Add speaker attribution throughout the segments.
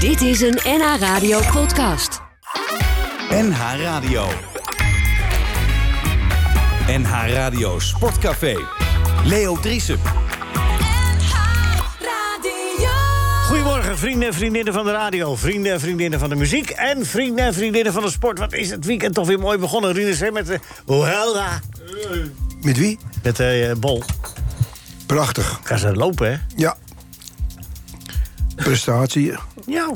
Speaker 1: Dit is een NH Radio podcast.
Speaker 2: NH Radio. NH Radio Sportcafé. Leo Driessen.
Speaker 3: Goedemorgen, vrienden en vriendinnen van de radio, vrienden en vriendinnen van de muziek en vrienden en vriendinnen van de sport. Wat is het weekend toch weer mooi begonnen, Rinus, hè, met de Huelda.
Speaker 4: Met wie?
Speaker 3: Met de bol.
Speaker 4: Prachtig.
Speaker 3: Gaan ze lopen, hè?
Speaker 4: Ja. Prestatie.
Speaker 3: Ja.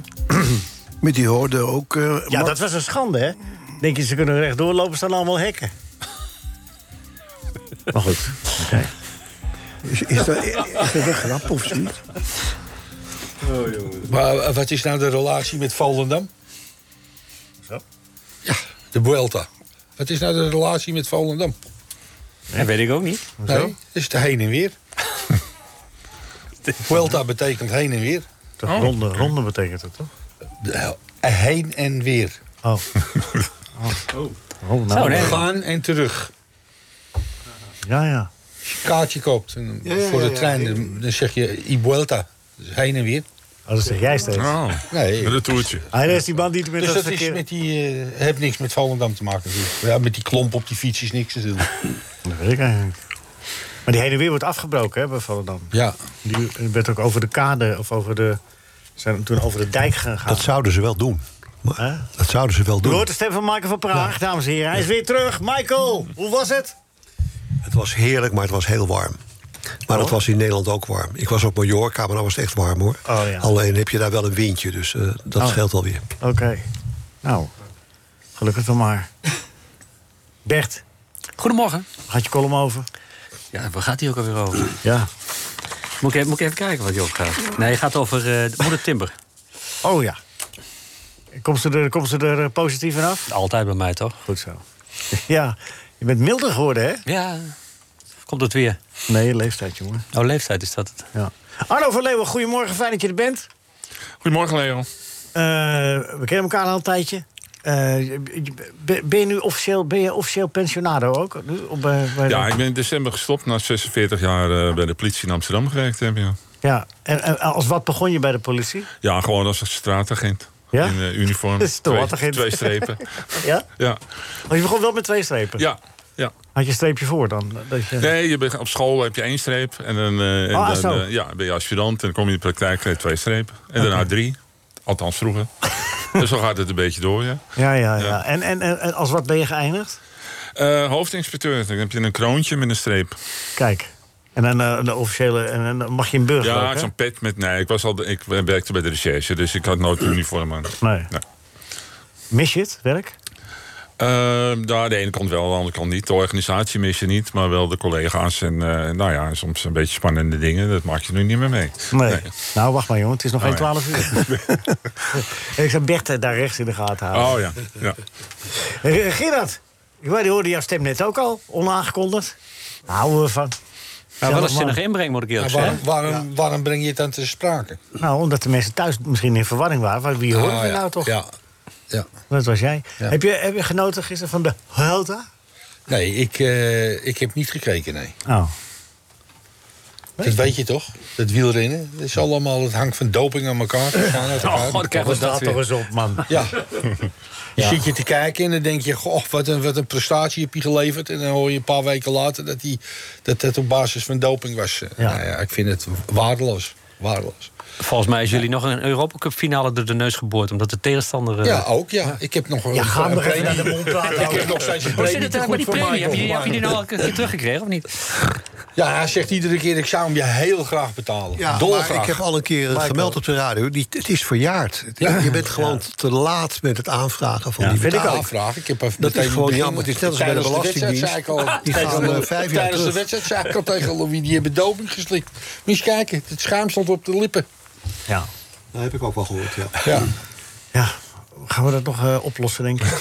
Speaker 4: Met die hoorde ook. eh,
Speaker 3: Ja,
Speaker 4: Ma-
Speaker 3: dat was een schande, hè? Denk je, ze kunnen rechtdoor lopen, staan allemaal hekken. Maar goed.
Speaker 4: Is, is dat, is dat een grap of zoiets?
Speaker 5: Maar eh, wat is nou de relatie met Volendam?
Speaker 3: Zo.
Speaker 5: Ja, de Vuelta. Wat is nou de relatie met Volendam?
Speaker 6: Dat weet ik ook niet.
Speaker 5: Nee, dat is de heen en weer. Vuelta betekent heen en weer.
Speaker 3: Toch ronde, ronde betekent het, toch?
Speaker 5: De- eh, heen en weer.
Speaker 3: Oh. Oh, nou.
Speaker 5: Gaan en terug.
Speaker 3: Ja, ja.
Speaker 5: Als je kaartje koopt en voor de trein, dan- dan zeg je i Vuelta. Dus heen en weer.
Speaker 3: Oh, dat zeg jij steeds.
Speaker 7: Oh,
Speaker 5: Nee.
Speaker 7: een retourtje.
Speaker 3: Hij is die bandiet met
Speaker 5: Dus
Speaker 3: dat
Speaker 5: dat is
Speaker 3: verkeer.
Speaker 5: met die, eh, heeft niks met Volendam te maken natuurlijk. Ja, met die klomp op die fiets is niks natuurlijk.
Speaker 3: Dat weet ik eigenlijk niet. Maar die heen en weer wordt afgebroken, hè, bij Volendam.
Speaker 5: Ja,
Speaker 3: Die eh, werd ook over de kade, of over de... zijn toen over de dijk gegaan.
Speaker 8: Dat zouden ze wel doen.
Speaker 3: Hè?
Speaker 8: Dat zouden ze wel
Speaker 3: U
Speaker 8: doen.
Speaker 3: hoort de stem van Michael van Praag, dames en heren. Hij is weer terug. Michael, hoe was het?
Speaker 8: Het was heerlijk, maar het was heel warm. Maar het was in Nederland ook warm. Ik was op Mallorca, maar dan was het echt warm hoor.
Speaker 3: Oh, ja. Oh.
Speaker 8: Alleen heb je daar wel een windje, dus eh, dat scheelt alweer.
Speaker 3: Oké. Nou, gelukkig dan maar. Bert,
Speaker 6: Goedemorgen.
Speaker 3: had je column over?
Speaker 6: Ja, waar gaat die ook alweer over?
Speaker 3: Ja.
Speaker 6: Moet ik, even- moet ik even kijken wat die opgaat. Nee, het gaat over eh, de moeder Timber.
Speaker 3: Oh ja. Komt ze er, komt ze er eh, positief vanaf?
Speaker 6: Altijd bij mij, toch?
Speaker 3: Goed zo. Ja, je bent milder geworden, hè?
Speaker 6: Ja, komt het weer.
Speaker 3: Nee, leeftijd, jongen.
Speaker 6: Oh, leeftijd is dat het.
Speaker 3: Ja. Arno van Leeuwen, goedemorgen. Fijn dat je er bent.
Speaker 7: Goedemorgen, Leo.
Speaker 3: Eh, we kennen elkaar al een tijdje. Eh, je- je- ben- ben je nu officieel, ben je officieel pensionado ook? Nu, op, eh, bij de-
Speaker 7: Ja, ik ben in december gestopt na 46 jaar eh, bij de politie in Amsterdam gewerkt hebben. Ja,
Speaker 3: Ja, en, en als wat begon je bij de politie?
Speaker 7: ja gewoon als een straatagent.
Speaker 3: Ja?
Speaker 7: In eh, uniform. twee,
Speaker 3: Straatagent.
Speaker 7: twee strepen.
Speaker 3: Ja?
Speaker 7: Ja,
Speaker 3: Want je begon wel met twee strepen.
Speaker 7: ja. ja.
Speaker 3: Had je een streepje voor dan? Dat je...
Speaker 7: Nee, je bent, op school heb je één streep. En dan, eh, en
Speaker 3: Ah,
Speaker 7: dan
Speaker 3: zo.
Speaker 7: eh, ja, ben je aspirant. En dan kom je in de praktijk krijg je twee strepen. En daarna drie. Althans vroeger. dus zo gaat het een beetje door, ja.
Speaker 3: Ja, ja, ja.
Speaker 7: Ja.
Speaker 3: En, en, en en als wat ben je geëindigd?
Speaker 7: Eh, hoofdinspecteur, dan heb je een kroontje met een streep.
Speaker 3: Kijk. En dan eh, de officiële... En, en dan mag je een burger ook,
Speaker 7: Ja,
Speaker 3: hè?
Speaker 7: zo'n pet met... Nee, ik, was al, ik eh, werkte bij de recherche, dus ik had nooit een uniform aan.
Speaker 3: Nee.
Speaker 7: Nee.
Speaker 3: Mis je het, werk?
Speaker 7: Ehm, nou, de ene kant wel, de andere kant niet. De organisatie mis je niet, maar wel de collega's. En eh, nou ja, soms een beetje spannende dingen. Dat maak je nu niet meer mee.
Speaker 3: Nee. Nou, wacht maar, jongen. Het is nog
Speaker 7: Oh,
Speaker 3: geen
Speaker 7: ja.
Speaker 3: 12 uur. En ik zou Bert eh, daar rechts in de gaten houden.
Speaker 7: Oh ja. ja.
Speaker 3: Eh, Gerard, ik weet, die hoorde jouw stem net ook al. Onaangekondigd. Daar houden we van. Zellig
Speaker 6: Nou, wel
Speaker 3: man.
Speaker 6: een zinnige inbreng, moet ik eerlijk
Speaker 5: Maar waarom,
Speaker 6: zeggen.
Speaker 5: waarom, waarom breng je het dan ter sprake?
Speaker 3: Nou, omdat de mensen thuis misschien in verwarring waren. Van Wie hoorde
Speaker 5: Ah,
Speaker 3: we
Speaker 5: ja.
Speaker 3: nou toch?
Speaker 5: Ja. ja.
Speaker 3: Dat was jij.
Speaker 5: Ja.
Speaker 3: Heb, je, heb je genoten gisteren van de Helta?
Speaker 5: Nee, ik, eh, ik heb niet gekeken, nee.
Speaker 3: Oh.
Speaker 5: Dat weet je toch? Dat wielrennen. Dat is allemaal, het hangt van doping aan elkaar. Aan elkaar.
Speaker 6: Oh, god, krijgen
Speaker 3: Wat
Speaker 6: we dat
Speaker 3: staat toch
Speaker 6: weer.
Speaker 3: eens op, man.
Speaker 5: Ja. Je zit je te kijken en dan denk je... Goh, wat een, wat een prestatie heb je geleverd. En dan hoor je een paar weken later dat die, dat, dat op basis van doping was.
Speaker 3: Ja.
Speaker 5: Nou ja, ik vind het waardeloos. Waardeloos.
Speaker 6: Volgens mij is jullie nog een Europa Cup finale door de neus geboord. Omdat de tegenstander... eh,
Speaker 5: Ja, ook ja. Ik heb nog
Speaker 3: Ja, ga
Speaker 5: een
Speaker 3: nog even
Speaker 5: premie.
Speaker 3: naar de mond praten.
Speaker 5: Ik heb nog steeds een
Speaker 6: Hoe zit
Speaker 5: premie
Speaker 6: het
Speaker 5: te
Speaker 6: eigenlijk met
Speaker 5: goed
Speaker 6: die
Speaker 5: voor
Speaker 6: premie? Heb je,
Speaker 5: Michael,
Speaker 6: heb je die nou al een keer teruggekregen of niet?
Speaker 5: Ja, hij zegt iedere keer, ik zou hem je heel graag betalen.
Speaker 8: Ja,
Speaker 5: Dolgraag.
Speaker 8: maar ik heb al een keer gemeld op de radio. Die, het is verjaard. Het-
Speaker 5: Ja.
Speaker 8: Je bent gewoon te laat met het aanvragen van
Speaker 3: Ja,
Speaker 8: die
Speaker 3: vind ik
Speaker 8: betaling.
Speaker 3: ook.
Speaker 5: Aanvraag. Ik heb even
Speaker 8: Dat
Speaker 5: meteen
Speaker 8: is gewoon
Speaker 5: beginnen.
Speaker 8: jammer. Het is net als bij de
Speaker 5: Tijdens
Speaker 8: Belastingdienst.
Speaker 5: wedstrijd zei ik al-
Speaker 8: Die
Speaker 5: tegen
Speaker 8: gaan,
Speaker 5: Lou-
Speaker 8: eh, vijf jaar
Speaker 5: Tijdens de
Speaker 8: terug.
Speaker 5: wedstrijd zei ik al tegen Louis, die hebben doping geslikt. Moet je eens kijken, het schuim stond op de lippen.
Speaker 3: Ja.
Speaker 8: Dat heb ik ook wel gehoord, ja.
Speaker 5: Ja.
Speaker 3: ja. Gaan we dat nog eh, oplossen, denk ik?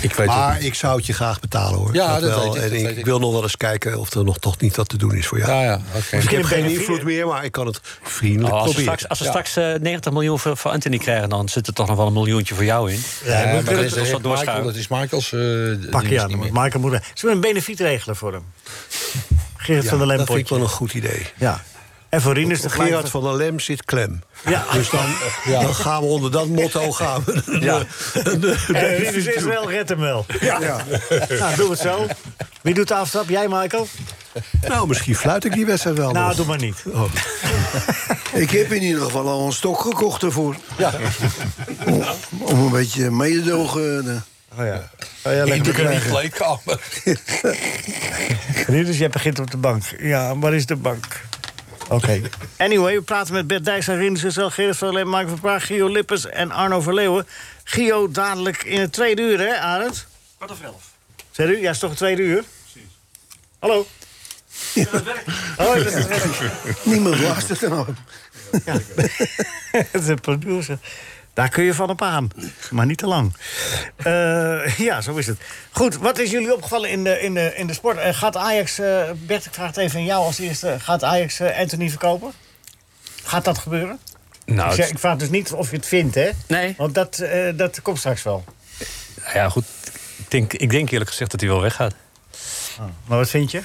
Speaker 5: Ik weet
Speaker 8: Maar ik zou het je graag betalen hoor.
Speaker 5: Ja, dat weet ik,
Speaker 8: En
Speaker 5: dat
Speaker 8: ik,
Speaker 5: weet ik.
Speaker 8: wil nog wel eens kijken of er nog toch niet wat te doen is voor jou.
Speaker 5: Ja, ja, oké.
Speaker 8: Ik heb
Speaker 3: Misschien ben
Speaker 8: geen
Speaker 3: je-
Speaker 8: invloed meer, maar ik kan het vriendelijk
Speaker 6: Oh, als ze
Speaker 8: proberen.
Speaker 6: straks, als ze
Speaker 5: Ja.
Speaker 6: straks eh, 90 miljoen voor, voor Anthony krijgen... dan zit er toch nog wel een miljoentje voor jou in.
Speaker 5: Ja, maar dat
Speaker 6: kunnen
Speaker 5: is-
Speaker 6: het wel
Speaker 5: Michael,
Speaker 6: doorschuiven.
Speaker 5: dat is Michaels... eh,
Speaker 3: Pak
Speaker 5: ding
Speaker 3: je
Speaker 5: is
Speaker 3: aan.
Speaker 5: niet meer.
Speaker 3: want Michael moet... Zullen we een benefiet regelen voor hem? Gerrit
Speaker 8: Ja,
Speaker 3: van der
Speaker 8: dat vind ik
Speaker 3: Lempotje.
Speaker 8: wel een goed idee.
Speaker 3: Ja. En voor Rinus de
Speaker 8: Gerard
Speaker 3: Gerard
Speaker 8: van der Lem zit klem.
Speaker 3: Ja.
Speaker 8: Dus dan, dan gaan we onder dat motto gaan we.
Speaker 6: Ja.
Speaker 3: En Eh, Rinus Israël redt hem wel. Ja. Nou, doen we het zo. Wie doet de aftrap? Jij, Michael?
Speaker 8: Nou, misschien fluit ik die wedstrijd wel.
Speaker 3: Nou,
Speaker 8: nog.
Speaker 3: doe maar niet.
Speaker 4: Oh. Ik heb in ieder geval al een stok gekocht ervoor. Ja. Om, om een beetje mededogen. eh,
Speaker 3: Oh ja. Oh, ja lekker.
Speaker 5: Ik ben in de kleedkamer.
Speaker 3: Rinus, dus jij begint op de bank. Ja, waar is de bank? Oké. Anyway, we praten met Bert Dijks en Rinus Israël, Gerrit van der Leem, Mark van Praag, Gio Lippers en Arno Verleeuwen. Gio dadelijk in het tweede uur, hè, Arend?
Speaker 6: Kwart of elf.
Speaker 3: Zeg u? Ja, is toch het tweede uur? Hallo? Oh, dat is het werk.
Speaker 4: Niemand luistert er nou.
Speaker 3: Het is een producer. Daar kun je van op aan, maar niet te lang. Eh, ja, zo is het. Goed, wat is jullie opgevallen in de, in de, in de sport? Eh, gaat Ajax, eh, Bert, ik vraag het even aan jou als eerste. Gaat Ajax eh, Anthony verkopen? Gaat dat gebeuren?
Speaker 6: Nou,
Speaker 3: ik,
Speaker 6: het-
Speaker 3: zeg- ik vraag dus niet of je het vindt, hè?
Speaker 6: Nee.
Speaker 3: Want dat, eh, dat komt straks wel.
Speaker 6: nou ja, goed. Ik denk, ik denk eerlijk gezegd dat hij wel weggaat.
Speaker 3: Maar wat vind je?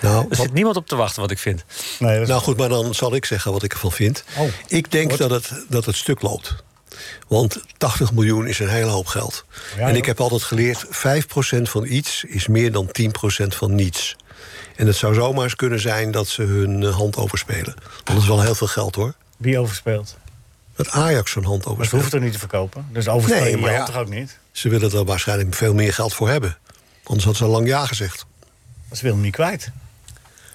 Speaker 8: Nou,
Speaker 6: Er
Speaker 8: wat-
Speaker 6: zit niemand op te wachten, wat ik vind.
Speaker 3: Nee, dat is-
Speaker 8: Nou goed, maar dan zal ik zeggen wat ik ervan vind.
Speaker 3: Oh,
Speaker 8: ik denk dat het, dat het stuk loopt. Want 80 miljoen is een hele hoop geld.
Speaker 3: Ja,
Speaker 8: en
Speaker 3: ja.
Speaker 8: ik heb altijd geleerd, 5% van iets is meer dan 10% van niets. En het zou zomaar eens kunnen zijn dat ze hun eh, hand overspelen. Want dat is wel heel veel geld hoor.
Speaker 3: wie overspeelt?
Speaker 8: Dat Ajax zo'n hand
Speaker 3: Maar ze
Speaker 8: overspeelt.
Speaker 3: hoeft er niet te verkopen. Dus overspelen
Speaker 8: Nee,
Speaker 3: je
Speaker 8: maar
Speaker 3: hand
Speaker 8: ja.
Speaker 3: toch ook niet?
Speaker 8: Ze willen er waarschijnlijk veel meer geld voor hebben. Anders had ze al lang ja gezegd.
Speaker 3: Ze wil hem niet kwijt.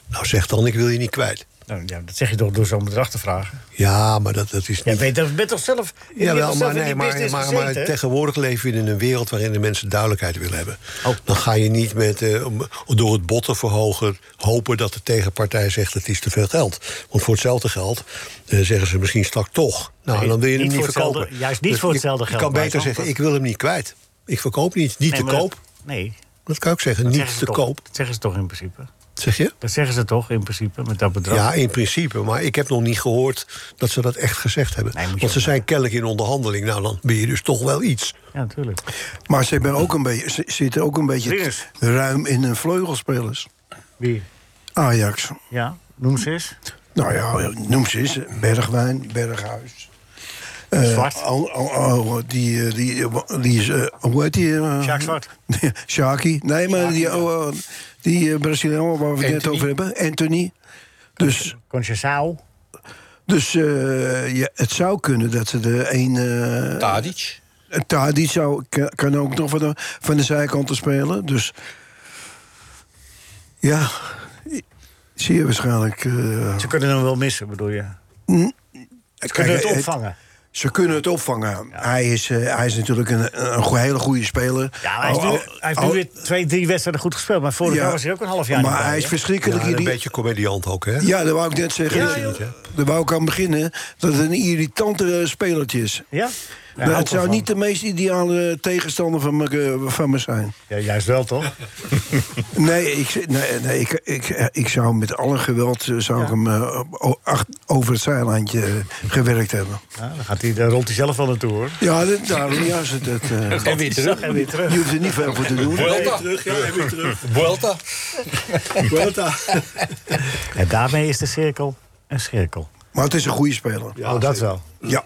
Speaker 8: Nou zeg dan, ik wil je niet kwijt.
Speaker 3: Nou, ja, dat zeg je toch door zo'n bedrag te vragen?
Speaker 8: Ja, maar dat, dat is
Speaker 3: Jij
Speaker 8: niet...
Speaker 3: weet, dat bent toch zelf.
Speaker 8: Ja,
Speaker 3: je hebt
Speaker 8: wel,
Speaker 3: toch zelf
Speaker 8: maar,
Speaker 3: in
Speaker 8: nee,
Speaker 3: die
Speaker 8: maar,
Speaker 3: business
Speaker 8: maar, maar
Speaker 3: gezeten?
Speaker 8: tegenwoordig leven we in een wereld waarin de mensen duidelijkheid willen hebben.
Speaker 3: Oh.
Speaker 8: Dan ga je niet met, eh, om- door het bot te verhogen hopen dat de tegenpartij zegt het is te veel geld. Want voor hetzelfde geld eh, zeggen ze misschien straks toch. Nou,
Speaker 3: Nee,
Speaker 8: dan wil je hem
Speaker 3: niet
Speaker 8: niet
Speaker 3: voor hetzelfde-
Speaker 8: verkopen. Dus
Speaker 3: juist niet voor
Speaker 8: je-
Speaker 3: hetzelfde
Speaker 8: je
Speaker 3: geld,
Speaker 8: kan
Speaker 3: maar
Speaker 8: beter
Speaker 3: het
Speaker 8: zeggen,
Speaker 3: antwoord-
Speaker 8: ik wil hem niet kwijt. Ik verkoop niet. Niet
Speaker 3: Nee,
Speaker 8: te
Speaker 3: maar dat-
Speaker 8: koop.
Speaker 3: nee.
Speaker 8: Dat kan ik zeggen.
Speaker 3: zeggen
Speaker 8: Niet
Speaker 3: ze
Speaker 8: te
Speaker 3: toch.
Speaker 8: koop.
Speaker 3: Dat zeggen ze toch in principe?
Speaker 8: Zeg je?
Speaker 3: Dat zeggen ze toch in principe met dat bedrag?
Speaker 8: Ja, in principe. Maar ik heb nog niet gehoord dat ze dat echt gezegd hebben.
Speaker 3: Nee, moet je
Speaker 8: Want ze
Speaker 3: ook
Speaker 8: zijn kennelijk in onderhandeling. Nou, dan ben je dus toch wel iets.
Speaker 3: Ja, natuurlijk.
Speaker 4: Maar ze, hebben ook een beetje, ze zitten ook een beetje
Speaker 3: Rinus.
Speaker 4: ruim in hun vleugelspelers.
Speaker 3: Wie?
Speaker 4: Ajax.
Speaker 3: Ja, noem ze eens.
Speaker 4: Nou ja, noem ze eens. Bergwijn, Berghuis. Eh,
Speaker 3: Zwart.
Speaker 4: al- al- al- die, eh, die, eh, die is, eh, hoe heet die? eh,
Speaker 3: Sjaak Zwart.
Speaker 4: Nee, Sjaakie. Nee, maar die, oh, eh, die eh, Braziliaan waar we het net
Speaker 5: Anthony.
Speaker 4: over hebben. Anthony. Dus,
Speaker 3: Conceição.
Speaker 4: dus eh, ja, het zou kunnen dat ze de een... eh,
Speaker 5: Tadic.
Speaker 4: Tadic zou, ka- kan ook nog van de, van de zijkanten spelen. Dus ja, zie je waarschijnlijk. eh,
Speaker 3: Ze kunnen hem wel missen, bedoel je? Ze
Speaker 4: kijk,
Speaker 3: kunnen het opvangen.
Speaker 4: ze kunnen het opvangen. Hij, is, eh, hij is natuurlijk een, een go- hele goede speler.
Speaker 3: Ja, maar hij, is nu,
Speaker 4: Al- al-
Speaker 3: hij heeft nu
Speaker 4: al-
Speaker 3: weer twee, drie wedstrijden goed gespeeld. Maar vorig
Speaker 4: oh, ja,
Speaker 3: jaar was hij ook een half jaar niet
Speaker 4: Maar
Speaker 3: bij,
Speaker 4: hij is
Speaker 3: hè?
Speaker 4: verschrikkelijk.
Speaker 8: Ja, en
Speaker 4: irri-
Speaker 8: een beetje comediant ook, hè?
Speaker 4: ja, daar wou ik net zeggen.
Speaker 3: Ja, joh.
Speaker 4: daar wou ik aan beginnen. Dat het een irritante eh, spelertje is.
Speaker 3: Ja?
Speaker 4: Nou,
Speaker 3: ook
Speaker 4: het
Speaker 3: wel
Speaker 4: zou
Speaker 3: van.
Speaker 4: niet de meest ideale tegenstander van me, eh, van me zijn.
Speaker 3: Ja, juist wel, toch?
Speaker 4: Nee, ik, nee, nee ik, ik, ik zou met alle geweld eh, zou ik hem eh, o- ach- over het zijlandje eh, gewerkt hebben.
Speaker 3: Ja, dan, gaat hij, dan rolt hij zelf wel naartoe, hoor.
Speaker 4: Ja, dat, daarom juist. Het, het, eh,
Speaker 5: En weer terug.
Speaker 3: En weer terug.
Speaker 4: je hoeft er niet veel voor te doen.
Speaker 5: Vuelta. Vuelta.
Speaker 3: En daarmee is de cirkel een cirkel.
Speaker 4: Maar het is een goede speler. Ja.
Speaker 3: oh, dat wel. Ja.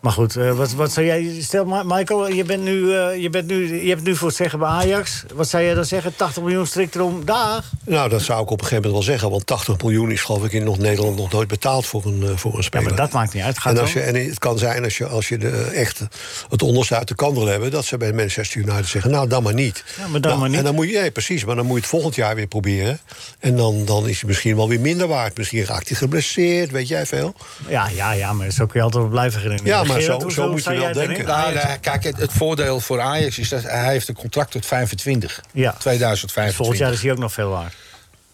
Speaker 3: Maar goed, eh, wat, wat zou jij... Stel, Ma- Michael, je, bent nu, eh, je, bent nu, je hebt het nu voor het zeggen bij Ajax. Wat zou jij dan zeggen? 80 miljoen strikt erom. Dag!
Speaker 8: Nou, dat zou ik op een gegeven moment wel zeggen. Want 80 miljoen is geloof ik in nog Nederland nog nooit betaald voor een, eh, voor een
Speaker 3: Ja,
Speaker 8: speler.
Speaker 3: maar dat maakt niet uit. Gaat
Speaker 8: en, als je,
Speaker 3: wel.
Speaker 8: en het kan zijn als je, als je de, eh, echt het onderste uit de kan wil hebben... dat ze bij Manchester United zeggen, nou, dan maar niet.
Speaker 3: Ja, maar dan
Speaker 8: Nou,
Speaker 3: maar niet.
Speaker 8: En dan moet je, nee, precies, maar dan moet je het volgend jaar weer proberen. En dan, dan is hij misschien wel weer minder waard. Misschien raakt hij geblesseerd, weet jij veel.
Speaker 3: Ja, ja, ja, maar zo kun je altijd wel blijven redeneren.
Speaker 8: Ja, maar
Speaker 3: Gerard,
Speaker 8: zo-
Speaker 3: hoezo
Speaker 8: zo moet
Speaker 3: sta
Speaker 8: je wel
Speaker 3: jij daarin?
Speaker 8: denken.
Speaker 5: Nou, nou, kijk, het, het voordeel voor Ajax is dat hij heeft een contract tot 25.
Speaker 3: Ja. Dus
Speaker 5: 2025.
Speaker 3: Volgend jaar is hij ook nog veel waard.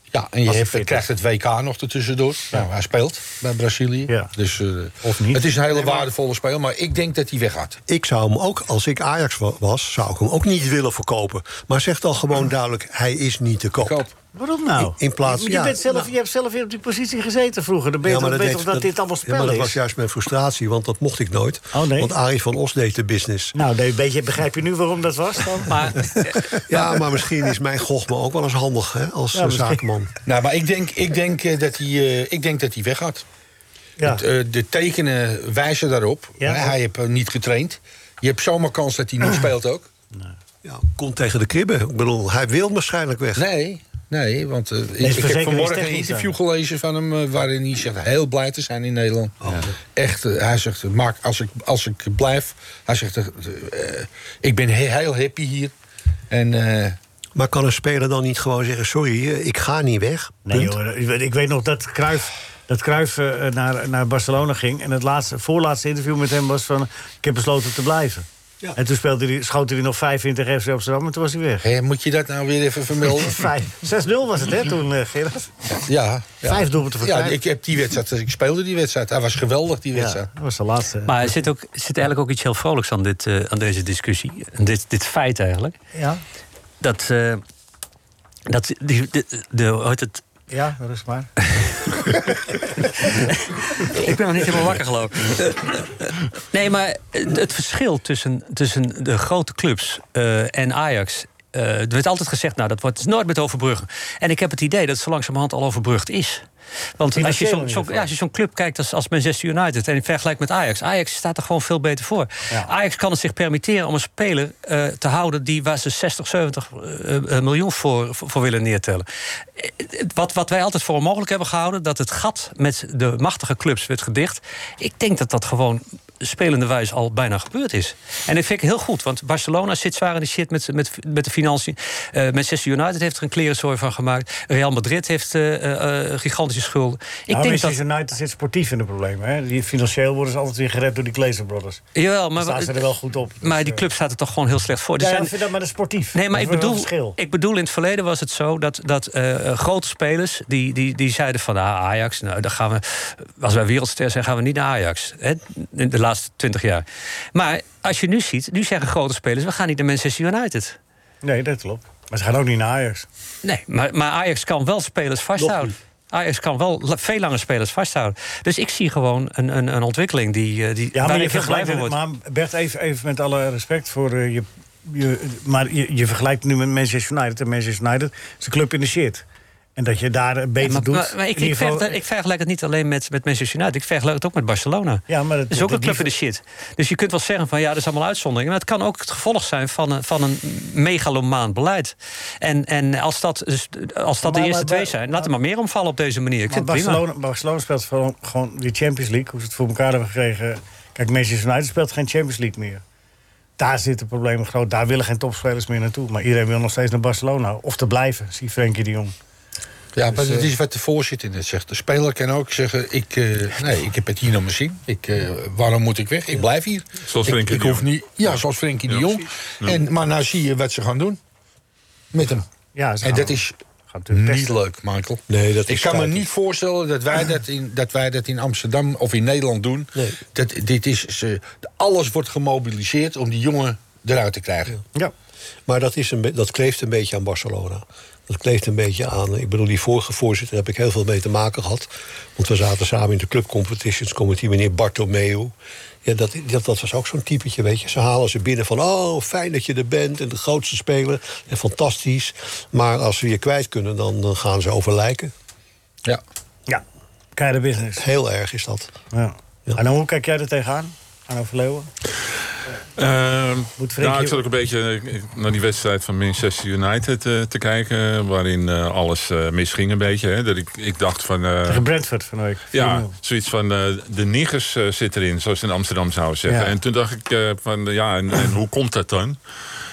Speaker 5: Ja, en
Speaker 3: Als
Speaker 5: je
Speaker 3: hij
Speaker 5: hebt-
Speaker 3: fit is.
Speaker 5: krijgt het WK nog ertussendoor. Nou, hij speelt bij Brazilië.
Speaker 3: Ja.
Speaker 5: Dus, eh,
Speaker 3: Of niet.
Speaker 5: Het is een hele waardevolle speler, maar ik denk dat hij weggaat.
Speaker 8: Ik zou hem ook, als ik Ajax wa- was, zou ik hem ook niet willen verkopen. Maar zeg dan gewoon duidelijk, hij is niet te koop.
Speaker 5: Koop.
Speaker 3: Waarom nou?
Speaker 8: In- in plaats-
Speaker 3: je, je
Speaker 8: ja,
Speaker 3: bent zelf,
Speaker 8: nou.
Speaker 3: je hebt zelf weer op die positie gezeten vroeger. Dan ben je
Speaker 8: Ja,
Speaker 3: toch
Speaker 8: maar
Speaker 3: beter
Speaker 8: deed-
Speaker 3: of dat, dit allemaal
Speaker 8: ja,
Speaker 3: spel
Speaker 8: maar dat
Speaker 3: is.
Speaker 8: was juist mijn frustratie, want dat mocht ik nooit.
Speaker 3: Oh, nee?
Speaker 8: Want Arie van Os deed de business.
Speaker 3: Nou, nee, een beetje begrijp je nu waarom dat was dan?
Speaker 6: Maar
Speaker 8: Ja, maar misschien is mijn gochme ook wel eens handig hè, als
Speaker 3: Ja,
Speaker 8: eh,
Speaker 3: misschien.
Speaker 8: zakenman.
Speaker 5: Nou, maar ik denk, ik denk eh, dat hij eh, ik denk dat hij weggaat.
Speaker 3: Ja.
Speaker 5: Eh, de tekenen wijzen daarop.
Speaker 3: Ja.
Speaker 5: Hè, Hij heeft eh, niet getraind. Je hebt zomaar kans dat hij niet speelt ook.
Speaker 8: Ja, komt tegen de kribben. Ik bedoel, hij wil waarschijnlijk weg.
Speaker 5: Nee, nee want eh, ik, ik heb
Speaker 3: verzekeringstechnisch
Speaker 5: vanmorgen een
Speaker 3: dan.
Speaker 5: interview gelezen van hem... eh, waarin hij zegt heel blij te zijn in Nederland.
Speaker 8: Oh.
Speaker 5: Echt, eh, hij zegt, Mark, als ik, als ik blijf... Hij zegt, eh, eh, ik ben he- heel happy hier. En eh,
Speaker 8: Maar kan een speler dan niet gewoon zeggen... sorry, eh, ik ga niet weg?
Speaker 3: Nee,
Speaker 8: Punt.
Speaker 3: joh, ik weet- ik weet nog dat Cruijff, dat Cruijff eh, naar, naar Barcelona ging. En het laatste, voorlaatste interview met hem was van... ik heb besloten te blijven.
Speaker 8: Ja.
Speaker 3: En toen speelde hij, schoot hij nog 5 in tegen FC Amsterdam en toen was hij weg.
Speaker 5: hè, moet je dat nou weer even vermelden?
Speaker 3: Vijf- 6-0 was het, hè, toen, eh, Gerard?
Speaker 5: Ja, ja.
Speaker 3: Vijf doelpunten voor
Speaker 5: Ja,
Speaker 3: Cruijff.
Speaker 5: ik, heb die wedstrijd, dus ik speelde die wedstrijd. Hij was geweldig, die
Speaker 3: Ja,
Speaker 5: wedstrijd.
Speaker 3: dat was de laatste.
Speaker 6: Maar er zit, ook, er zit eigenlijk ook iets heel vrolijks aan, dit, eh, aan deze discussie. Aan Dit, dit feit eigenlijk.
Speaker 3: ja,
Speaker 6: Dat, eh, dat die, de, de, hoe heet het,
Speaker 3: ja, rust maar.
Speaker 6: Ik ben nog niet helemaal wakker geloof ik. Nee, maar het het verschil tussen, tussen de grote clubs eh, en Ajax... eh, er werd altijd gezegd, nou, dat wordt het is nooit met overbruggen. En ik heb het idee dat het zo langzamerhand al overbrugd is. Want als je
Speaker 3: Financieel
Speaker 6: zo'n
Speaker 3: in
Speaker 6: zo,
Speaker 3: ieder
Speaker 6: ja, als je zo'n club kijkt als, als Manchester United... en vergelijkt met Ajax, Ajax staat er gewoon veel beter voor. Ajax kan het zich permitteren om een speler eh, te houden... die waar ze 60, 70 eh, eh, miljoen voor, voor voor willen neertellen. Eh, eh, Wat, wat wij altijd voor onmogelijk hebben gehouden... dat het gat met de machtige clubs werd gedicht... ik denk dat dat gewoon spelenderwijs al bijna gebeurd is. En dat vind ik heel goed, want Barcelona zit zwaar in de shit met, met, met de financiën. Eh, Manchester United heeft er een klerenzooi van gemaakt. Real Madrid heeft eh, eh, eh, gigantische schulden. Ik denk dat...
Speaker 3: Manchester United zit sportief in de problemen. Hè? Die, financieel worden ze altijd weer gered door die Glazer Brothers.
Speaker 6: Jawel, maar,
Speaker 3: staan ze er wel goed op. Dus,
Speaker 6: maar die
Speaker 3: eh,
Speaker 6: club staat er toch gewoon heel slecht voor. Er
Speaker 3: ja,
Speaker 6: zijn-
Speaker 3: ik vind dat maar dat is sportief.
Speaker 6: Nee, maar
Speaker 3: Dat
Speaker 6: ik
Speaker 3: is wel een
Speaker 6: bedoel,
Speaker 3: verschil.
Speaker 6: ik bedoel, in het verleden was het zo dat, dat eh, grote spelers die, die, die zeiden van ah, Ajax, nou, dan gaan we, als wij wereldster zijn, gaan we niet naar Ajax. Hè, in de laatste twintig jaar. Maar als je nu ziet, nu zeggen grote spelers, we gaan niet naar Manchester United.
Speaker 3: Nee, dat klopt. Maar ze gaan ook niet naar Ajax.
Speaker 6: Nee, maar, maar Ajax kan wel spelers vasthouden. Ajax kan wel la- veel lange spelers vasthouden. Dus ik zie gewoon een, een, een ontwikkeling die, eh, die
Speaker 3: Ja,
Speaker 6: waar
Speaker 3: maar, je
Speaker 6: ik heel blij
Speaker 3: vergelijkt,
Speaker 6: van word.
Speaker 3: maar Bert, even, even met alle respect voor eh, je... je maar je, je vergelijkt nu met Manchester United. En Manchester United is een club in de shit. En dat je daar eh, beter
Speaker 6: Maar,
Speaker 3: doet...
Speaker 6: maar- maar ik,
Speaker 3: in
Speaker 6: ik,
Speaker 3: ieder geval-
Speaker 6: vergelijk, het- ik vergelijk het niet alleen met, met Manchester United. Ik vergelijk het ook met Barcelona.
Speaker 3: Ja, maar dat-
Speaker 6: dat is ook
Speaker 3: dat-
Speaker 6: een club
Speaker 3: die-
Speaker 6: in de shit. Dus je kunt wel zeggen van ja, dat is allemaal uitzonderingen. Maar het kan ook het gevolg zijn van een, van een megalomaan beleid. En, en als dat, dus, als
Speaker 3: Maar-
Speaker 6: dat de eerste
Speaker 3: maar-
Speaker 6: twee
Speaker 3: maar-
Speaker 6: zijn, laat er maar meer omvallen op deze manier. Ik
Speaker 3: Maar
Speaker 6: vind het prima.
Speaker 3: Barcelona, Barcelona speelt gewoon, gewoon de Champions League. Hoe ze het voor elkaar hebben gekregen. Kijk, Manchester United speelt geen Champions League meer. Daar zitten problemen groot. Daar willen geen topspelers meer naartoe. Maar iedereen wil nog steeds naar Barcelona. Of te blijven, zie Frenkie de Jong.
Speaker 5: Ja, maar
Speaker 3: Dus,
Speaker 5: dat
Speaker 3: eh,
Speaker 5: is wat de voorzitter net zegt. De speler kan ook zeggen, ik, eh, nee, ik heb het hier nog maar zien. Ik, eh, waarom moet ik weg? Ik blijf hier.
Speaker 7: Zoals
Speaker 5: ik,
Speaker 7: Frenkie
Speaker 5: ik
Speaker 7: de
Speaker 5: hoef
Speaker 7: Jong.
Speaker 5: niet. Ja, zoals Frenkie de Jong. En, maar nou zie je wat ze gaan doen. Met hem.
Speaker 3: Ja, ze
Speaker 5: En
Speaker 3: gaan-
Speaker 5: dat is
Speaker 3: gaan natuurlijk
Speaker 5: niet
Speaker 3: pesten.
Speaker 5: leuk, Michael.
Speaker 8: Nee, dat is
Speaker 5: ik kan me
Speaker 8: stuitend.
Speaker 5: niet voorstellen dat wij dat, in, dat wij dat in Amsterdam of in Nederland doen. Dat, dit is, ze, alles wordt gemobiliseerd om die jongen eruit te krijgen.
Speaker 3: Ja.
Speaker 8: Maar dat, is een be- dat kleeft een beetje aan Barcelona. Dat kleeft een beetje aan. Ik bedoel, die vorige voorzitter heb ik heel veel mee te maken gehad. Want we zaten samen in de Club Competitions Committee, meneer Bartomeu. Ja, dat, dat, dat was ook zo'n typetje, weet je. Ze halen ze binnen van, oh, fijn dat je er bent... en de grootste speler, en fantastisch. Maar als we je kwijt kunnen, dan, dan gaan ze over lijken.
Speaker 5: Ja.
Speaker 3: Ja. Keiharde business.
Speaker 8: Heel erg is dat.
Speaker 3: Ja. En hoe kijk jij er tegenaan? Arno Verleeuwen?
Speaker 7: Ehm,
Speaker 3: Moet Frenkie
Speaker 7: nou,
Speaker 3: ook-
Speaker 7: ik zat ook een beetje eh, naar die wedstrijd van Manchester United eh, te kijken. eh, Waarin eh, alles eh, misging een beetje. Hè. Dat ik, ik dacht van... eh,
Speaker 3: Tegen Brentford van de week. 4-0.
Speaker 7: ja, zoiets van eh, de niggers eh, zit erin, zoals ze in Amsterdam zouden zeggen.
Speaker 3: Ja.
Speaker 7: En toen dacht ik eh, van ja, en, en hoe komt dat dan?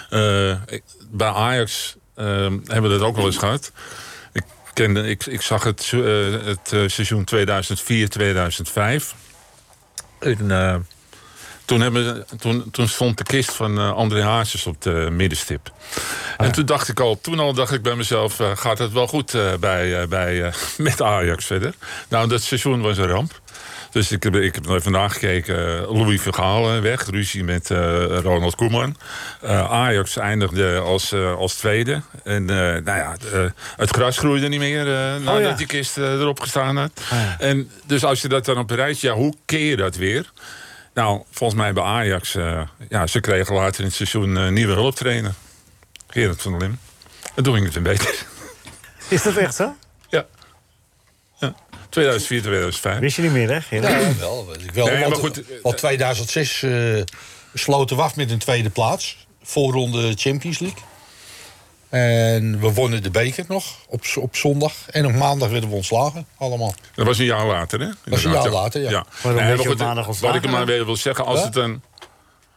Speaker 7: Eh, ik- bij Ajax eh, hebben we dat ook wel eens gehad. Ik, kende, ik, ik zag het, eh, het eh, seizoen 2004-2005. En, eh, toen, hebben, toen, toen stond de kist van eh, André Hazes op de middenstip. En toen dacht ik al, toen al dacht ik bij mezelf, eh, gaat het wel goed eh, bij, eh, bij, eh, met Ajax verder? Nou, dat seizoen was een ramp. Dus ik heb, ik heb nog even vandaag gekeken. eh, Louis Vergalen weg, ruzie met eh, Ronald Koeman. Eh, Ajax eindigde als, eh, als tweede. En eh, nou ja, eh, het gras groeide niet meer eh, nadat
Speaker 3: Oh ja. Ah,
Speaker 7: die kist eh, erop gestaan had. En dus als je dat dan op de rijtje, ja, hoe keer je dat weer? Nou, volgens mij bij Ajax, eh, ja, ze kregen later in het seizoen eh, nieuwe hulptrainer. Gerard van der Lim. En toen ging het een beter.
Speaker 3: Is dat echt
Speaker 7: Nou,
Speaker 3: zo?
Speaker 7: Ja. ja. 2004, 2005.
Speaker 3: Wist je niet meer, hè? Gerard?
Speaker 5: Ja, wel. Weet ik wel.
Speaker 7: Nee, maar
Speaker 5: want,
Speaker 7: goed, eh,
Speaker 5: want 2006 eh, sloten we af met een tweede plaats. Voorronde Champions League. En we wonnen de beker nog op, z- op zondag. En op maandag werden we ontslagen, allemaal.
Speaker 7: Dat was een jaar later, hè?
Speaker 5: was een
Speaker 7: Inderdaad,
Speaker 5: jaar later, ja.
Speaker 3: Waarom
Speaker 7: Nee,
Speaker 3: werd
Speaker 7: maar
Speaker 3: je op
Speaker 7: goed,
Speaker 3: maandag
Speaker 7: Wat
Speaker 3: ontslagen
Speaker 7: ik er maar weer wil zeggen, als
Speaker 5: Ja?
Speaker 7: het dan...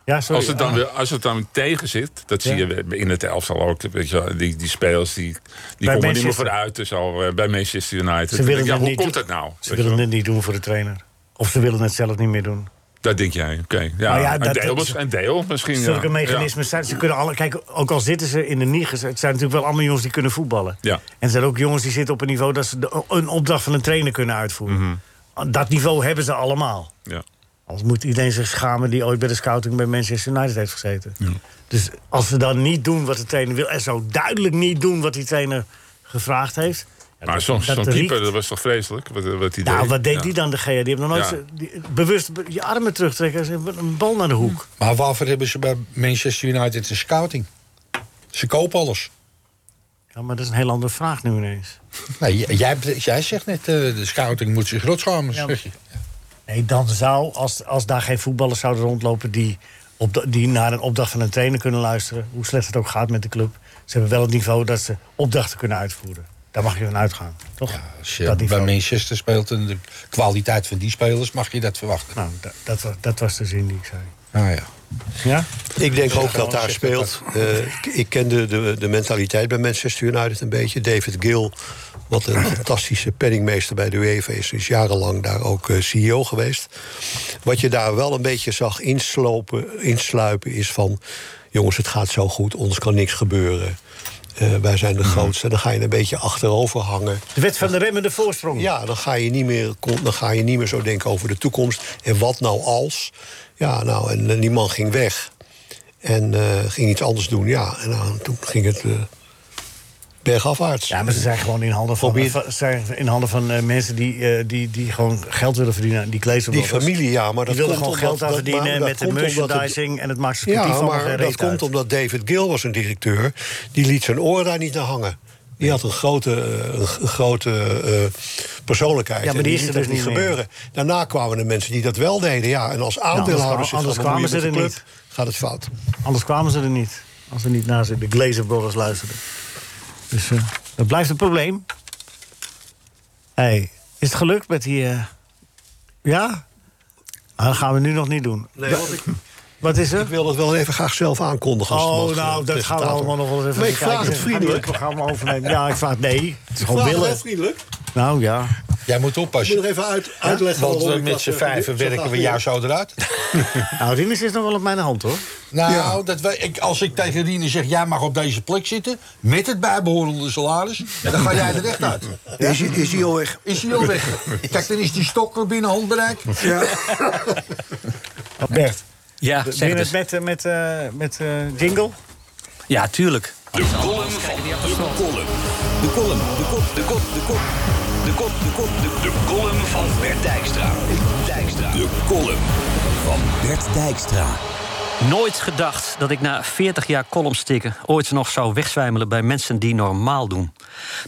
Speaker 3: Ja, sorry.
Speaker 7: Als het, dan
Speaker 3: Ah.
Speaker 7: weer, als het dan tegen zit, dat zie je weer in het elftal ook. Weet je, wel, die, die spelers die, die komen niet meer
Speaker 3: Manchester.
Speaker 7: vooruit en zo, eh, bij Manchester United.
Speaker 3: Ze willen
Speaker 7: Dan denk ik, ja,
Speaker 3: het
Speaker 7: hoe
Speaker 3: niet
Speaker 7: komt
Speaker 3: doen.
Speaker 7: dat nou?
Speaker 3: Ze
Speaker 7: Weet je wel?
Speaker 3: willen het niet doen voor de trainer. Of ze willen het zelf niet meer doen.
Speaker 7: Dat denk jij, oké. Ja,
Speaker 3: Nou ja,
Speaker 7: een,
Speaker 3: dat-
Speaker 7: deel, mis- een deel misschien.
Speaker 3: Zulke
Speaker 7: ja.
Speaker 3: mechanismen zijn. Ze kunnen alle, kijk, ook al zitten ze in de Nigers, het zijn natuurlijk wel allemaal jongens die kunnen voetballen.
Speaker 7: Ja.
Speaker 3: En er zijn ook jongens die zitten op een niveau dat ze de- een opdracht van een trainer kunnen uitvoeren.
Speaker 7: Mm.
Speaker 3: Dat niveau hebben ze allemaal.
Speaker 7: Mhm. Ja, ja.
Speaker 3: Anders moet iedereen zich schamen die ooit bij de scouting bij Manchester United heeft gezeten. Dus als ze dan niet doen wat de trainer wil, en zo duidelijk niet doen wat die trainer gevraagd heeft. ja,
Speaker 7: Maar
Speaker 3: dat-
Speaker 7: zo'n
Speaker 3: dat
Speaker 7: zo'n keeper,
Speaker 3: riekt.
Speaker 7: dat was toch vreselijk? Wat, wat die
Speaker 3: Nou,
Speaker 7: deed?
Speaker 3: wat deed
Speaker 7: Ja.
Speaker 3: die dan, de GA? Die heeft nog nooit
Speaker 7: Ja.
Speaker 3: zo- die- bewust be- je armen terugtrekken en ze- een bal naar de hoek.
Speaker 5: Hmm. Maar waarvoor hebben ze bij Manchester United een scouting? Ze kopen alles.
Speaker 3: Ja, maar dat is een heel andere vraag nu ineens.
Speaker 5: Nee, j- jij, jij zegt net, eh, de scouting moet zich rotschamen,
Speaker 3: Ja.
Speaker 5: zeg je.
Speaker 3: Nee, dan zou, als, als daar geen voetballers zouden rondlopen die, op de- die naar een opdracht van een trainer kunnen luisteren, hoe slecht het ook gaat met de club, ze hebben wel het niveau dat ze opdrachten kunnen uitvoeren. Daar mag je van uitgaan, toch?
Speaker 5: Ja, als je
Speaker 3: Dat
Speaker 5: bij
Speaker 3: niveau.
Speaker 5: Manchester speelt en de kwaliteit van die spelers, mag je dat verwachten.
Speaker 3: Nou, da- dat, wa- dat was de zin die ik zei.
Speaker 5: Nou ja.
Speaker 3: Ja?
Speaker 8: Ik denk ook dat
Speaker 5: gewoon
Speaker 8: daar
Speaker 5: zitten.
Speaker 8: speelt. eh, ik- ik kende de, de mentaliteit bij Manchester United een beetje. David Gill, wat een fantastische penningmeester bij de UEFA is, is jarenlang daar ook eh, CEO geweest. Wat je daar wel een beetje zag inslopen, insluipen is van: jongens, het gaat zo goed, ons kan niks gebeuren. Eh, wij zijn de grootste. Dan ga je een beetje achterover hangen.
Speaker 3: Mhm. De wet van de remmende voorsprong.
Speaker 8: Ja, dan ga, je niet meer, dan ga je niet meer zo denken over de toekomst. En wat nou als? Ja, nou, en eh, die man ging weg. En eh, ging iets anders doen, ja. En nou, toen ging het eh, bergafwaarts.
Speaker 3: Ja, maar ze zijn gewoon in handen van,
Speaker 8: Probeer-
Speaker 3: van- zijn in handen van eh, mensen die, eh, die, die gewoon geld willen verdienen. Die
Speaker 8: die
Speaker 3: kleefselbrothers.
Speaker 8: familie, ja, maar
Speaker 3: Die
Speaker 8: dat
Speaker 3: willen
Speaker 8: komt
Speaker 3: gewoon
Speaker 8: omdat-
Speaker 3: geld aan
Speaker 8: dat-
Speaker 3: verdienen
Speaker 8: maar dat
Speaker 3: met de
Speaker 8: komt omdat het-
Speaker 3: merchandising en het maatschappij
Speaker 8: Ja,
Speaker 3: van
Speaker 8: maar dat komt omdat David Gill was een directeur. Die liet zijn oor daar niet naar hangen. Die had een grote, eh, een g- een grote eh, persoonlijkheid.
Speaker 3: Ja, maar
Speaker 8: En
Speaker 3: die is
Speaker 8: liet
Speaker 3: er
Speaker 8: dat
Speaker 3: dus
Speaker 8: niet
Speaker 3: niet meer. Nou,
Speaker 8: gebeuren. Daarna kwamen er mensen die dat wel deden. Ja, en als aandeelhouders
Speaker 3: anders
Speaker 8: zich gaan
Speaker 3: kwamen
Speaker 8: bemoeien
Speaker 3: ze
Speaker 8: met
Speaker 3: er
Speaker 8: de club, gaat het fout.
Speaker 3: Anders kwamen ze er niet. Als ze niet naar ze de Glazer Brothers luisterden. Dus eh, dat blijft een probleem. hey, is het gelukt met die... eh, Ja? Ah, dat gaan we nu nog niet doen.
Speaker 8: Nee, want ik,
Speaker 3: Wat is er?
Speaker 8: ik wil dat wel even graag zelf aankondigen. als
Speaker 3: Oh,
Speaker 8: mag,
Speaker 3: nou, dat gaan
Speaker 8: eh,
Speaker 3: we
Speaker 8: presentator.
Speaker 3: allemaal nog wel eens even
Speaker 8: Maar ik
Speaker 3: bekijken.
Speaker 8: vraag het
Speaker 3: Ga niet
Speaker 8: vriendelijk.
Speaker 3: het programma overnemen. Ja, ik vraag het nee. Het is
Speaker 8: Ik
Speaker 3: gewoon
Speaker 8: vraag het
Speaker 3: willen.
Speaker 8: heel vriendelijk.
Speaker 3: Nou ja.
Speaker 5: Jij moet
Speaker 8: Ik moet
Speaker 5: oppassen.
Speaker 8: nog even uit, uitleggen
Speaker 5: Want
Speaker 8: waarom
Speaker 5: eh,
Speaker 8: ik
Speaker 5: met
Speaker 8: dat,
Speaker 5: z'n
Speaker 8: eh,
Speaker 5: vijven
Speaker 8: zo graag
Speaker 5: werken we
Speaker 8: wil.
Speaker 5: jou zo eruit.
Speaker 3: Nou, Rinus is nog wel op mijn hand, hoor.
Speaker 5: Nou, dat wij, ik, als ik tegen Rine zeg, jij mag op deze plek zitten... met het bijbehorende salaris, dan ga jij er echt uit.
Speaker 4: Is, hij- is hij al weg?
Speaker 5: Is hij al weg. Kijk, dan is die stokker binnen handbereik.
Speaker 4: Ja.
Speaker 3: Bert,
Speaker 6: Ja,
Speaker 3: ben
Speaker 6: zeg
Speaker 3: je
Speaker 6: het
Speaker 3: het
Speaker 6: eens.
Speaker 3: met, eh, met, eh, met eh, Jingle?
Speaker 6: Ja, tuurlijk.
Speaker 2: De column, de kop, de kop, de kop. De kop, de kop, de De column van Bert Dijkstra. Dijkstra. De column van Bert Dijkstra.
Speaker 6: Nooit gedacht dat ik na 40 jaar columnstikken ooit nog zou wegzwijmelen bij mensen die normaal doen.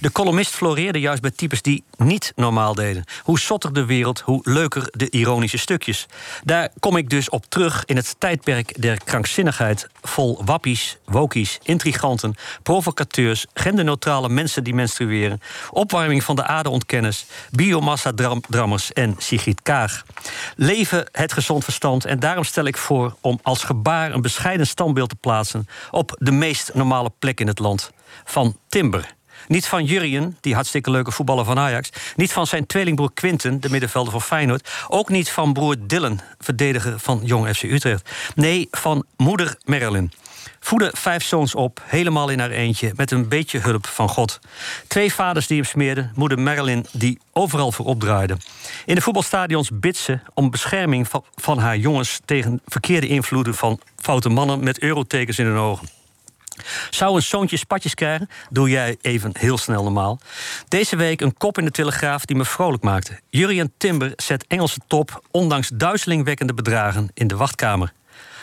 Speaker 6: De columnist floreerde juist bij types die niet normaal deden. Hoe zotter de wereld, hoe leuker de ironische stukjes. Daar kom ik dus op terug in het tijdperk der krankzinnigheid vol wappies, wokies, intriganten, provocateurs, genderneutrale mensen die menstrueren, opwarming van de aardeontkenners, biomassa-drammers en Sigrid Kaag. Leven het gezond verstand en daarom stel ik voor om als gebaar een bescheiden standbeeld te plaatsen op de meest normale plek in het land: van timber. Niet van Jurien, die hartstikke leuke voetballer van Ajax. Niet van zijn tweelingbroer Quinten, de middenvelder van Feyenoord. Ook niet van broer Dylan, verdediger van Jong FC Utrecht. Nee, van moeder Marilyn. Voedde vijf zoons op, helemaal in haar eentje, met een beetje hulp van God. Twee vaders die hem smeerden, moeder Marilyn die overal voor opdraaide. In de voetbalstadions bid ze om bescherming van, van haar jongens tegen verkeerde invloeden van foute mannen met eurotekens in hun ogen. Zou een zoontje spatjes krijgen? Doe jij even heel snel normaal. Deze week een kop in de Telegraaf die me vrolijk maakte. Jurriën Timber zet Engelse top, ondanks duizelingwekkende bedragen, in de wachtkamer.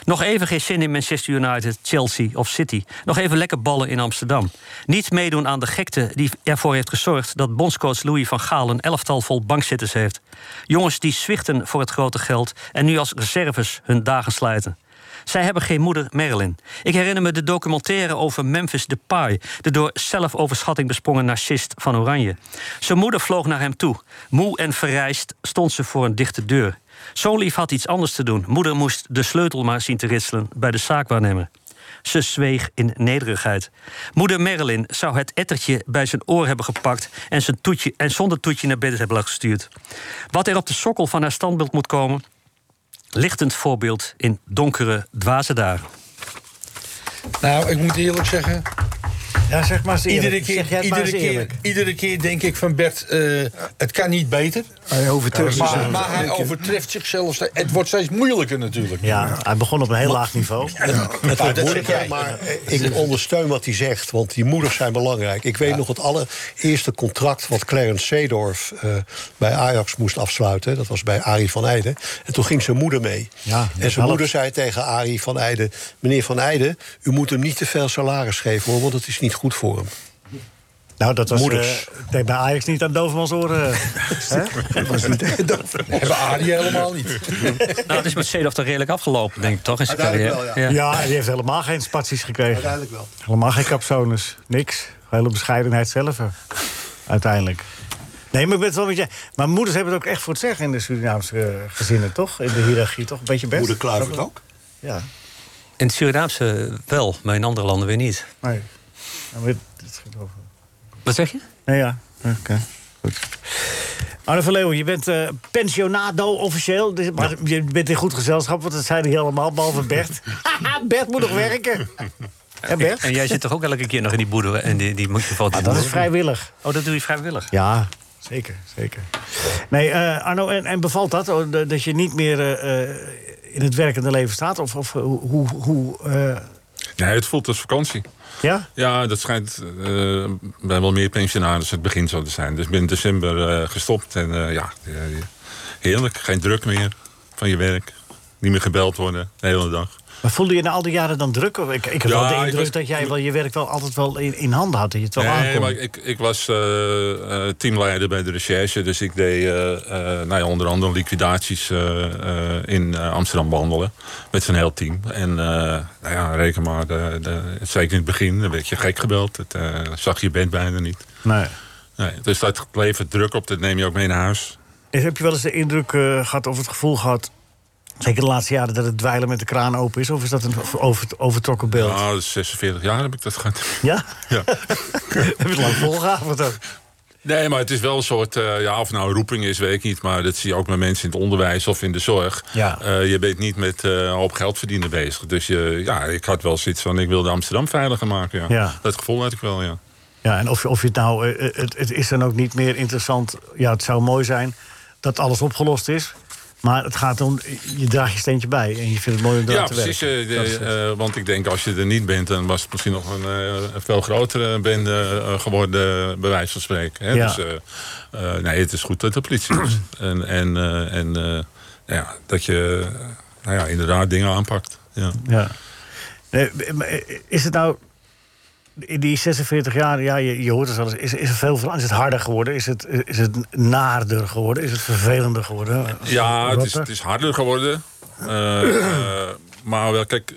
Speaker 6: Nog even geen zin in Manchester United, Chelsea of City. Nog even lekker ballen in Amsterdam. Niet meedoen aan de gekte die ervoor heeft gezorgd dat bondscoach Louis van Gaal een elftal vol bankzitters heeft. Jongens die zwichten voor het grote geld en nu als reserves hun dagen slijten. Zij hebben geen moeder, Marilyn. Ik herinner me de documentaire over Memphis Depay... de door zelfoverschatting besprongen narcist van Oranje. Zijn moeder vloog naar hem toe. Moe en verrijst stond ze voor een dichte deur. Zo'n lief had iets anders te doen. Moeder moest de sleutel maar zien te ritselen bij de zaakwaarnemer. Ze zweeg in nederigheid. Moeder Marilyn zou het ettertje bij zijn oor hebben gepakt... en, zijn toetje, en zonder toetje naar bed hebben gestuurd. Wat er op de sokkel van haar standbeeld moet komen... lichtend voorbeeld in donkere, dwaze dagen.
Speaker 5: Nou, ik moet eerlijk zeggen.
Speaker 3: Ja, zeg maar eens eerlijk.
Speaker 5: Iedere keer,
Speaker 3: Zeg jij het maar
Speaker 5: iedere,
Speaker 3: eens
Speaker 5: keer,
Speaker 3: eerlijk.
Speaker 5: iedere keer denk ik van Bert, eh, het kan niet beter.
Speaker 4: Hij overtreft
Speaker 5: Maar,
Speaker 4: zichzelf.
Speaker 5: maar hij overtreft zichzelf. ste- Het wordt steeds moeilijker natuurlijk.
Speaker 3: Ja, hij begon op een heel laag niveau.
Speaker 8: Het wordt
Speaker 5: dat
Speaker 8: moeilijker,
Speaker 5: zeg jij.
Speaker 8: maar eh, ik ondersteun wat hij zegt, want die moeders zijn belangrijk. Ik weet nog het allereerste contract wat Clarence Seedorf eh, bij Ajax moest afsluiten. Dat was bij Arie van Eijden. En toen ging zijn moeder mee.
Speaker 3: Ja,
Speaker 8: en zijn
Speaker 3: helpt.
Speaker 8: moeder zei tegen Arie van Eijden... meneer van Eijden, u moet hem niet te veel salaris geven, hoor, want het is niet goed voor hem.
Speaker 3: Nou, dat was
Speaker 8: Moeders.
Speaker 3: eh, deed bij Ajax niet aan Dovermans oren.
Speaker 4: Dat was niet
Speaker 5: Hebben Arie helemaal niet.
Speaker 6: Nou, het is met Seedorf toch redelijk afgelopen, denk ik toch? In zijn
Speaker 8: Uiteindelijk
Speaker 6: carrière.
Speaker 8: wel,
Speaker 3: Ja, en die heeft helemaal geen spaties gekregen.
Speaker 8: Uiteindelijk wel.
Speaker 3: Helemaal geen capsones. Niks. Hele bescheidenheid zelf. hè. Uiteindelijk. Nee, maar ik ben het wel met je. Maar moeders hebben het ook echt voor het zeggen in de Surinaamse eh, gezinnen, toch? In de hiërarchie, toch? Een beetje best.
Speaker 8: Moeder Kluivert ook.
Speaker 3: Ja.
Speaker 6: In het Surinaamse wel, maar in andere landen weer niet.
Speaker 3: Nee. Ja, maar dit- dit ging over.
Speaker 6: Wat zeg je?
Speaker 3: Nee, ja. Oké. Goed. Arne van Leeuwen, je bent eh, pensionado officieel. Dus- Maar je bent in goed gezelschap, want dat zeiden hier allemaal, behalve Bert. Haha, Bert moet nog werken. Hè, Bert?
Speaker 6: En jij zit toch ook elke keer nog in die boerderij en die, die microfoon te
Speaker 3: Ah, Dat is
Speaker 6: boeren?
Speaker 3: vrijwillig.
Speaker 6: Oh, dat doe je vrijwillig.
Speaker 3: Ja, zeker, zeker. Nee, eh, Arno, en, en bevalt dat? oh, d- Dat je niet meer eh, eh, in het werkende leven staat? Of, of eh, hoe... hoe eh,
Speaker 7: Nee, het voelt als vakantie.
Speaker 3: ja?
Speaker 7: Ja, dat schijnt eh, bij wel meer pensionarissen het begin zo te zijn. Dus binnen december eh, gestopt. En eh, ja, eh, heerlijk. Geen druk meer van je werk. Niet meer gebeld worden de hele dag.
Speaker 3: Maar voelde je na al die jaren dan druk? Of Ik, ik heb
Speaker 7: Ja,
Speaker 3: wel de
Speaker 7: ik
Speaker 3: indruk
Speaker 7: was-
Speaker 3: dat jij wel je werk wel altijd wel in, in handen had. Dat je het wel
Speaker 7: Nee,
Speaker 3: aankon.
Speaker 7: maar ik, ik was eh, eh, teamleider bij de recherche. Dus ik deed eh, eh, nou ja, onder andere liquidaties eh, eh, in eh, Amsterdam behandelen. Met zijn heel team. En eh, nou ja, reken maar, de, de, zeker in het begin, dan werd je gek gebeld. Dat eh, zag je band bijna niet.
Speaker 3: Nee.
Speaker 7: Nee, dus dat levert druk op. Dat neem je ook mee naar huis.
Speaker 3: En Heb je wel eens de indruk eh, gehad of het gevoel gehad... zeker de laatste jaren dat het dweilen met de kraan open is? Of is dat een over, overtrokken beeld? Ja?
Speaker 7: Nou, 46 jaar heb ik dat gehad. Ja.
Speaker 3: heb je het lang volgehouden ook?
Speaker 7: Nee, maar het is wel een soort, eh, ja, of nou een roeping is, weet ik niet. Maar dat zie je ook bij mensen in het onderwijs of in de zorg.
Speaker 3: Ja.
Speaker 7: Eh, je bent niet met eh, een hoop geld verdienen bezig. Dus je, ja, ik had wel zoiets van, ik wilde Amsterdam veiliger maken. Ja.
Speaker 3: Ja.
Speaker 7: Dat gevoel had ik wel, ja.
Speaker 3: Ja, en of, je- of je het nou. eh, eh, het, het is dan ook niet meer interessant. Ja, het zou mooi zijn dat alles opgelost is. Maar het gaat om. Je draagt je steentje bij. En je vindt het mooi om daar
Speaker 7: Ja,
Speaker 3: te
Speaker 7: precies.
Speaker 3: werken.
Speaker 7: eh, de-
Speaker 3: Dat is het.
Speaker 7: eh, want ik denk, als je er niet bent, dan was het misschien nog een, eh, een veel grotere bende eh, geworden, bij wijze van spreken. Hè?
Speaker 3: Ja.
Speaker 7: Dus, eh, eh, nee, het is goed dat de politie is. en en, eh, en eh, nou ja, dat je eh, nou ja, inderdaad dingen aanpakt. Ja.
Speaker 3: Ja. Nee, maar, eh, is het nou. In die 46 jaar, ja, je, je hoort het wel eens. Is, is er veel veranderd? Is het harder geworden? Is het, is het naarder geworden? Is het vervelender geworden?
Speaker 7: Ja, het is,
Speaker 3: Rotter?
Speaker 7: het is harder geworden. Eh, eh, maar wel, kijk,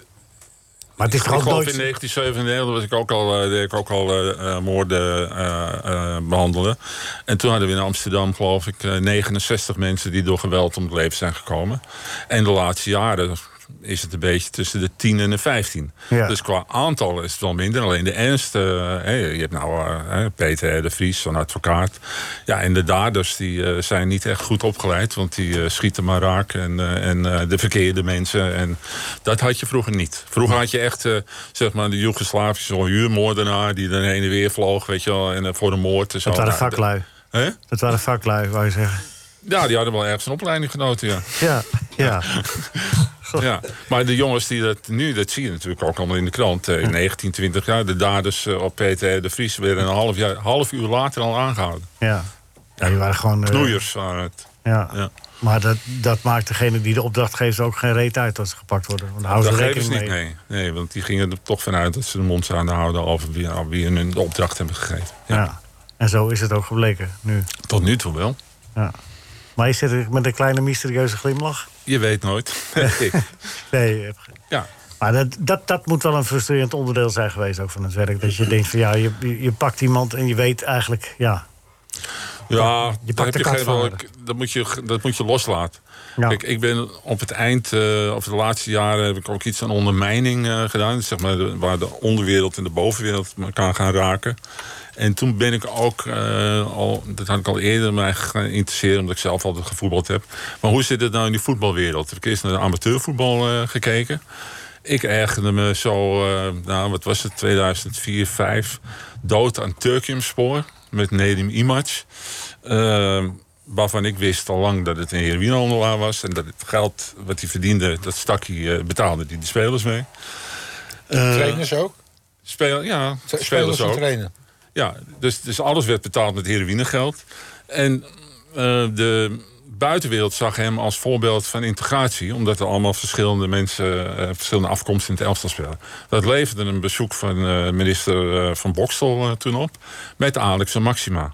Speaker 3: maar het is
Speaker 7: ik
Speaker 3: toch ook
Speaker 7: geloof
Speaker 3: nooit.
Speaker 7: in 1997 was ik ook al, eh, deed ik ook al eh, eh, moorden eh, eh, behandelen. En toen hadden we in Amsterdam, geloof ik, eh, 69 mensen die door geweld om het leven zijn gekomen. En de laatste jaren, is het een beetje tussen de 10 en de 15. Dus qua aantal is het wel minder. Alleen de ernst, eh, hè, je hebt nou eh, Peter R. de Vries, zo'n advocaat. Ja, en de daders die, eh, zijn niet echt goed opgeleid, want die eh, schieten maar raak en, eh, en eh, de verkeerde mensen. En dat had je vroeger niet. Vroeger had je echt, eh, zeg maar, de Joegoslavische huurmoordenaar die dan heen en weer vloog, weet je wel, en eh, voor een moord en zo.
Speaker 3: Dat waren
Speaker 7: Nou,
Speaker 3: vaklui.
Speaker 7: Hè?
Speaker 3: Dat waren vaklui, wou je zeggen.
Speaker 7: Ja, die hadden wel ergens een opleiding genoten, ja.
Speaker 3: Ja, ja.
Speaker 7: ja. Maar de jongens die dat nu, dat zie je natuurlijk ook allemaal in de krant. eh, in 19, 20 jaar, de daders eh, op Peter R. de Vries werden een half, jaar, half uur later al aangehouden.
Speaker 3: ja. ja die waren gewoon... eh,
Speaker 7: Knoeiers waren het.
Speaker 3: ja.
Speaker 7: Ja.
Speaker 3: Maar dat, dat maakt degene die de opdracht geeft ook geen reet uit dat ze gepakt worden. Want daar houden
Speaker 7: dat
Speaker 3: ze
Speaker 7: geven ze
Speaker 3: rekening
Speaker 7: niet,
Speaker 3: mee.
Speaker 7: nee. nee. Want die gingen er toch vanuit dat ze de mond zouden houden over wie, aan wie hun een opdracht hebben gegeven. Ja.
Speaker 3: Ja. En zo is het ook gebleken nu.
Speaker 7: Tot nu toe wel.
Speaker 3: Ja. Maar je zit er met een kleine mysterieuze glimlach?
Speaker 7: Je weet nooit. Ik.
Speaker 3: Nee, je hebt geen-
Speaker 7: Ja.
Speaker 3: Maar dat, dat, dat moet wel een frustrerend onderdeel zijn geweest ook van het werk. Dat je denkt van ja, je, je je pakt iemand en je weet eigenlijk, ja.
Speaker 7: Ja,
Speaker 3: Je
Speaker 7: daar
Speaker 3: pakt de
Speaker 7: heb
Speaker 3: kat
Speaker 7: geen-
Speaker 3: van
Speaker 7: dat, moet je, dat moet je loslaten.
Speaker 3: Ja.
Speaker 7: Kijk, ik ben op het eind, eh of de laatste jaren, heb ik ook iets aan ondermijning eh, gedaan. Zeg maar, de- waar de onderwereld en de bovenwereld elkaar gaan raken. En toen ben ik ook, eh, al, dat had ik al eerder mij gaan interesseren, omdat ik zelf altijd gevoetbald heb. Maar hoe zit het nou in die voetbalwereld? Heb ik eerst naar de amateurvoetbal eh, gekeken. Ik ergerde me zo, eh, nou, wat was het, 2004, 5 dood aan Turkiumspoor met Nedim Imac. Eh, waarvan ik wist al lang dat het een heroïnehandelaar was. En dat het geld wat hij verdiende, dat stak hij, eh, betaalde hij de spelers mee.
Speaker 5: Trainers ook?
Speaker 7: Spel, Eh, ja,
Speaker 5: Spelers,
Speaker 7: spelers
Speaker 5: en
Speaker 7: ook.
Speaker 5: trainen.
Speaker 7: Ja, dus, dus alles werd betaald met heroïnegeld. En eh, de buitenwereld zag hem als voorbeeld van integratie... omdat er allemaal verschillende mensen, eh, verschillende afkomsten in het elftal spelen. Dat leverde een bezoek van eh, minister eh, van Boksel eh, toen op... met Alex en Maxima.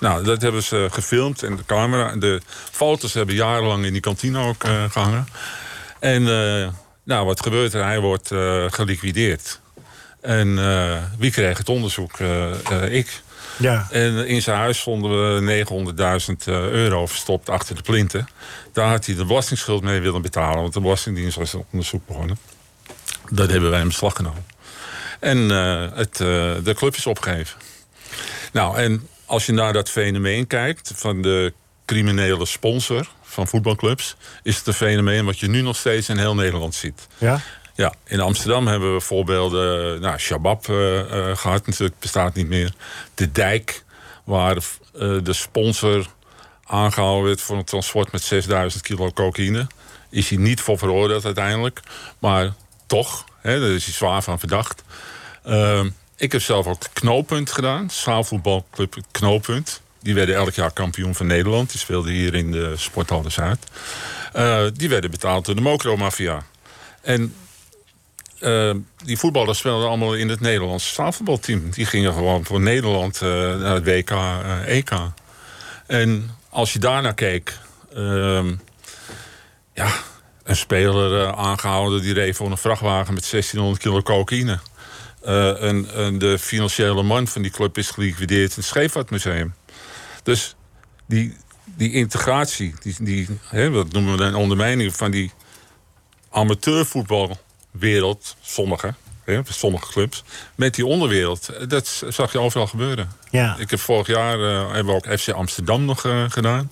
Speaker 7: Nou, dat hebben ze eh, gefilmd en de camera... en de foto's hebben jarenlang in die kantine ook eh, gehangen. En eh, nou, wat gebeurt er? Hij wordt eh, geliquideerd. En eh, wie kreeg het onderzoek? Eh, eh, ik.
Speaker 3: Ja,
Speaker 7: En in zijn huis vonden we 900.000 euro verstopt achter de plinten. Daar had hij de belastingsschuld mee willen betalen, want de Belastingdienst was een onderzoek begonnen. Dat hebben wij in beslag genomen. En eh, het, eh, de club is opgegeven. Nou, en als je naar dat fenomeen kijkt van de criminele sponsor van voetbalclubs, is het een fenomeen wat je nu nog steeds in heel Nederland ziet.
Speaker 3: ja,
Speaker 7: Ja, in Amsterdam hebben we voorbeelden. Nou, Shabab eh, eh, gehad natuurlijk, bestaat niet meer. De Dijk, waar eh, de sponsor aangehouden werd voor een transport met 6000 kilo cocaïne. Is hij niet voor veroordeeld uiteindelijk. Maar toch, hè, daar is hij zwaar van verdacht. Ehm, ik heb zelf ook het knooppunt gedaan. Zaalvoetbalclub het knooppunt. Die werden elk jaar kampioen van Nederland. Die speelden hier in de Sporthal de Zuid. Eh, die werden betaald door de Mokromafia. En eh, die voetballers speelden allemaal in het Nederlandse zaalvoetbalteam. Die gingen gewoon voor Nederland eh, naar het WK, eh, EK. En als je daarnaar keek... ehm, ja, een speler eh, aangehouden die reed voor een vrachtwagen met 1600 kilo cocaïne. Eh, en, en de financiële man van die club is geliquideerd in het Scheepvaartmuseum. Dus die, die integratie, die, die, hè, wat noemen we dan ondermijning van die amateurvoetbalwereld, sommige, hè, sommige clubs, met die onderwereld, eh, dat z- zag je overal gebeuren.
Speaker 3: ja.
Speaker 7: Ik heb vorig jaar eh, hebben we ook FC Amsterdam nog eh, gedaan.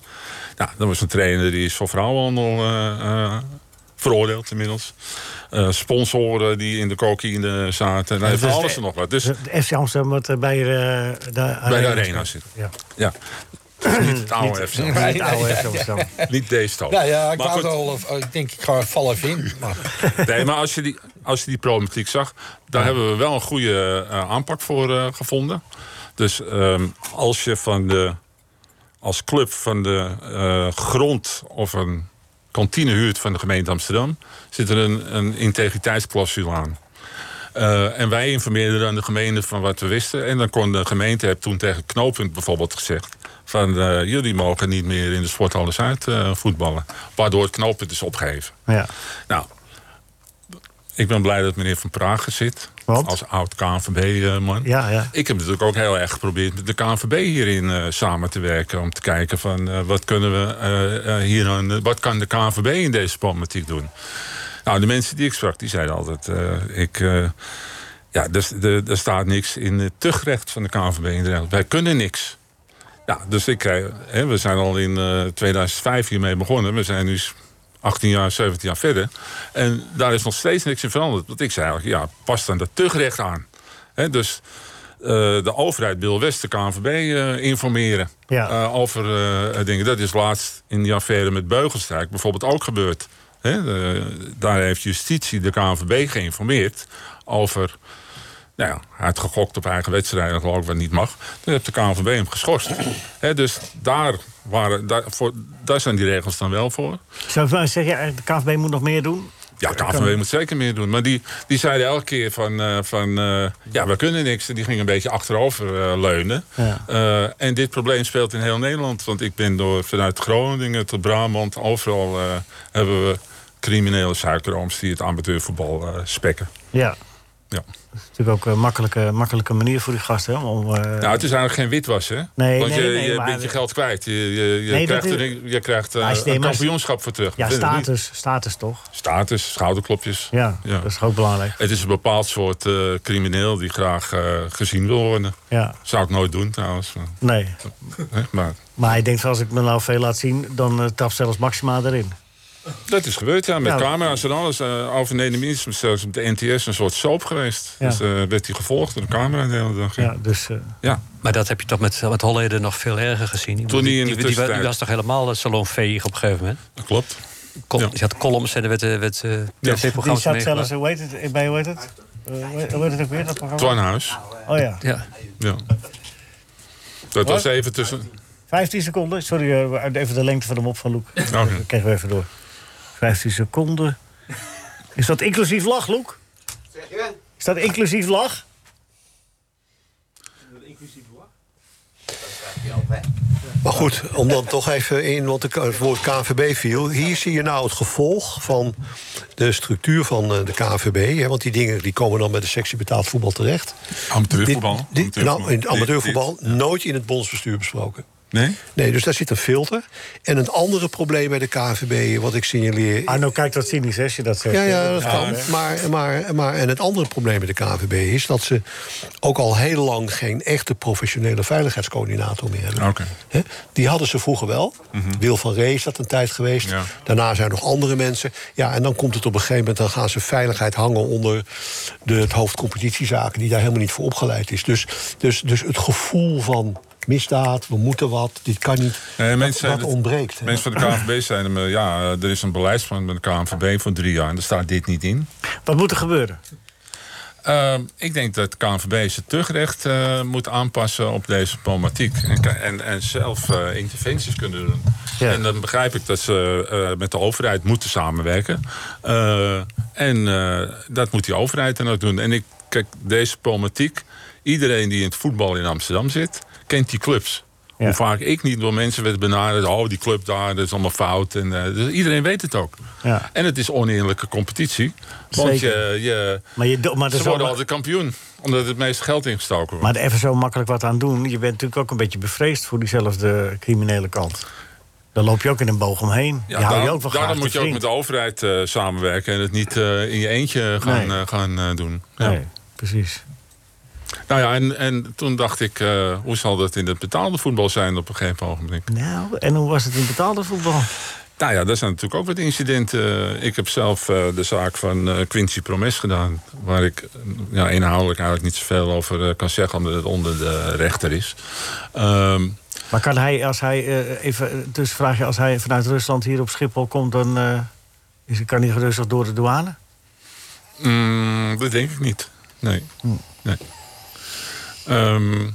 Speaker 7: Nou, dat was een trainer die is voor vrouwenhandel eh, eh, veroordeeld inmiddels. Eh, sponsoren die in de cocaïne zaten. Nou,
Speaker 3: Ja,
Speaker 7: van
Speaker 3: dus
Speaker 7: alles
Speaker 3: de-
Speaker 7: en nog wat. Dus
Speaker 3: De FC Amsterdam wat eh, bij, eh, de,
Speaker 7: bij de arena zit.
Speaker 3: Ja.
Speaker 7: Ja. Niet het oude FC.
Speaker 3: Bij het oude FC Amsterdam.
Speaker 7: Niet deze tal.
Speaker 5: Nou ja, ik,
Speaker 7: Maar
Speaker 5: wou
Speaker 7: goed.
Speaker 5: al, eh, ik denk ik ga er vallen even in. Maar
Speaker 7: Nee, maar als je die, als je die problematiek zag, daar hebben we wel een goede eh, aanpak voor eh, gevonden. Dus ehm, als je van de, als club van de eh, grond of een kantine huurt van de gemeente Amsterdam, zit er een, een integriteitsclausule aan. Eh, en wij informeerden dan de gemeente van wat we wisten. En dan kon de gemeente, heb toen tegen Knooppunt bijvoorbeeld gezegd... van eh, jullie mogen niet meer in de sporthallen Zuid eh, voetballen. Waardoor het Knooppunt is opgeheven.
Speaker 3: Ja.
Speaker 7: Nou, ik ben blij dat meneer Van Praag er zit.
Speaker 3: Want?
Speaker 7: Als oud KNVB-man.
Speaker 3: Ja, ja.
Speaker 7: Ik heb natuurlijk ook heel erg geprobeerd met de KNVB hierin eh, samen te werken. Om te kijken nou van eh, wat kunnen we eh, eh, hier aan, wat kan de KNVB in deze problematiek doen. Nou, de mensen die ik sprak, die zeiden altijd... eh, ik, eh, ja, er, er, er staat niks in het tuchtrecht van de KNVB in Den Haag. Wij kunnen niks. Ja, dus ik krijg... Hè, we zijn al in eh, 2005 hiermee begonnen. We zijn nu s- 18 jaar, 17 jaar verder. En daar is nog steeds niks in veranderd. Want ik zei eigenlijk, ja, past dan dat tuchtrecht aan? Hè, dus eh, de overheid wil West de KNVB eh, informeren
Speaker 3: Ja.
Speaker 7: eh, over eh, dingen. Dat is laatst in die affaire met Beugelstrijk bijvoorbeeld ook gebeurd. Hè, de- daar heeft justitie de KNVB geïnformeerd over... Nou ja, hij had gegokt op eigen wedstrijden, geloof ik, wat niet mag. Toen heeft de KNVB hem geschorst. Hè, dus daar, waren, daar, voor, daar zijn die regels dan wel voor.
Speaker 3: Zou ik wel eens zeggen, ja, de KVB moet nog meer doen?
Speaker 7: Ja, KVB moet zeker meer doen. Maar die, die zeiden elke keer van, eh, van eh, ja, we kunnen niks. En die gingen een beetje achterover eh, leunen.
Speaker 3: Ja.
Speaker 7: Eh, en dit probleem speelt in heel Nederland. Want ik ben door, vanuit Groningen tot Brabant, overal eh, hebben we criminele suikerooms die het amateurvoetbal eh, spekken.
Speaker 3: Ja.
Speaker 7: Ja.
Speaker 3: Dat is natuurlijk ook een makkelijke, makkelijke manier voor die gasten. hè, Om, eh,
Speaker 7: Nou, het is eigenlijk geen witwassen. hè?
Speaker 3: Nee,
Speaker 7: Want
Speaker 3: nee,
Speaker 7: je,
Speaker 3: nee,
Speaker 7: je
Speaker 3: maar-
Speaker 7: bent je geld kwijt. Je, je, je
Speaker 3: Nee, dat
Speaker 7: krijgt, er
Speaker 3: is-
Speaker 7: een- je krijgt eh,
Speaker 3: Maar als je-
Speaker 7: een
Speaker 3: maar als-
Speaker 7: kampioenschap voor terug.
Speaker 3: ja,
Speaker 7: Dat vinden we niet.
Speaker 3: status, status toch?
Speaker 7: Status, schouderklopjes.
Speaker 3: Ja,
Speaker 7: Ja.
Speaker 3: dat is ook belangrijk.
Speaker 7: Het is een bepaald soort eh, crimineel die graag eh, gezien wil worden.
Speaker 3: Ja,
Speaker 7: Zou ik nooit doen trouwens. Maar,
Speaker 3: nee.
Speaker 7: hè, maar
Speaker 3: Maar hij denkt, als ik me nou veel laat zien, dan eh, tapt zelfs Maxima erin.
Speaker 7: dat is gebeurd, ja. Met
Speaker 3: Ja.
Speaker 7: camera's en alles. eh over Nederland is het zelfs op de NTS een soort soap geweest.
Speaker 3: Ja.
Speaker 7: Dus eh, werd hij gevolgd door de camera de hele dag. Ja.
Speaker 3: Ja, dus... eh,
Speaker 7: Ja.
Speaker 6: Maar dat heb je toch met, met Holleden nog veel erger gezien. Ik
Speaker 7: Toen
Speaker 6: bedoel,
Speaker 7: hij in de
Speaker 6: die, die, die,
Speaker 7: tussentijd-
Speaker 6: was toch helemaal eh, salonveeg op een gegeven moment?
Speaker 7: dat klopt.
Speaker 6: Col-
Speaker 7: Ja.
Speaker 6: Je had columns en er werd, eh, werd eh,
Speaker 3: Die
Speaker 6: tv-programma's
Speaker 3: zat
Speaker 6: meegemaakt.
Speaker 3: zelfs, hoe heet het, bij hoe heet het? Eh, hoe heet- hoe heet het ook weer, dat programma?
Speaker 7: Twanhuis.
Speaker 3: Oh ja,
Speaker 6: Ja.
Speaker 7: Ja. Dat was even tussen...
Speaker 3: 15 seconden. Sorry, eh, even de lengte van de mop van Loek.
Speaker 7: Oh,
Speaker 3: Dat kregen we even door. 15 seconden. Is dat inclusief lach, Loek? Is dat inclusief lach?
Speaker 8: Maar goed, om dan toch even in, want het woord KNVB viel. Hier zie je nou het gevolg van de structuur van eh, de KNVB. Hè, want die dingen die komen dan bij de sectie betaald voetbal terecht.
Speaker 7: Amateurvoetbal.
Speaker 8: Dit- dit- nou, in het amateurvoetbal nooit in het bondsbestuur besproken.
Speaker 7: Nee?
Speaker 8: Nee, dus daar zit een filter. En een andere probleem bij de KNVB, wat ik signaleer...
Speaker 3: Arno kijkt Ah, nou, dat cynisch, hè, als je dat zegt.
Speaker 8: Ja, ja, dat
Speaker 3: hè?
Speaker 8: kan. Maar, maar, maar, en het andere probleem met de KVB is dat ze ook al heel lang geen echte professionele veiligheidscoördinator meer hebben.
Speaker 7: Oké. Mhm.
Speaker 8: Hè? Die hadden ze vroeger wel. Wil van Ree is dat een tijd geweest.
Speaker 7: Ja.
Speaker 8: Daarna zijn nog andere mensen. Ja, en dan komt het op een gegeven moment, dan gaan ze veiligheid hangen onder de, het hoofd competitiezaken, die daar helemaal niet voor opgeleid is. Dus, dus, dus het gevoel van misdaad, we moeten wat, dit kan niet.
Speaker 7: Nee,
Speaker 8: dat-
Speaker 7: mensen
Speaker 8: dat,
Speaker 7: zeiden-
Speaker 8: ontbreekt. hè.
Speaker 7: Mensen van de KNVB zeiden me, ja, eh, er is een beleidsplan bij de KNVB voor drie jaar... en daar staat dit niet in.
Speaker 3: Wat moet er gebeuren?
Speaker 7: Ehm, ik denk dat de KNVB zijn tuchtrecht eh, moet aanpassen op deze problematiek. En, ki- en, en zelf eh, interventies kunnen doen.
Speaker 3: Ja.
Speaker 7: En dan begrijp ik dat ze eh, met de overheid moeten samenwerken. Eh, en eh, dat moet die overheid dan ook doen. En ik, kijk, deze problematiek... Iedereen die in het voetbal in Amsterdam zit, kent die clubs.
Speaker 3: Ja.
Speaker 7: Hoe vaak ik niet door mensen werd benaderd... oh, die club daar, dat is allemaal fout. En, eh, dus iedereen weet het ook.
Speaker 3: Ja.
Speaker 7: En het is oneerlijke competitie. Want
Speaker 3: Zeker.
Speaker 7: je, je,
Speaker 3: Maar, je, do- maar, er
Speaker 7: ze
Speaker 3: is
Speaker 7: worden
Speaker 3: ook,
Speaker 7: altijd kampioen, omdat het meeste geld ingestoken wordt.
Speaker 3: maar er even zo makkelijk wat aan doen. Je bent natuurlijk ook een beetje bevreesd voor diezelfde criminele kant. Daar loop je ook in een boog omheen. Ja, hou je
Speaker 7: daar-
Speaker 3: ook wel graag
Speaker 7: daarom
Speaker 3: te
Speaker 7: moet je ook
Speaker 3: vriend.
Speaker 7: met de overheid eh, samenwerken en het niet eh, in je eentje gaan,
Speaker 3: Nee.
Speaker 7: eh, gaan eh, doen. Ja.
Speaker 3: Nee, precies.
Speaker 7: Nou ja, en, en toen dacht ik, eh, hoe zal dat in het betaalde voetbal zijn op een gegeven ogenblik?
Speaker 3: Nou, en hoe was het in betaalde voetbal?
Speaker 7: Nou ja, daar zijn natuurlijk ook wat incidenten. Ik heb zelf eh, de zaak van eh, Quincy Promes gedaan. Waar ik eh, ja, inhoudelijk eigenlijk niet zoveel over eh, kan zeggen, omdat het onder de rechter is. Ehm,
Speaker 3: Maar kan hij, als hij, eh, even, eh, dus vraag je, als hij vanuit Rusland hier op Schiphol komt, dan eh, is, kan hij gerustig door de douane?
Speaker 7: Mm, dat denk ik niet. Nee. nee. Ehm,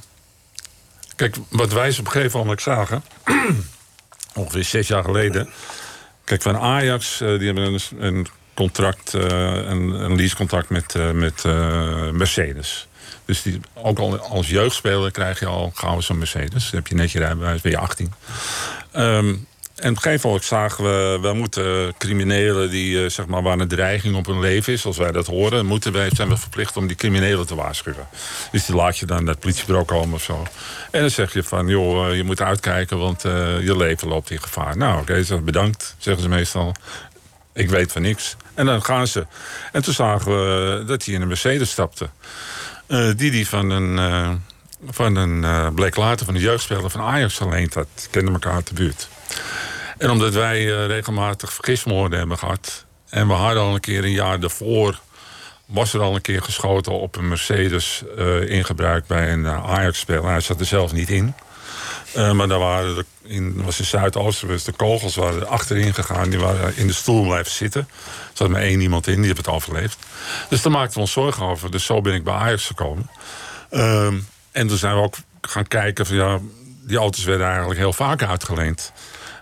Speaker 7: kijk, wat wij ze op een gegeven moment zagen, ongeveer zes jaar geleden. Kijk, van Ajax, eh, die hebben een, een contract, eh, een, een leasecontract met, eh, met eh, Mercedes. Dus die, ook al als jeugdspeler krijg je al gauw zo'n Mercedes. Dan heb je net je rijbewijs, ben je 18. Ehm, en op een gegeven moment zagen we, we moeten criminelen die eh, zeg maar waar een dreiging op hun leven is, als wij dat horen, moeten wij, zijn we verplicht om die criminelen te waarschuwen. Dus die laat je dan naar het politiebureau komen of zo. En dan zeg je van, joh, eh, je moet uitkijken, want eh, je leven loopt in gevaar. Nou, oké, zeg, bedankt, zeggen ze meestal. Ik weet van niks. En En dan gaan ze. En toen zagen we dat hij in een Mercedes stapte. Eh, die die van een, eh van een eh Blake Later, van de jeugdspeler van Ajax geleend had. Kenden elkaar uit de buurt. En omdat wij eh, regelmatig vergismoorden hebben gehad. En we hadden al een keer een jaar daarvoor. was er al een keer geschoten op een Mercedes eh in gebruik bij een eh, Ajax-speler. Hij zat er zelf niet in. Eh, maar daar waren de, in, was in Zuidoosten was de kogels waren er achterin gegaan. Die waren in de stoel blijven zitten. Er zat maar één iemand in, die heeft het overleefd. Dus daar maakten we ons zorgen over. Dus zo ben ik bij Ajax gekomen. Ehm, en toen zijn we ook gaan kijken van ja, die auto's werden eigenlijk heel vaak uitgeleend.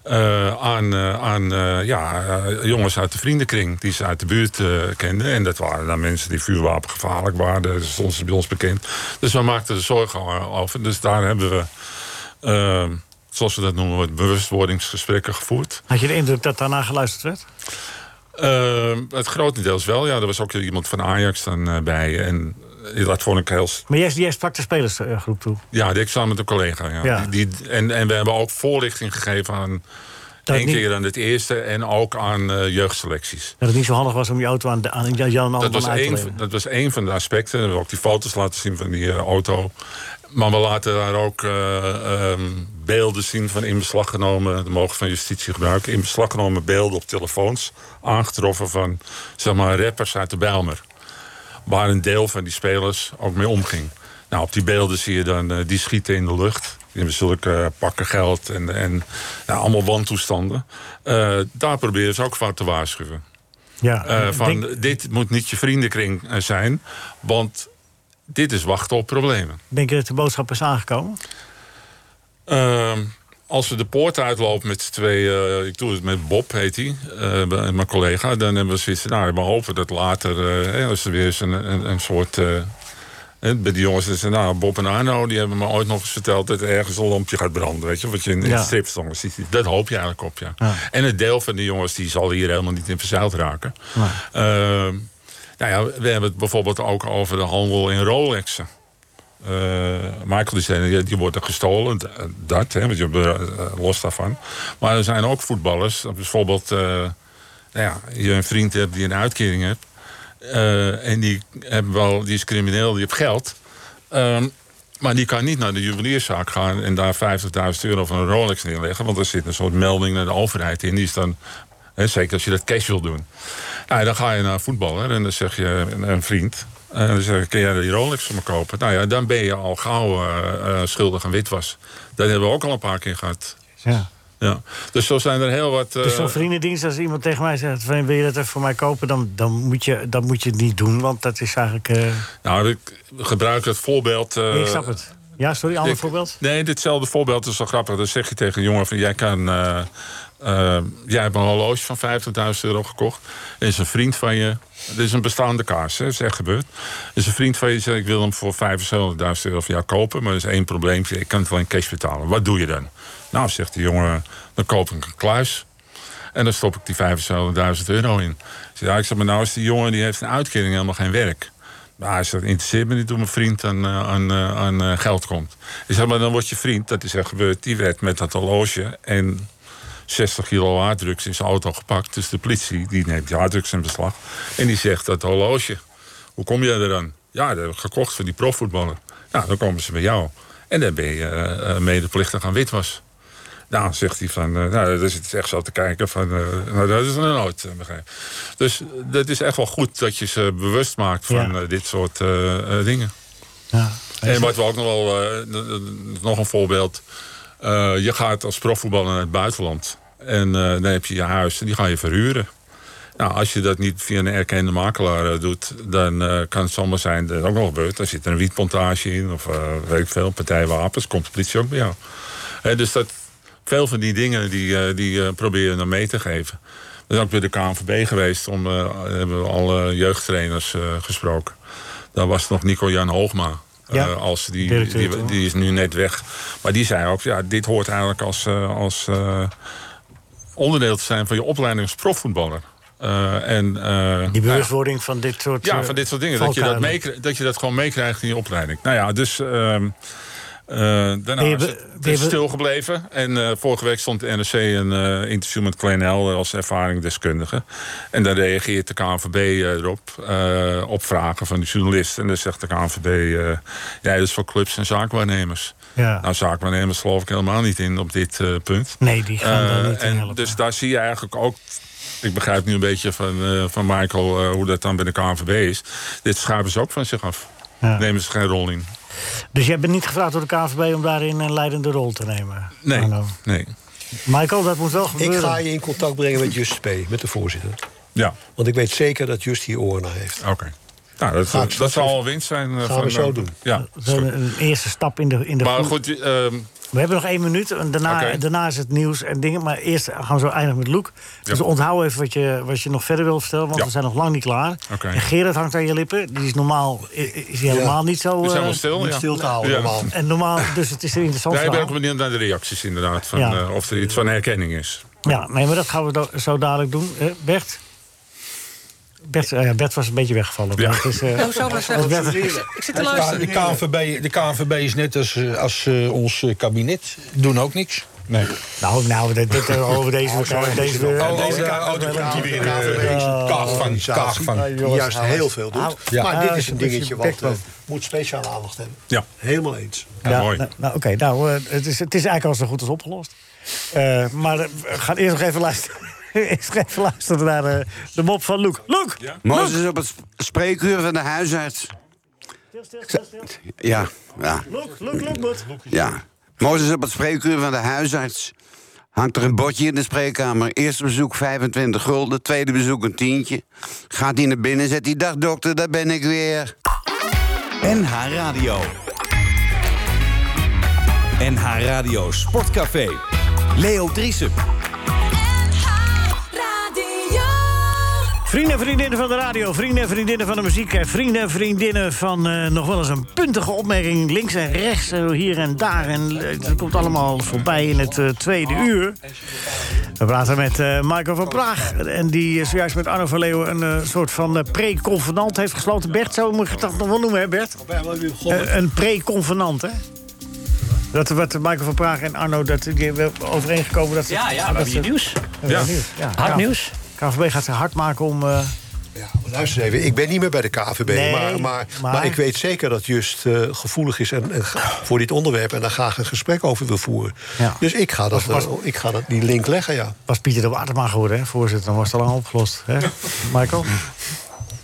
Speaker 7: Eh, aan eh, aan eh, ja, eh, jongens uit de vriendenkring die ze uit de buurt eh, kenden. En dat waren dan mensen die vuurwapengevaarlijk waren. Dat is ons, bij ons bekend. Dus we maakten er zorgen o- over. Dus daar hebben we, eh, zoals we dat noemen, wat bewustwordingsgesprekken gevoerd.
Speaker 3: Had je de indruk dat daarna geluisterd werd?
Speaker 7: Eh, het grotendeels wel. Ja, er was ook iemand van Ajax dan eh, bij. En eh, dat vond ik heel
Speaker 3: Maar jij, jij sprak de spelersgroep toe.
Speaker 7: Ja, die ik samen met een collega. Ja.
Speaker 3: Ja.
Speaker 7: Die, die- en, en we hebben ook voorlichting gegeven aan
Speaker 3: Dat
Speaker 7: één
Speaker 3: niet-
Speaker 7: keer aan het eerste en ook aan eh, jeugdselecties.
Speaker 3: Dat het niet zo handig was om je auto aan, de- aan Jan
Speaker 7: Dat
Speaker 3: Alderman
Speaker 7: was,
Speaker 3: uit te
Speaker 7: één,
Speaker 3: lenen.
Speaker 7: dat was één van de aspecten. We hebben ook die foto's laten zien van die eh, auto. Maar we laten daar ook eh, ehm, beelden zien van in beslag genomen. Dat mogen van justitie gebruiken. In beslag genomen beelden op telefoons. Aangetroffen van zeg maar, rappers uit de Bijlmer. Waar een deel van die spelers ook mee omging. Nou, op die beelden zie je dan eh, die schieten in de lucht. Die hebben zulke eh, pakken geld en, en nou, allemaal wantoestanden. Eh, daar proberen ze ook voor te waarschuwen.
Speaker 3: Ja,
Speaker 7: Eh,
Speaker 3: ik
Speaker 7: van,
Speaker 3: denk-
Speaker 7: Dit moet niet je vriendenkring eh, zijn, want dit is wachten op problemen.
Speaker 3: Denk je dat de boodschap is aangekomen?
Speaker 7: Ehm, als we de poort uitlopen met z'n twee, eh, ik doe het met Bob, heet hij, eh, bij- mijn collega, dan hebben we zoiets van, nou, we hopen dat later, eh, hè, als er weer eens een, een, een soort. eh, hè, bij die jongens is nou, Bob en Arno, die hebben me ooit nog eens verteld dat er ergens een lampje gaat branden. Weet je, wat je in, in
Speaker 3: Ja.
Speaker 7: stripsongs ziet. Dat hoop je eigenlijk op, ja. En het deel van die jongens die zal hier helemaal niet in verzeild raken. Ehm, nou ja, we hebben het bijvoorbeeld ook over de handel in Rolexen. Eh, Michael die zei, die, die wordt er gestolen, d- dat, hè, want je hebt, eh, los daarvan. Maar er zijn ook voetballers, bijvoorbeeld, eh, nou ja, je een vriend hebt die een uitkering hebt, eh, en die, hebben wel, die is crimineel, die heeft geld. Ehm, maar die kan niet naar de juwelierszaak gaan en daar 50.000 euro van een Rolex neerleggen. Want er zit een soort melding naar de overheid in. Die is dan, hè, zeker als je dat cash wil doen. Nou, ja, dan ga je naar een voetballer en dan zeg je een, een vriend. En dan zeg je, kun jij die Rolex voor me kopen? Nou ja, dan ben je al gauw eh, eh, schuldig aan witwas. Dat hebben we ook al een paar keer gehad.
Speaker 3: Ja.
Speaker 7: Ja. Dus zo zijn er heel wat... eh,
Speaker 3: Dus zo'n vriendendienst, als iemand tegen mij zegt... van, wil je dat even voor mij kopen, dan, dan, moet je, dan moet je het niet doen. Want dat is eigenlijk... eh,
Speaker 7: nou, ik gebruik het voorbeeld... eh,
Speaker 3: ik snap het. Ja, sorry, ander
Speaker 7: ik-
Speaker 3: voorbeeld?
Speaker 7: Nee, ditzelfde voorbeeld is wel grappig. Dan zeg je tegen een jongen van... Jij, kan, eh, eh, jij hebt een horloge van 50.000 euro gekocht. Er is een vriend van je... Dit is een bestaande kaars, hè, is echt gebeurd. Er is een vriend van je die zegt... Ik wil hem voor 75.000 euro van jou kopen. Maar er is één probleem. Ik kan het alleen cash betalen. Wat doe je dan? Nou, zegt de jongen... Dan koop ik een kluis. En dan stop ik die 75.000 euro in. Ik zeg, ja, ik zeg maar nou is die jongen die heeft een uitkering helemaal geen werk. Nou, hij zegt, interesseert me niet hoe mijn vriend aan, eh, aan, eh, aan eh, geld komt. Ik zeg, maar dan wordt je vriend, dat is echt gebeurd... die werd met dat horloge en 60 kilo harddrugs in zijn auto gepakt. Dus de politie, die neemt die harddrugs in beslag. En die zegt, dat horloge, hoe kom jij er dan? Ja, dat heb ik gekocht van die profvoetballer. Nou, dan komen ze bij jou. En dan ben je eh, eh, medeplichtig aan witwas. Nou, zegt hij van, eh, nou, daar zit hij echt zo te kijken van, eh, nou, dat is er nooit, eh, begrijp. Dus dat is echt wel goed dat je ze bewust maakt van
Speaker 3: Ja.
Speaker 7: eh, dit soort eh, eh, dingen.
Speaker 3: Ja.
Speaker 7: En wat we ook nog wel, eh, n- n- nog een voorbeeld. Eh, je gaat als profvoetballer naar het buitenland. En eh, dan heb je je huis en die ga je verhuren. Nou, als je dat niet via een erkende makelaar eh, doet, dan eh, kan het zomaar zijn dat het ook nog gebeurt. Daar zit een wietplantage in of eh, weet ik veel, partijwapens, komt de politie ook bij jou. Hè, dus dat, veel van die dingen die, eh, die eh, proberen dan mee te geven. We zijn ook bij de KNVB geweest, om, eh, hebben we alle jeugdtrainers eh, gesproken. Daar was nog Nico-Jan Hoogma. eh,
Speaker 3: Ja,
Speaker 7: als die,
Speaker 3: directeur,
Speaker 7: die,
Speaker 3: toch?
Speaker 7: die is nu net weg. Maar die zei ook, ja, dit hoort eigenlijk als, eh, als eh, onderdeel te zijn van je opleiding als profvoetballer. Eh, en, eh,
Speaker 3: Die
Speaker 7: nou ja,
Speaker 3: bewustwording van dit soort...
Speaker 7: ja,
Speaker 3: eh,
Speaker 7: van dit soort dingen. Dat je dat,
Speaker 3: valkuilen.
Speaker 7: meekri- dat je dat gewoon meekrijgt in je opleiding. Nou ja, dus ehm, Eh, daarna
Speaker 3: je
Speaker 7: is
Speaker 3: be-
Speaker 7: het,
Speaker 3: ben
Speaker 7: het
Speaker 3: je
Speaker 7: is
Speaker 3: be-
Speaker 7: stilgebleven. En eh, vorige week stond de NRC een eh, interview met Kleinel als ervaringsdeskundige. En daar reageert de KNVB eh, erop eh, op vragen van de journalist. En dan zegt de KNVB, eh, ja, dat is voor clubs en zaakwaarnemers.
Speaker 3: Ja.
Speaker 7: Nou, zaakwaarnemers geloof ik helemaal niet in op dit eh, punt.
Speaker 3: Nee, die gaan daar
Speaker 7: Eh,
Speaker 3: niet in
Speaker 7: en
Speaker 3: helpen.
Speaker 7: Dus daar zie je eigenlijk ook. Ik begrijp nu een beetje van, eh, van Michael eh, hoe dat dan bij de KNVB is. Dit schuiven ze ook van zich af.
Speaker 3: Ja.
Speaker 7: Nemen ze geen rol in.
Speaker 3: Dus jij bent niet gevraagd door de KVB om daarin een leidende rol te nemen?
Speaker 7: Nee.
Speaker 3: Arno.
Speaker 7: nee.
Speaker 3: Michael, dat moet wel
Speaker 8: Ik
Speaker 3: gebeuren.
Speaker 8: ga je in contact brengen met Just Spee, met de voorzitter.
Speaker 7: Ja,
Speaker 8: Want ik weet zeker dat Just hier oren naar heeft.
Speaker 7: oké. Nou, dat,
Speaker 8: Ga ik
Speaker 7: dat,
Speaker 8: straks
Speaker 7: zal
Speaker 8: even-
Speaker 7: al winst zijn. eh,
Speaker 8: Gaan
Speaker 7: van,
Speaker 8: we zo
Speaker 7: eh,
Speaker 8: doen.
Speaker 7: Ja,
Speaker 3: Dat
Speaker 7: is
Speaker 3: is
Speaker 7: goed.
Speaker 3: een, een eerste stap in de, in de
Speaker 7: Maar
Speaker 3: goede-
Speaker 7: goed, je- ehm,
Speaker 3: We hebben nog één minuut. En daarna,
Speaker 7: Oké.
Speaker 3: daarna is het nieuws en dingen. Maar eerst gaan we zo eindigen met Loek. Dus
Speaker 7: Ja.
Speaker 3: onthoud even wat je, wat je nog verder wil vertellen. Want
Speaker 7: Ja.
Speaker 3: we zijn nog lang niet klaar.
Speaker 7: Oké.
Speaker 3: En Gerard hangt aan je lippen. Die is normaal i- i- is hij helemaal niet zo...
Speaker 7: we
Speaker 3: eh,
Speaker 7: zijn wel stil.
Speaker 8: Niet
Speaker 7: ja.
Speaker 8: stil te houden,
Speaker 7: Ja.
Speaker 8: normaal.
Speaker 3: en normaal, dus het is een interessant
Speaker 7: Nee, ik ben
Speaker 3: verhaal.
Speaker 7: ook benieuwd naar de reacties inderdaad. Van,
Speaker 3: Ja.
Speaker 7: eh, of er iets van herkenning is.
Speaker 3: Ja, nee, maar dat gaan we do- zo dadelijk doen. Eh, Bert? Bert, eh, Bert was een beetje weggevallen.
Speaker 7: Ja.
Speaker 3: maar het is, eh,
Speaker 6: Nou, zou ik wel zeggen,
Speaker 3: Bert-
Speaker 6: ik zit- ik zit te
Speaker 5: Ja,
Speaker 6: luisteren.
Speaker 5: de, KNVB, de KNVB is net als, eh, als eh, ons eh, kabinet. Doen ook niks. Nee.
Speaker 3: nou, nou, dit, dit, eh, over deze... over deze
Speaker 5: Oh,
Speaker 3: deze-
Speaker 5: deze oh, dan komt die weer. eh, Kaag van, kaag van.
Speaker 8: Die juist heel veel doet.
Speaker 5: Ja.
Speaker 8: Maar dit is een
Speaker 3: Ah, dat is
Speaker 8: dingetje
Speaker 3: je
Speaker 8: wat
Speaker 3: bek wel.
Speaker 8: eh, moet speciale aandacht hebben.
Speaker 7: Ja.
Speaker 8: Helemaal eens.
Speaker 7: Ja,
Speaker 3: Ja,
Speaker 7: mooi.
Speaker 3: Nou, nou, oké, nou, eh, het, is, het is eigenlijk al zo goed als opgelost. Eh, maar eh, we gaan eerst nog even luisteren. eerst nog even luisteren naar eh, de mop van Loek. Loek!
Speaker 9: Mozes op het sp- spreekuur van de huisarts.
Speaker 3: Stil, stil, stil, stil.
Speaker 9: Ja, ja,
Speaker 3: Loek, Loek, Loek moet.
Speaker 9: ja. Mozes op het spreekuur van de huisarts. Hangt er een bordje in de spreekkamer. Eerste bezoek 25 gulden, tweede bezoek een tientje. Gaat hij naar binnen, zet hij dag dokter, daar ben ik weer.
Speaker 2: NH Radio. NH Radio Sportcafé. Leo Driessen.
Speaker 3: Vrienden en vriendinnen van de radio, vrienden en vriendinnen van de muziek... en vrienden en vriendinnen van eh, nog wel eens een puntige opmerking... links en rechts, en hier en daar. En eh, dat komt allemaal voorbij in het eh, tweede uur. We praten met eh Michael van Praag. En die eh, zojuist met Arno van Leeuwen een eh, soort van eh, pre-convenant heeft gesloten. Bert, zo moet je dat nog wel noemen, hè Bert? Eh, een pre-convenant, hè? Dat wat Michael van Praag en Arno, dat die hebben overeengekomen... Dat ze-
Speaker 6: Ja, ja, we
Speaker 3: dat
Speaker 6: hebben
Speaker 3: ze-
Speaker 6: hier nieuws.
Speaker 3: Ja.
Speaker 6: Hard nieuws.
Speaker 3: KVB gaat zich hard maken om... eh,
Speaker 8: Ja, maar luister eens even, ik ben niet meer bij de KVB,
Speaker 3: Nee,
Speaker 8: maar, maar,
Speaker 3: maar-
Speaker 8: maar... ik weet zeker dat Just eh, gevoelig is en, en g- voor dit onderwerp... en daar graag een gesprek over wil voeren.
Speaker 3: Ja.
Speaker 8: Dus ik ga, dat,
Speaker 3: Was-
Speaker 8: eh, ik ga dat, die link leggen, ja.
Speaker 3: Was Pieter de Waterma geworden, hè, voorzitter? Dan was het al lang opgelost, hè? Michael?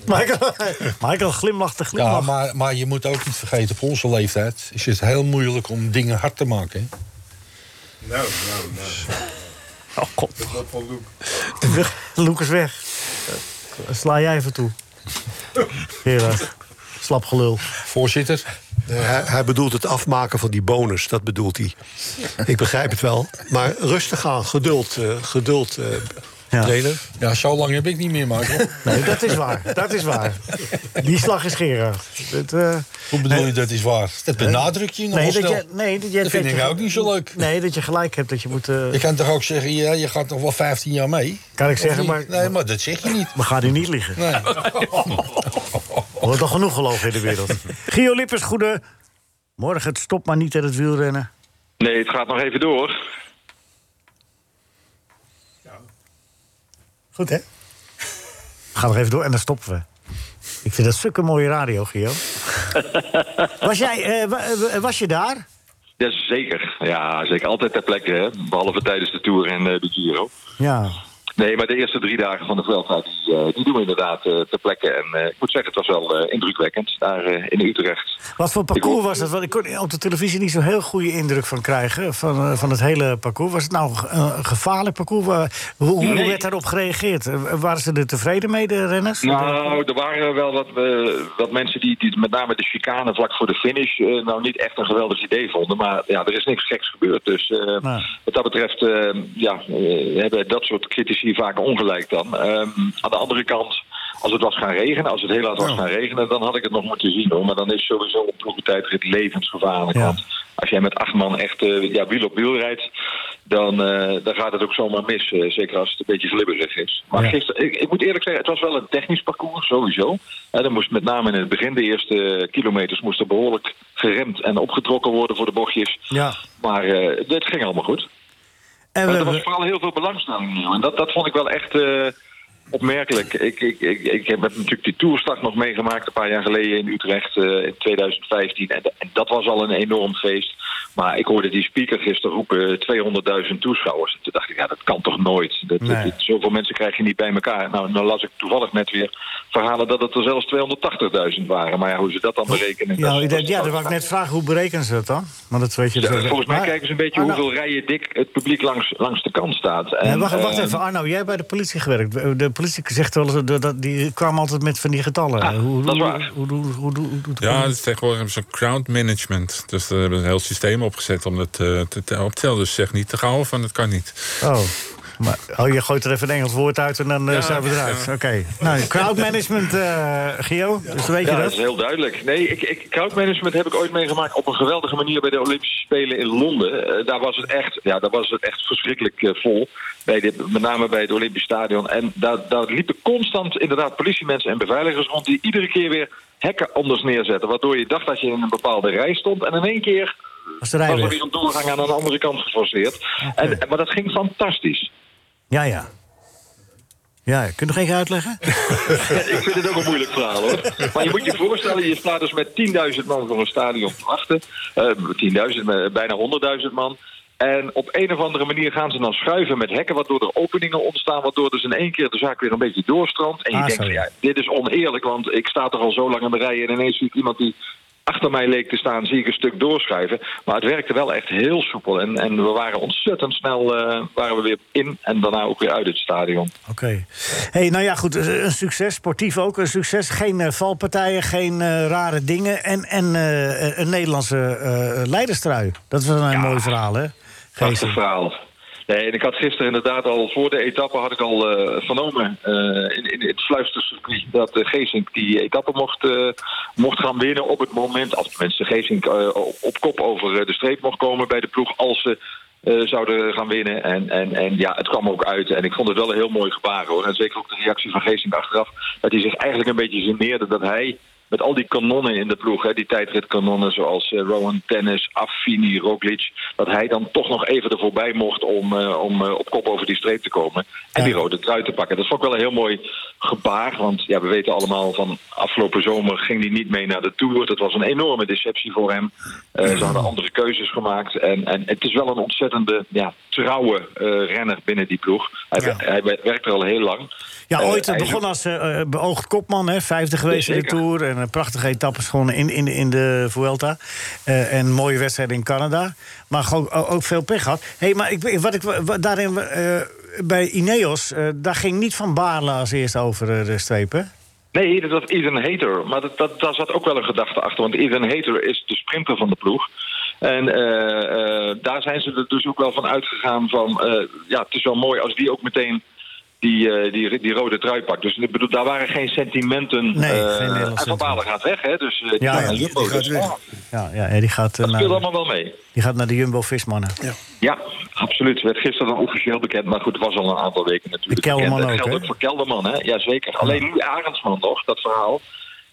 Speaker 3: Michael, Michael glimlacht de
Speaker 5: Ja,
Speaker 3: glimlach.
Speaker 5: maar, maar je moet ook niet vergeten, op onze leeftijd is het heel moeilijk om dingen hard te maken. hè.
Speaker 3: Oh, god. Lucas weg. Sla jij even toe. Gerard, eh, slap gelul.
Speaker 5: Voorzitter,
Speaker 8: Nee, hij, hij bedoelt het afmaken van die bonus, dat bedoelt hij. Ik begrijp het wel, maar rustig aan, geduld, eh, geduld, eh
Speaker 3: Ja.
Speaker 8: trainer.
Speaker 5: ja, zo lang heb ik niet meer, Michael.
Speaker 3: Nee, dat is waar, dat is waar. Die slag is Gerard. Dat, eh,
Speaker 5: Hoe bedoel je dat is waar? Dat benadruk je nog
Speaker 3: nee, dat
Speaker 5: snel.
Speaker 3: je, nee, dat je...
Speaker 5: Dat vind
Speaker 3: je-
Speaker 5: ik ook niet zo leuk.
Speaker 3: Nee, dat je gelijk hebt, dat je moet... eh,
Speaker 5: Je kan toch ook zeggen, ja, je gaat nog wel 15 jaar mee?
Speaker 3: Kan ik
Speaker 5: Of
Speaker 3: zeggen,
Speaker 5: niet?
Speaker 3: maar-
Speaker 5: Nee, maar dat zeg je niet.
Speaker 3: We gaan hier niet liggen.
Speaker 5: Nee.
Speaker 3: Er wordt al genoeg geloof in de wereld. Gio Lippers, goede... Morgen het stop maar niet aan het wielrennen.
Speaker 10: Nee, het gaat nog even door.
Speaker 3: Goed, hè? We gaan nog even door en dan stoppen we. Ik vind dat zulke mooie radio, Gio. was, jij, eh, wa- eh, was je daar?
Speaker 10: Ja, zeker. Ja, zeker. Altijd ter plekke, hè? behalve tijdens de Tour en eh, de Giro.
Speaker 3: Ja.
Speaker 10: Nee, maar de eerste drie dagen van de Vuelta, die, eh, die doen we inderdaad eh, ter plekke. En eh, ik moet zeggen, het was wel eh, indrukwekkend daar eh, in Utrecht.
Speaker 3: Wat voor
Speaker 10: Ik
Speaker 3: parcours
Speaker 10: hoor-
Speaker 3: was dat? Want ik kon op de televisie niet zo'n heel goede indruk van krijgen. Van, eh, van het hele parcours. Was het nou een ge- een gevaarlijk parcours? Wa- Hoe, hoe
Speaker 10: Nee.
Speaker 3: werd daarop gereageerd? Eh, Waren ze er tevreden mee, de renners?
Speaker 10: Nou, er waren wel wat, eh, wat mensen die, die met name de chicane vlak voor de finish eh, nou niet echt een geweldig idee vonden. Maar ja, er is niks geks gebeurd. Dus eh,
Speaker 3: Nee.
Speaker 10: wat dat betreft eh, ja, eh, hebben dat soort critici vaak ongelijk dan. Ehm, aan de andere kant Als het was gaan regenen, als het heel hard was gaan regenen, dan had ik het nog moeten zien hoor. Maar dan is sowieso een ploegentijdrit levensgevaarlijk. Want als jij met acht man echt eh, ja, wiel op wiel rijdt, dan, eh, dan gaat het ook zomaar mis. eh, zeker als het een beetje glibberig is. Maar gisteren, ik, ik moet eerlijk zeggen, het was wel een technisch parcours sowieso. En er moest met name in het begin, de eerste kilometers, moest er behoorlijk geremd en opgetrokken worden voor de bochtjes.
Speaker 3: Ja.
Speaker 10: Maar eh het ging allemaal goed.
Speaker 3: En
Speaker 10: Maar
Speaker 3: we
Speaker 10: er was
Speaker 3: hebben...
Speaker 10: vooral heel veel belangstelling. joh. Nou, En dat, dat vond ik wel echt eh, opmerkelijk. Ik, ik, ik, ik heb natuurlijk die toerstart nog meegemaakt een paar jaar geleden in Utrecht eh, in 2015. En, da- en dat was al een enorm feest. Maar ik hoorde die speaker gisteren roepen eh, 200.000 toeschouwers. En toen dacht ik, ja, dat kan toch nooit? Dat, dat-
Speaker 3: Nee.
Speaker 10: dat- zoveel mensen krijg je niet bij elkaar. Nou, nou las ik toevallig net weer verhalen dat het er zelfs 280.000 waren. Maar ja, hoe ze dat dan berekenen...
Speaker 3: Ja,
Speaker 10: dat-
Speaker 3: ik denk-
Speaker 10: dat-
Speaker 3: ja, dat wou ik net vragen. Hoe berekenen ze dat dan? Maar dat weet je...
Speaker 10: Ja,
Speaker 3: dus ook-
Speaker 10: volgens mij
Speaker 3: Maar-
Speaker 10: kijken ze een beetje
Speaker 3: Arno-
Speaker 10: hoeveel rijen dik het publiek langs, langs de kant staat. En,
Speaker 3: Nee, wacht, wacht
Speaker 10: eh,
Speaker 3: even, Arno, jij hebt bij de politie gewerkt. Eh, De politie zegt wel eens, dat- dat- die kwam altijd met van die getallen. hoe,
Speaker 10: Ah, dat is
Speaker 3: hoe-
Speaker 10: waar.
Speaker 3: Hoe, hoe, hoe, hoe, hoe- hoe-
Speaker 7: Ja, dus tegenwoordig hebben ze een crowd management. Dus daar hebben ze een heel systeem opgezet om dat eh, te, te- op te tellen. Dus zeg niet te gauw van, dat kan niet.
Speaker 3: Oh. Maar, oh, je gooit er even een Engels woord uit en dan eh,
Speaker 7: Ja,
Speaker 3: zijn we eruit. Oké.
Speaker 7: ja.
Speaker 3: Nou, crowdmanagement, eh Gio, dus weet
Speaker 10: Ja,
Speaker 3: je
Speaker 10: dat is
Speaker 3: dat?
Speaker 10: heel duidelijk. Nee, ik, ik, crowdmanagement heb ik ooit meegemaakt op een geweldige manier bij de Olympische Spelen in Londen. Eh, daar, was het echt, ja, daar was het echt verschrikkelijk eh, vol. Bij de, met name bij het Olympisch Stadion. En daar, daar liepen constant inderdaad politiemensen en beveiligers rond die iedere keer weer hekken anders neerzetten. Waardoor je dacht dat je in een bepaalde rij stond. En in één keer
Speaker 3: Als de
Speaker 10: was er
Speaker 3: rijweg.
Speaker 10: weer een doorgang aan de andere kant geforceerd. En, maar dat ging fantastisch.
Speaker 3: Ja, ja. Ja, ja. kun je nog even uitleggen?
Speaker 10: Ik vind het ook een moeilijk verhaal hoor. Maar je moet je voorstellen, je staat dus met 10.000 man voor een stadion te wachten. Eh, 10.000, eh, bijna 100.000 man. En op een of andere manier gaan ze dan schuiven met hekken, waardoor er openingen ontstaan, waardoor dus in één keer de zaak weer een beetje doorstroomt. En je
Speaker 3: Ah,
Speaker 10: denkt,
Speaker 3: zo,
Speaker 10: van,
Speaker 3: ja.
Speaker 10: ja, dit is oneerlijk, want ik sta toch al zo lang in de rij en ineens zie ik iemand die achter mij leek te staan, zie ik een stuk doorschuiven. Maar het werkte wel echt heel soepel en, en we waren ontzettend snel eh, waren we weer in en daarna ook weer uit het stadion.
Speaker 3: Oké. hey, nou ja, goed. Een succes. Sportief ook een succes. Geen eh, valpartijen, geen eh, rare dingen. En, en eh, een Nederlandse eh, leiderstrui. Dat was een mooi verhaal, hè?
Speaker 10: Prachtig
Speaker 3: Geesje.
Speaker 10: verhaal. Nee, en ik had gisteren inderdaad al voor de etappe had ik al eh, vernomen eh, in, in het fluistercircuit dat eh, Geesink die etappe mocht, eh, mocht gaan winnen op het moment, als tenminste Geesink eh, op, op kop over eh, de streep mocht komen bij de ploeg als ze eh, zouden gaan winnen. En, en, en ja, het kwam ook uit en ik vond het wel een heel mooi gebaar hoor. En zeker ook de reactie van Geesink achteraf, dat hij zich eigenlijk een beetje geneerde dat hij met al die kanonnen in de ploeg, hè, die tijdritkanonnen zoals eh, Rowan Tennis, Affini, Roglic... dat hij dan toch nog even er voorbij mocht om, eh, om eh, op kop over die streep te komen... en die rode trui te pakken. Dat vond ik wel een heel mooi gebaar, want ja, we weten allemaal... van afgelopen zomer ging hij niet mee naar de Tour. Dat was een enorme deceptie voor hem. Eh, ze hadden andere keuzes gemaakt. En, en het is wel een ontzettende ja, trouwe eh, renner binnen die ploeg. Hij,
Speaker 3: Ja.
Speaker 10: hij werkt er al heel lang.
Speaker 3: Ja,
Speaker 10: Eh,
Speaker 3: ooit
Speaker 10: hij is ook-
Speaker 3: begon als eh, eh, beoogd kopman, hè, vijfde geweest in de
Speaker 10: zeker.
Speaker 3: Tour. En een prachtige etappes gewonnen in, in, in de Vuelta. Eh, en mooie wedstrijden in Canada. Maar gewoon o- ook veel pech had. hey, maar ik, ben- wat ik wat daarin eh, bij Ineos, eh, daar ging niet Van Baarle als eerste over eh, de streep, hè?
Speaker 10: Nee, dat was Ethan Hater. Maar dat, dat, daar zat ook wel een gedachte achter. Want Ethan Hater is de sprinter van de ploeg. En eh, eh, daar zijn ze er dus ook wel van uitgegaan van... eh, ja, het is wel mooi als die ook meteen die, eh, die, die rode trui pakt. Dus ik bedoel, daar waren geen sentimenten.
Speaker 3: Nee, geen
Speaker 10: eh,
Speaker 3: Nederlands
Speaker 10: en Van Baarle gaat weg, hè. Dus eh, die
Speaker 3: Ja,
Speaker 10: gaat
Speaker 3: ja,
Speaker 10: naar
Speaker 3: die-
Speaker 10: Jumbo.
Speaker 4: die gaat
Speaker 10: Dus,
Speaker 4: weg.
Speaker 10: oh,
Speaker 3: Ja, ja en die, gaat, eh,
Speaker 10: dat speelt
Speaker 3: naar,
Speaker 10: allemaal wel mee.
Speaker 3: die gaat naar de Jumbo-Vismannen.
Speaker 10: Ja, absoluut. Werd gisteren dan officieel bekend, maar goed, het was al een aantal weken natuurlijk.
Speaker 3: De Kelderman
Speaker 10: bekend. Dat
Speaker 3: ook,
Speaker 10: geldt
Speaker 3: hè?
Speaker 10: ook voor Kelderman, hè? Jazeker. Alleen Louis Arendsman nog, dat verhaal.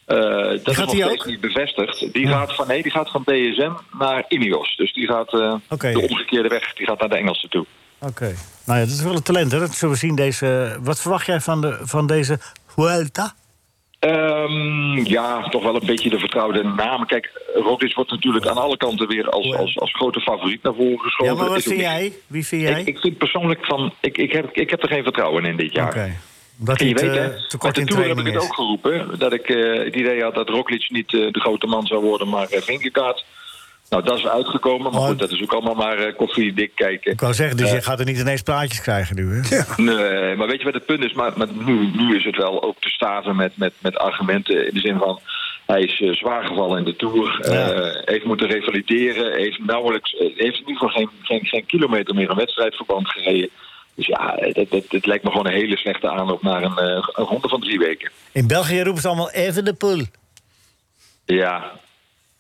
Speaker 10: eh, dat is
Speaker 3: gaat
Speaker 10: nog
Speaker 3: die
Speaker 10: steeds
Speaker 3: ook?
Speaker 10: niet bevestigd. Die gaat van nee, die gaat van DSM naar Ineos. Dus die gaat eh,
Speaker 3: Oké.
Speaker 10: de omgekeerde weg. Die gaat naar de Engelsen toe.
Speaker 3: Oké. Nou ja, dat is wel een talent, hè? Dat zullen we zien. Deze, eh, wat verwacht jij van, de, van deze Vuelta?
Speaker 10: Ehm, ja, toch wel een beetje de vertrouwde naam. Kijk, Roglic wordt natuurlijk aan alle kanten weer als, als, als grote favoriet naar voren geschoten.
Speaker 3: Ja, maar wat
Speaker 10: Is ook
Speaker 3: vind
Speaker 10: niet-
Speaker 3: jij? Wie vind jij?
Speaker 10: Ik, ik vind persoonlijk van, ik, ik, heb, ik heb er geen vertrouwen in dit jaar.
Speaker 3: Oké. Omdat
Speaker 10: En
Speaker 3: hij
Speaker 10: je weet,
Speaker 3: eh,
Speaker 10: hè,
Speaker 3: te
Speaker 10: met
Speaker 3: kort
Speaker 10: de
Speaker 3: in
Speaker 10: Tour heb ik
Speaker 3: training
Speaker 10: het
Speaker 3: is.
Speaker 10: ook geroepen. Dat ik eh, het idee had dat Roglic niet eh, de grote man zou worden, maar eh, Vingegaard. Nou, dat is uitgekomen, maar
Speaker 3: Oh.
Speaker 10: goed, dat is ook allemaal maar eh, koffie dik kijken.
Speaker 3: Ik wou zeggen,
Speaker 10: Eh.
Speaker 3: dus je gaat er niet ineens plaatjes krijgen nu, hè?
Speaker 10: Nee, eh, maar weet je wat het punt is? Maar, maar nu, nu is het wel ook te staven met, met, met argumenten. In de zin van, hij is eh, zwaar gevallen in de Tour. eh, heeft moeten revalideren. Heeft nauwelijks, eh, heeft in ieder geval geen, geen, geen kilometer meer een wedstrijdverband gereden. Dus ja, dat, dat, dat lijkt me gewoon een hele slechte aanloop naar een, eh, een ronde van drie weken.
Speaker 3: In België roepen ze allemaal even de poel.
Speaker 10: Ja,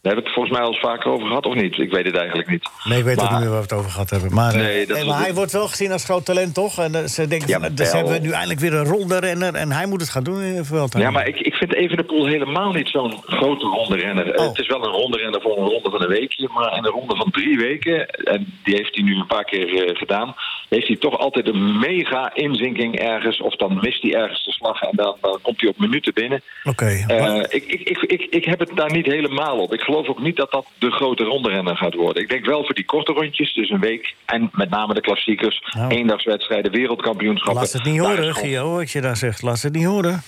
Speaker 10: daar heb ik het volgens mij al eens vaker over gehad, of niet? Ik weet het eigenlijk niet.
Speaker 3: Nee, ik weet
Speaker 10: Maar-
Speaker 3: ook niet meer waar we het over gehad hebben. Maar, eh,
Speaker 10: Nee, dat
Speaker 3: nee,
Speaker 10: is
Speaker 3: maar
Speaker 10: het.
Speaker 3: hij wordt wel gezien als groot talent, toch? En eh, ze denken,
Speaker 10: Ja,
Speaker 3: van,
Speaker 10: maar
Speaker 3: eh, dus
Speaker 10: wel.
Speaker 3: hebben we nu eindelijk weer een ronde renner... en hij moet het gaan doen eh, in de Vuelta.
Speaker 10: Ja, maar ik, ik vind Evenepoel helemaal niet zo'n grote ronde renner.
Speaker 3: Oh.
Speaker 10: Eh, Het is wel een ronde renner voor een ronde van een weekje, maar in een ronde van drie weken, en die heeft hij nu een paar keer eh, gedaan, heeft hij toch altijd een mega inzinking ergens, of dan mist hij ergens de slag en dan, dan komt hij op minuten binnen.
Speaker 3: Oké.
Speaker 10: Eh, ik, ik, ik, ik, ik heb het daar niet helemaal op. Ik geloof ook niet dat dat de grote rondrenner gaat worden. Ik denk wel voor die korte rondjes, dus een week, en met name de klassiekers,
Speaker 3: Nou.
Speaker 10: eendagswedstrijden, wereldkampioenschappen.
Speaker 3: Laat ze het niet
Speaker 10: Daar is
Speaker 3: horen,
Speaker 10: gewoon-
Speaker 3: Gio, wat je daar zegt. Laat ze het niet horen.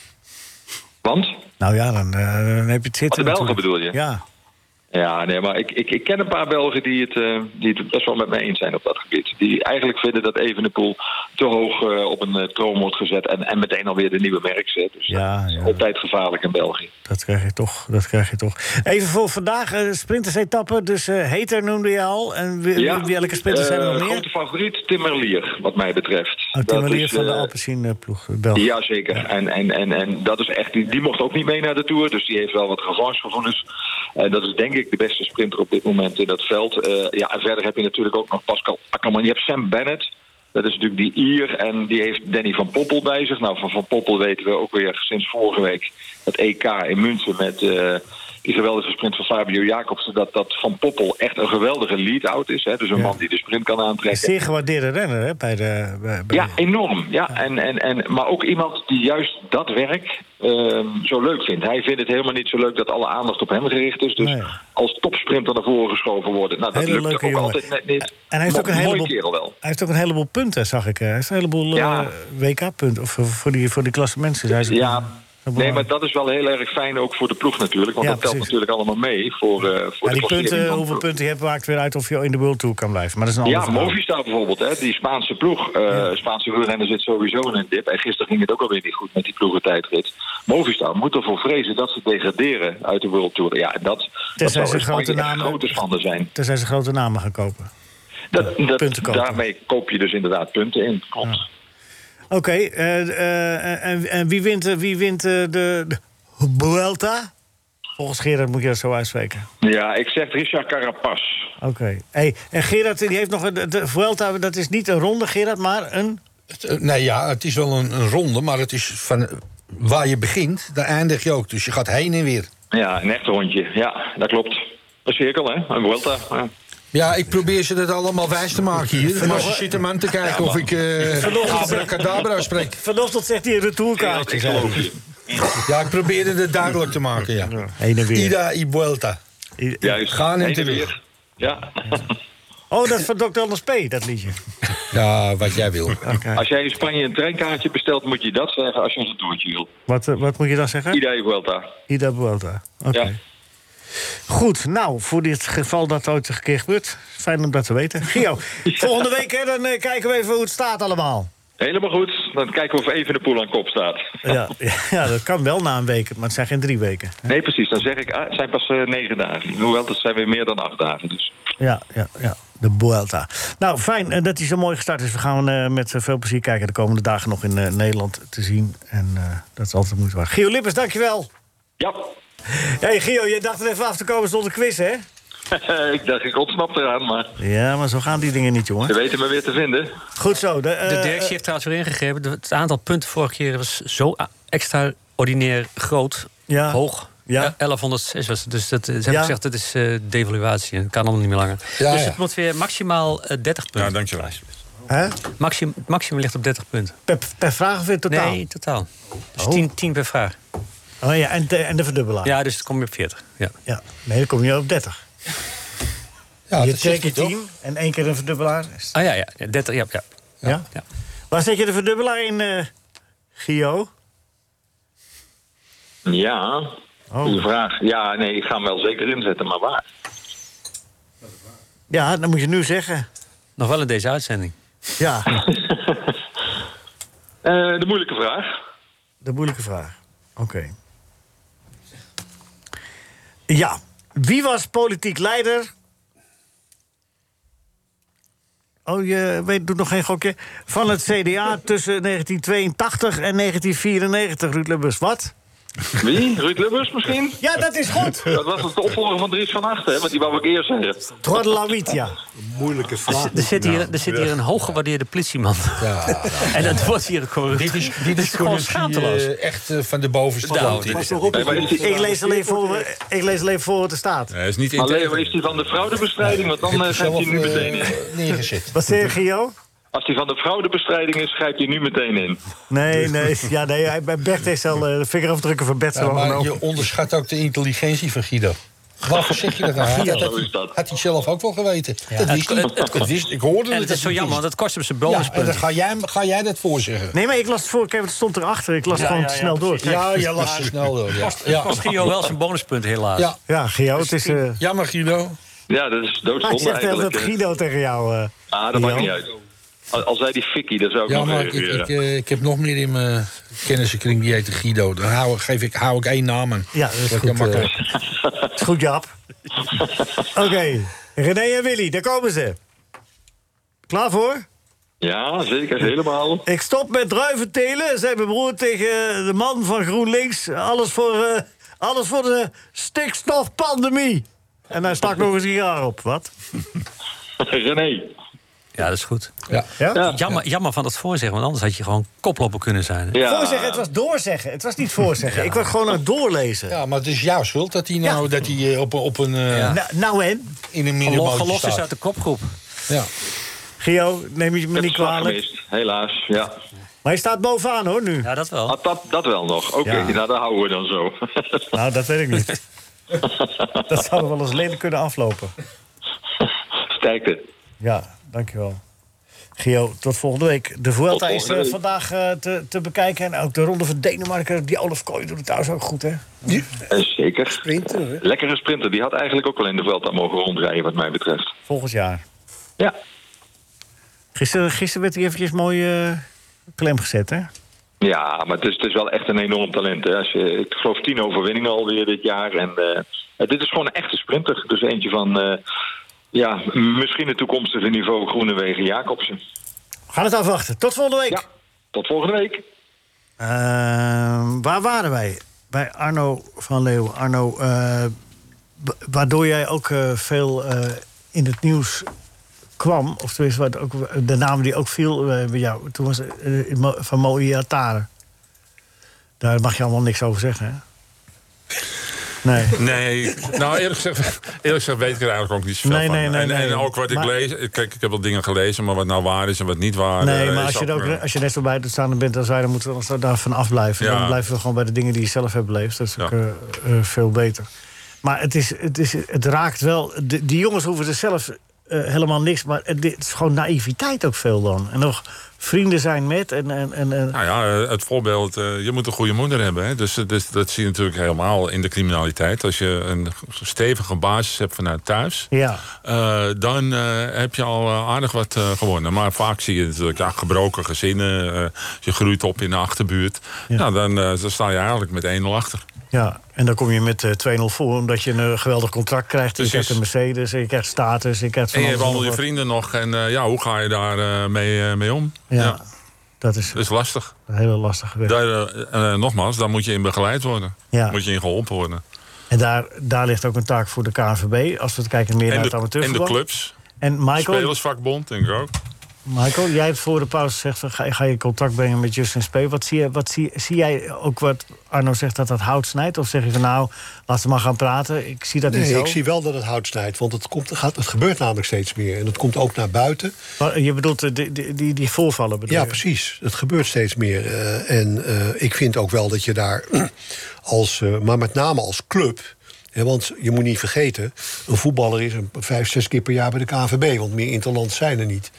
Speaker 10: Want?
Speaker 3: Nou ja, dan, eh, dan heb je het zitten.
Speaker 10: de Belgen
Speaker 3: natuurlijk.
Speaker 10: bedoel je?
Speaker 3: Ja.
Speaker 10: Ja, nee, maar ik, ik, ik ken een paar Belgen die het, eh, die het best wel met mij eens zijn op dat gebied. Die eigenlijk vinden dat Evenepoel te hoog eh, op een eh, troon wordt gezet... En, en meteen alweer de nieuwe merk zet. Dus
Speaker 3: Ja,
Speaker 10: dat is
Speaker 3: Ah, ja.
Speaker 10: altijd gevaarlijk in België.
Speaker 3: Dat krijg je toch, dat krijg je toch. Even voor vandaag, eh sprinters-etappe. Dus eh Heter noemde je al. En wie- wie- welke sprinters zijn er
Speaker 10: eh,
Speaker 3: nog meer?
Speaker 10: grote favoriet Timmerlier, wat mij betreft.
Speaker 3: Oh, Tim
Speaker 10: Dat
Speaker 3: Merlier
Speaker 10: is,
Speaker 3: van de
Speaker 10: eh,
Speaker 3: Alpecin-ploeg, België.
Speaker 10: Ja, zeker. En, en, en, en dat is echt, die, die mocht ook niet mee naar de Tour. Dus die heeft wel wat revanchegevoelens. En dat is denk ik de beste sprinter op dit moment in dat veld. Eh, ja, en verder heb je natuurlijk ook nog Pascal Akkerman. Je hebt Sam Bennett. Dat is natuurlijk die Ier. En die heeft Danny van Poppel bij zich. Nou, van Van Poppel weten we ook weer sinds vorige week... dat EK in München met eh, die geweldige sprint van Fabio Jacobsen... dat, dat Van Poppel echt een geweldige lead-out is. Hè? Dus een man die de sprint kan aantrekken.
Speaker 3: Zeer gewaardeerde renner, hè? Bij de, bij, bij-
Speaker 10: Ja, enorm. Ja, en, en, en, maar ook iemand die juist dat werk ehm, zo leuk vindt. Hij vindt het helemaal niet zo leuk dat alle aandacht op hem gericht is. Dus
Speaker 3: Nee.
Speaker 10: als topsprinter naar voren geschoven worden. Nou, dat
Speaker 3: Hele
Speaker 10: lukt ook
Speaker 3: leuke jongen.
Speaker 10: altijd net niet.
Speaker 3: En hij heeft, ook een
Speaker 10: Mooi
Speaker 3: heleboel,
Speaker 10: kerel wel.
Speaker 3: hij heeft ook een heleboel punten, zag ik. hè. Hij heeft een heleboel eh,
Speaker 10: Ja.
Speaker 3: WK-punten. Of eh, voor die, voor die klasse mensen. Zijn ze
Speaker 10: Ja,
Speaker 3: Zo
Speaker 10: Nee,
Speaker 3: belangrijk.
Speaker 10: maar dat is wel heel erg fijn ook voor de ploeg natuurlijk. Want
Speaker 3: Ja,
Speaker 10: dat telt
Speaker 3: precies.
Speaker 10: natuurlijk allemaal mee voor, eh voor
Speaker 3: Ja,
Speaker 10: de
Speaker 3: die
Speaker 10: klassering
Speaker 3: punten,
Speaker 10: van-
Speaker 3: hoeveel punten je hebt, maakt weer uit of je in de World Tour kan blijven. Maar dat is een ander
Speaker 10: Ja,
Speaker 3: verhaal.
Speaker 10: Movistar bijvoorbeeld, hè, die Spaanse ploeg. eh, Spaanse wielrenner zit sowieso in een dip. En gisteren ging het ook alweer niet goed met die ploegentijdrit. Movistar moet ervoor vrezen dat ze degraderen uit de World Tour. Ja, en dat, dat
Speaker 3: Tenzij
Speaker 10: zou
Speaker 3: ze
Speaker 10: in Spanje
Speaker 3: grote
Speaker 10: echt
Speaker 3: namen-
Speaker 10: grote schande zijn.
Speaker 3: Tenzij ze grote namen gaan kopen.
Speaker 10: Dat, dat-
Speaker 3: punten kopen.
Speaker 10: daarmee koop je dus inderdaad punten in. Klopt.
Speaker 3: Oké, eh, eh, en, en wie wint, eh, wie wint eh, de, de Vuelta? Volgens Gerard moet je dat zo uitspreken.
Speaker 10: Ja, ik zeg Richard Carapaz.
Speaker 3: Oké. Hey, en Gerard die heeft nog... een- De, de Vuelta, dat is niet een ronde, Gerard, maar een...
Speaker 5: Het, eh, nee, ja, het is wel een, een ronde, maar het is van eh, waar je begint, daar eindig je ook. Dus je gaat heen en weer.
Speaker 10: Ja, een echt rondje. Ja, dat klopt. Een cirkel, hè? Een Vuelta. Ja.
Speaker 5: Ja, ik probeer ze dat allemaal wijs te maken hier. En als je zit hem aan te kijken of ik eh abracadabra spreek.
Speaker 3: Vanochtend zegt hij een retourkaartje.
Speaker 10: je.
Speaker 5: Ja, ik probeerde het duidelijk te maken, ja.
Speaker 3: Heen en weer.
Speaker 5: Ida y vuelta.
Speaker 3: I- i-
Speaker 10: Juist.
Speaker 5: Gaan en
Speaker 10: Heen
Speaker 5: terug.
Speaker 10: weer. Ja.
Speaker 3: Oh, dat is van Dr. Anders P., dat liedje.
Speaker 5: Ja, wat jij wil.
Speaker 10: Als jij in Spanje een treinkaartje bestelt, moet je dat zeggen als je ons een toertje wil.
Speaker 3: Wat, eh, wat moet je dan zeggen?
Speaker 10: Ida Vuelta.
Speaker 3: Ida Vuelta. Oké.
Speaker 10: Ja.
Speaker 3: Goed, nou, voor dit geval dat ooit een keer gebeurt. Fijn om dat te weten. Gio, volgende week hè, dan eh, kijken we even hoe het staat allemaal.
Speaker 10: Helemaal goed. Dan kijken we of even de poel aan kop staat.
Speaker 3: Ja, ja, dat kan wel na een week, maar het zijn geen drie weken.
Speaker 10: Nee, precies. Dan zeg ik, ah, het zijn pas eh, negen dagen. Hoewel, dat zijn weer meer dan acht dagen. Dus.
Speaker 3: Ja, ja, ja. De Vuelta. Nou, fijn eh, dat hij zo mooi gestart is. We gaan eh, met eh, veel plezier kijken de komende dagen nog in eh, Nederland te zien. En eh, dat is altijd de moeite waard. Gio Lippers, dankjewel.
Speaker 10: Ja,
Speaker 3: hey, Gio, je dacht er even af te komen zonder quiz, hè?
Speaker 10: ik dacht, ik ontsnap eraan, maar
Speaker 3: Ja, maar zo gaan die dingen niet, jongen.
Speaker 10: ze weten me weer te vinden.
Speaker 3: Goed zo. De,
Speaker 6: De
Speaker 3: eh,
Speaker 6: directie heeft trouwens weer ingegeven. de- Het aantal punten vorige keer was zo a- extraordinair groot.
Speaker 3: Ja.
Speaker 6: Hoog.
Speaker 3: Ja.
Speaker 6: Eh, 1106 was het. Dus dat, eh, ze hebben
Speaker 3: Ja.
Speaker 6: gezegd dat is eh, devaluatie. Dat kan allemaal niet meer langer.
Speaker 5: Ja,
Speaker 6: dus
Speaker 5: ja.
Speaker 6: het moet weer maximaal eh, 30
Speaker 7: Ja,
Speaker 6: punten.
Speaker 7: dankjewel.
Speaker 3: hè?
Speaker 6: Maximum, het maximum ligt op 30 punten.
Speaker 3: Per, per vraag of in totaal?
Speaker 6: Nee, totaal. Dus 10, 10 per vraag.
Speaker 3: Oh ja, en de, en de verdubbelaar.
Speaker 6: Ja, dus het komt weer op 40. Ja.
Speaker 3: Ja. Nee, dan kom je op 30.
Speaker 5: Ja,
Speaker 3: je
Speaker 5: dat zegt
Speaker 3: twee
Speaker 5: hij
Speaker 3: keer
Speaker 5: toch?
Speaker 3: 10 en één keer een verdubbelaar.
Speaker 6: Ah ja, ja. ja, 30, ja, ja.
Speaker 3: Ja.
Speaker 6: ja.
Speaker 3: Waar zet je de verdubbelaar in, eh Gio?
Speaker 10: Ja,
Speaker 3: Oh.
Speaker 10: dat is een vraag. Ja, nee, ik ga hem wel zeker inzetten, maar waar?
Speaker 3: Ja, dat moet je nu zeggen.
Speaker 6: Nog wel in deze uitzending.
Speaker 3: Ja,
Speaker 10: Eh, de moeilijke vraag.
Speaker 3: de moeilijke vraag. Oké. Ja, wie was politiek leider Oh, je weet, doet nog geen gokje. Van het CDA tussen 1982 en 1994, Ruud Lubbers. Wat?
Speaker 10: Wie? Ruud Lubbers misschien?
Speaker 3: Ja, dat is goed.
Speaker 10: Dat was het de opvolger van Dries van Achten, hè? Want die wou ik eerst zeggen.
Speaker 3: Trodelawitia.
Speaker 8: Moeilijke vraag.
Speaker 6: Er zit, hier, er zit hier een hooggewaardeerde politieman. en dat wordt hier gewoon.
Speaker 5: Dit is, dit is
Speaker 6: gewoon
Speaker 5: corruptie
Speaker 6: schaamteloos.
Speaker 5: eh, echt eh, van de bovenste
Speaker 6: Nou,
Speaker 5: plank.
Speaker 6: dit is-
Speaker 10: Nee, maar is die-
Speaker 3: Ik lees alleen voor, ik lees alleen voor wat er staat.
Speaker 7: Hij is niet
Speaker 10: Alleen
Speaker 7: integer.
Speaker 10: maar is die van de fraudebestrijding? Want dan
Speaker 5: Dit
Speaker 10: eh,
Speaker 5: is
Speaker 10: grijpt hij nu
Speaker 5: zelf, eh,
Speaker 10: meteen in.
Speaker 5: neergezet.
Speaker 3: Wat zeg je, Gio?
Speaker 10: Als die van de fraudebestrijding is, grijpt hij nu meteen in.
Speaker 3: Nee, nee. Ja, nee hij- Bert heeft al eh, de vingerafdrukken van Bert
Speaker 5: Ja,
Speaker 3: zo
Speaker 5: maar
Speaker 3: genomen.
Speaker 5: je onderschat ook de intelligentie van Guido. Waarvoor zeg je dat nou? Had,
Speaker 10: zo is dat.
Speaker 5: had, hij zelf ook wel geweten. Dat
Speaker 6: Het-
Speaker 5: wist hij.
Speaker 6: het- het-
Speaker 5: Dat wist, ik hoorde
Speaker 6: En het is
Speaker 5: dat
Speaker 6: zo
Speaker 5: hij
Speaker 6: jammer, want
Speaker 5: wist.
Speaker 6: dat kost hem zijn
Speaker 5: Ja, en dan
Speaker 6: bonuspunten.
Speaker 5: ga jij, hem- ga jij dat voorzeggen.
Speaker 3: Nee, maar ik las het voor. Kijk, het stond erachter. Ik las het gewoon
Speaker 6: ja, ja,
Speaker 3: snel door.
Speaker 6: precies.
Speaker 5: Ja, je las te snel door. Ja.
Speaker 6: Ja,
Speaker 5: Ja.
Speaker 6: kost Gio wel zijn bonuspunten, helaas.
Speaker 5: Ja.
Speaker 3: Ja, Gio, het is... eh Ah,
Speaker 5: Jammer, Guido.
Speaker 10: Ja, dat is
Speaker 3: hij
Speaker 10: doodzonde
Speaker 3: zegt wel
Speaker 10: eigenlijk.
Speaker 3: dat Guido tegen jou... eh,
Speaker 10: Ah, dat maakt
Speaker 3: Gio.
Speaker 10: niet uit. Al, al zei die Fikkie, daar zou ik nog
Speaker 5: Jammer, ik, ik,
Speaker 10: reageren.
Speaker 5: ik, eh, ik heb nog meer in mijn kennissenkring die heet Guido. Daar hou, ik- geef ik, hou ik één naam aan.
Speaker 3: Ja, dat is
Speaker 5: Lekker
Speaker 3: goed, eh,
Speaker 5: makkelijk.
Speaker 3: Het is goed, Jaap. Oké, René en Willy, daar komen ze. Klaar voor?
Speaker 10: Ja, zeker, helemaal.
Speaker 3: Ik stop met druiventelen, zei mijn broer tegen de man van GroenLinks. Alles voor, eh, alles voor de stikstofpandemie. En hij stak nog een sigaar op. Wat?
Speaker 10: René.
Speaker 6: Ja, dat is goed.
Speaker 5: Ja.
Speaker 3: Ja?
Speaker 10: Ja.
Speaker 6: Jammer, jammer van dat voorzeggen, want anders had je gewoon koploper kunnen zijn. hè?
Speaker 10: Ja.
Speaker 3: Voorzeggen, het was doorzeggen. Het was niet voorzeggen. Ik was gewoon aan het doorlezen.
Speaker 5: ja, maar het is jouw schuld dat hij nou dat hij eh, op, een- op een, eh,
Speaker 3: Nou, nou en?
Speaker 5: in een
Speaker 6: Gelo-
Speaker 5: minderbootje
Speaker 6: Gelost is uit
Speaker 5: staat.
Speaker 6: de kopgroep.
Speaker 5: Ja.
Speaker 3: Gio, neem je
Speaker 10: Ik
Speaker 3: me
Speaker 10: heb
Speaker 3: niet
Speaker 10: het slag
Speaker 3: kwalijk.
Speaker 10: gemist, helaas. Ja.
Speaker 3: Maar je staat bovenaan hoor nu.
Speaker 6: Ja, dat wel.
Speaker 10: Ah, dat, dat wel nog. Oké,
Speaker 3: Ja.
Speaker 10: nou, daar houden we dan zo.
Speaker 3: Nou, dat weet ik niet. dat zou wel eens lelijk kunnen aflopen.
Speaker 10: Sterkte.
Speaker 3: Ja, dankjewel. Gio, tot volgende week. De Vuelta
Speaker 10: Tot
Speaker 3: is
Speaker 10: volgende
Speaker 3: eh,
Speaker 10: week.
Speaker 3: vandaag eh, te, te bekijken. En ook de Ronde van Denemarken. Die Olaf Kooi doet het trouwens ook goed, hè?
Speaker 10: Eh, Zeker.
Speaker 4: Sprinter, hè?
Speaker 10: Lekkere sprinter. Die had eigenlijk ook al in de veld aan mogen rondrijden, wat mij betreft.
Speaker 3: Volgend jaar.
Speaker 10: Ja.
Speaker 3: Gisteren, gisteren werd hij eventjes mooi eh, klem gezet, hè?
Speaker 10: Ja, maar het is, het is wel echt een enorm talent. Hè. Als je, ik geloof tien overwinningen alweer dit jaar. En eh, eh, dit is gewoon een echte sprinter. Dus eentje van, eh, ja, misschien het toekomstige niveau Groenewegen Jacobsen.
Speaker 3: We gaan het afwachten. Tot volgende week.
Speaker 10: Ja, tot volgende week.
Speaker 3: Ehm, waar waren wij? Bij Arno van Leeuwen. Arno, eh, wa- waardoor jij ook eh, veel eh, in het nieuws kwam. Of tenminste, wat ook, de naam die ook viel eh, bij jou. Toen was eh, in Mo- van Moïse Atare. Daar mag je allemaal niks over zeggen, hè? Nee.
Speaker 7: Nee, nou eerlijk gezegd, eerlijk gezegd weet ik er eigenlijk ook niet zoveel
Speaker 3: Nee,
Speaker 7: van.
Speaker 3: nee, nee,
Speaker 7: en, en
Speaker 3: nee.
Speaker 7: ook wat
Speaker 3: Maar-
Speaker 7: ik lees, kijk, ik heb wel dingen gelezen, maar wat nou waar is en wat niet waar.
Speaker 3: Nee,
Speaker 7: eh,
Speaker 3: maar
Speaker 7: is
Speaker 3: als je, er
Speaker 7: ook, eh,
Speaker 3: ook, als je net zo bij het staan bent als wij... dan moeten we ons daarvan afblijven.
Speaker 7: Ja.
Speaker 3: Dan blijven we gewoon bij de dingen die je zelf hebt beleefd. Dat is ook
Speaker 7: Ja.
Speaker 3: eh, eh, veel beter. Maar het, is, het, is, het raakt wel... De, die jongens hoeven er zelf eh, helemaal niks... maar het, dit is gewoon naïviteit ook veel dan. En nog vrienden zijn met en... en, en, en-
Speaker 7: Nou ja, eh, het voorbeeld, eh, je moet een goede moeder hebben. Hè? Dus, eh, dus dat zie je natuurlijk helemaal in de criminaliteit. Als je een stevige basis hebt vanuit thuis,
Speaker 3: ja.
Speaker 7: eh, dan eh, heb je al eh, aardig wat eh, gewonnen. Maar vaak zie je natuurlijk ja, gebroken gezinnen. eh, je groeit op in de achterbuurt. Nou, dan, eh, dan sta je eigenlijk met 1-0 achter.
Speaker 3: Ja, en dan kom je met eh, 2-0 voor omdat je een eh, geweldig contract krijgt. Je
Speaker 7: Precies.
Speaker 3: krijgt een Mercedes, en je krijgt status, en je krijgt van
Speaker 7: En je hebt
Speaker 3: alles en
Speaker 7: al je
Speaker 3: nog wat.
Speaker 7: vrienden nog. En eh, ja, hoe ga je daar eh, mee, eh, mee om?
Speaker 3: Ja, dat is
Speaker 7: dat is lastig.
Speaker 3: een hele lastige weg.
Speaker 7: Daar, eh, eh, nogmaals, daar moet je in begeleid worden.
Speaker 3: Ja.
Speaker 7: Moet je in geholpen worden.
Speaker 3: En daar, daar ligt ook een taak voor de KNVB. Als we het kijken meer
Speaker 7: En
Speaker 3: naar het
Speaker 7: de, en de
Speaker 3: amateurvoetbal.
Speaker 7: clubs.
Speaker 3: En Michael,
Speaker 7: Spelersvakbond, denk ik ook.
Speaker 3: Michael, jij hebt voor de pauze gezegd... van, ga, ga je contact brengen met Justin Spee. Wat zie, je, wat zie, zie jij ook wat Arno zegt dat dat hout snijdt? Of zeg je van nou, laat ze maar gaan praten. Ik zie dat niet
Speaker 8: Nee,
Speaker 3: zo.
Speaker 8: ik zie wel dat het hout snijdt, want het, komt, gaat, het gebeurt namelijk steeds meer. En dat komt ook naar buiten.
Speaker 3: Maar je bedoelt eh, die, die, die, die voorvallen bedoel
Speaker 8: Ja,
Speaker 3: je?
Speaker 8: precies. Het gebeurt steeds meer. eh, en eh, ik vind ook wel dat je daar als, eh, maar met name als club. Hè, want je moet niet vergeten, een voetballer is een, vijf, zes keer per jaar bij de KNVB. Want meer interland zijn er niet.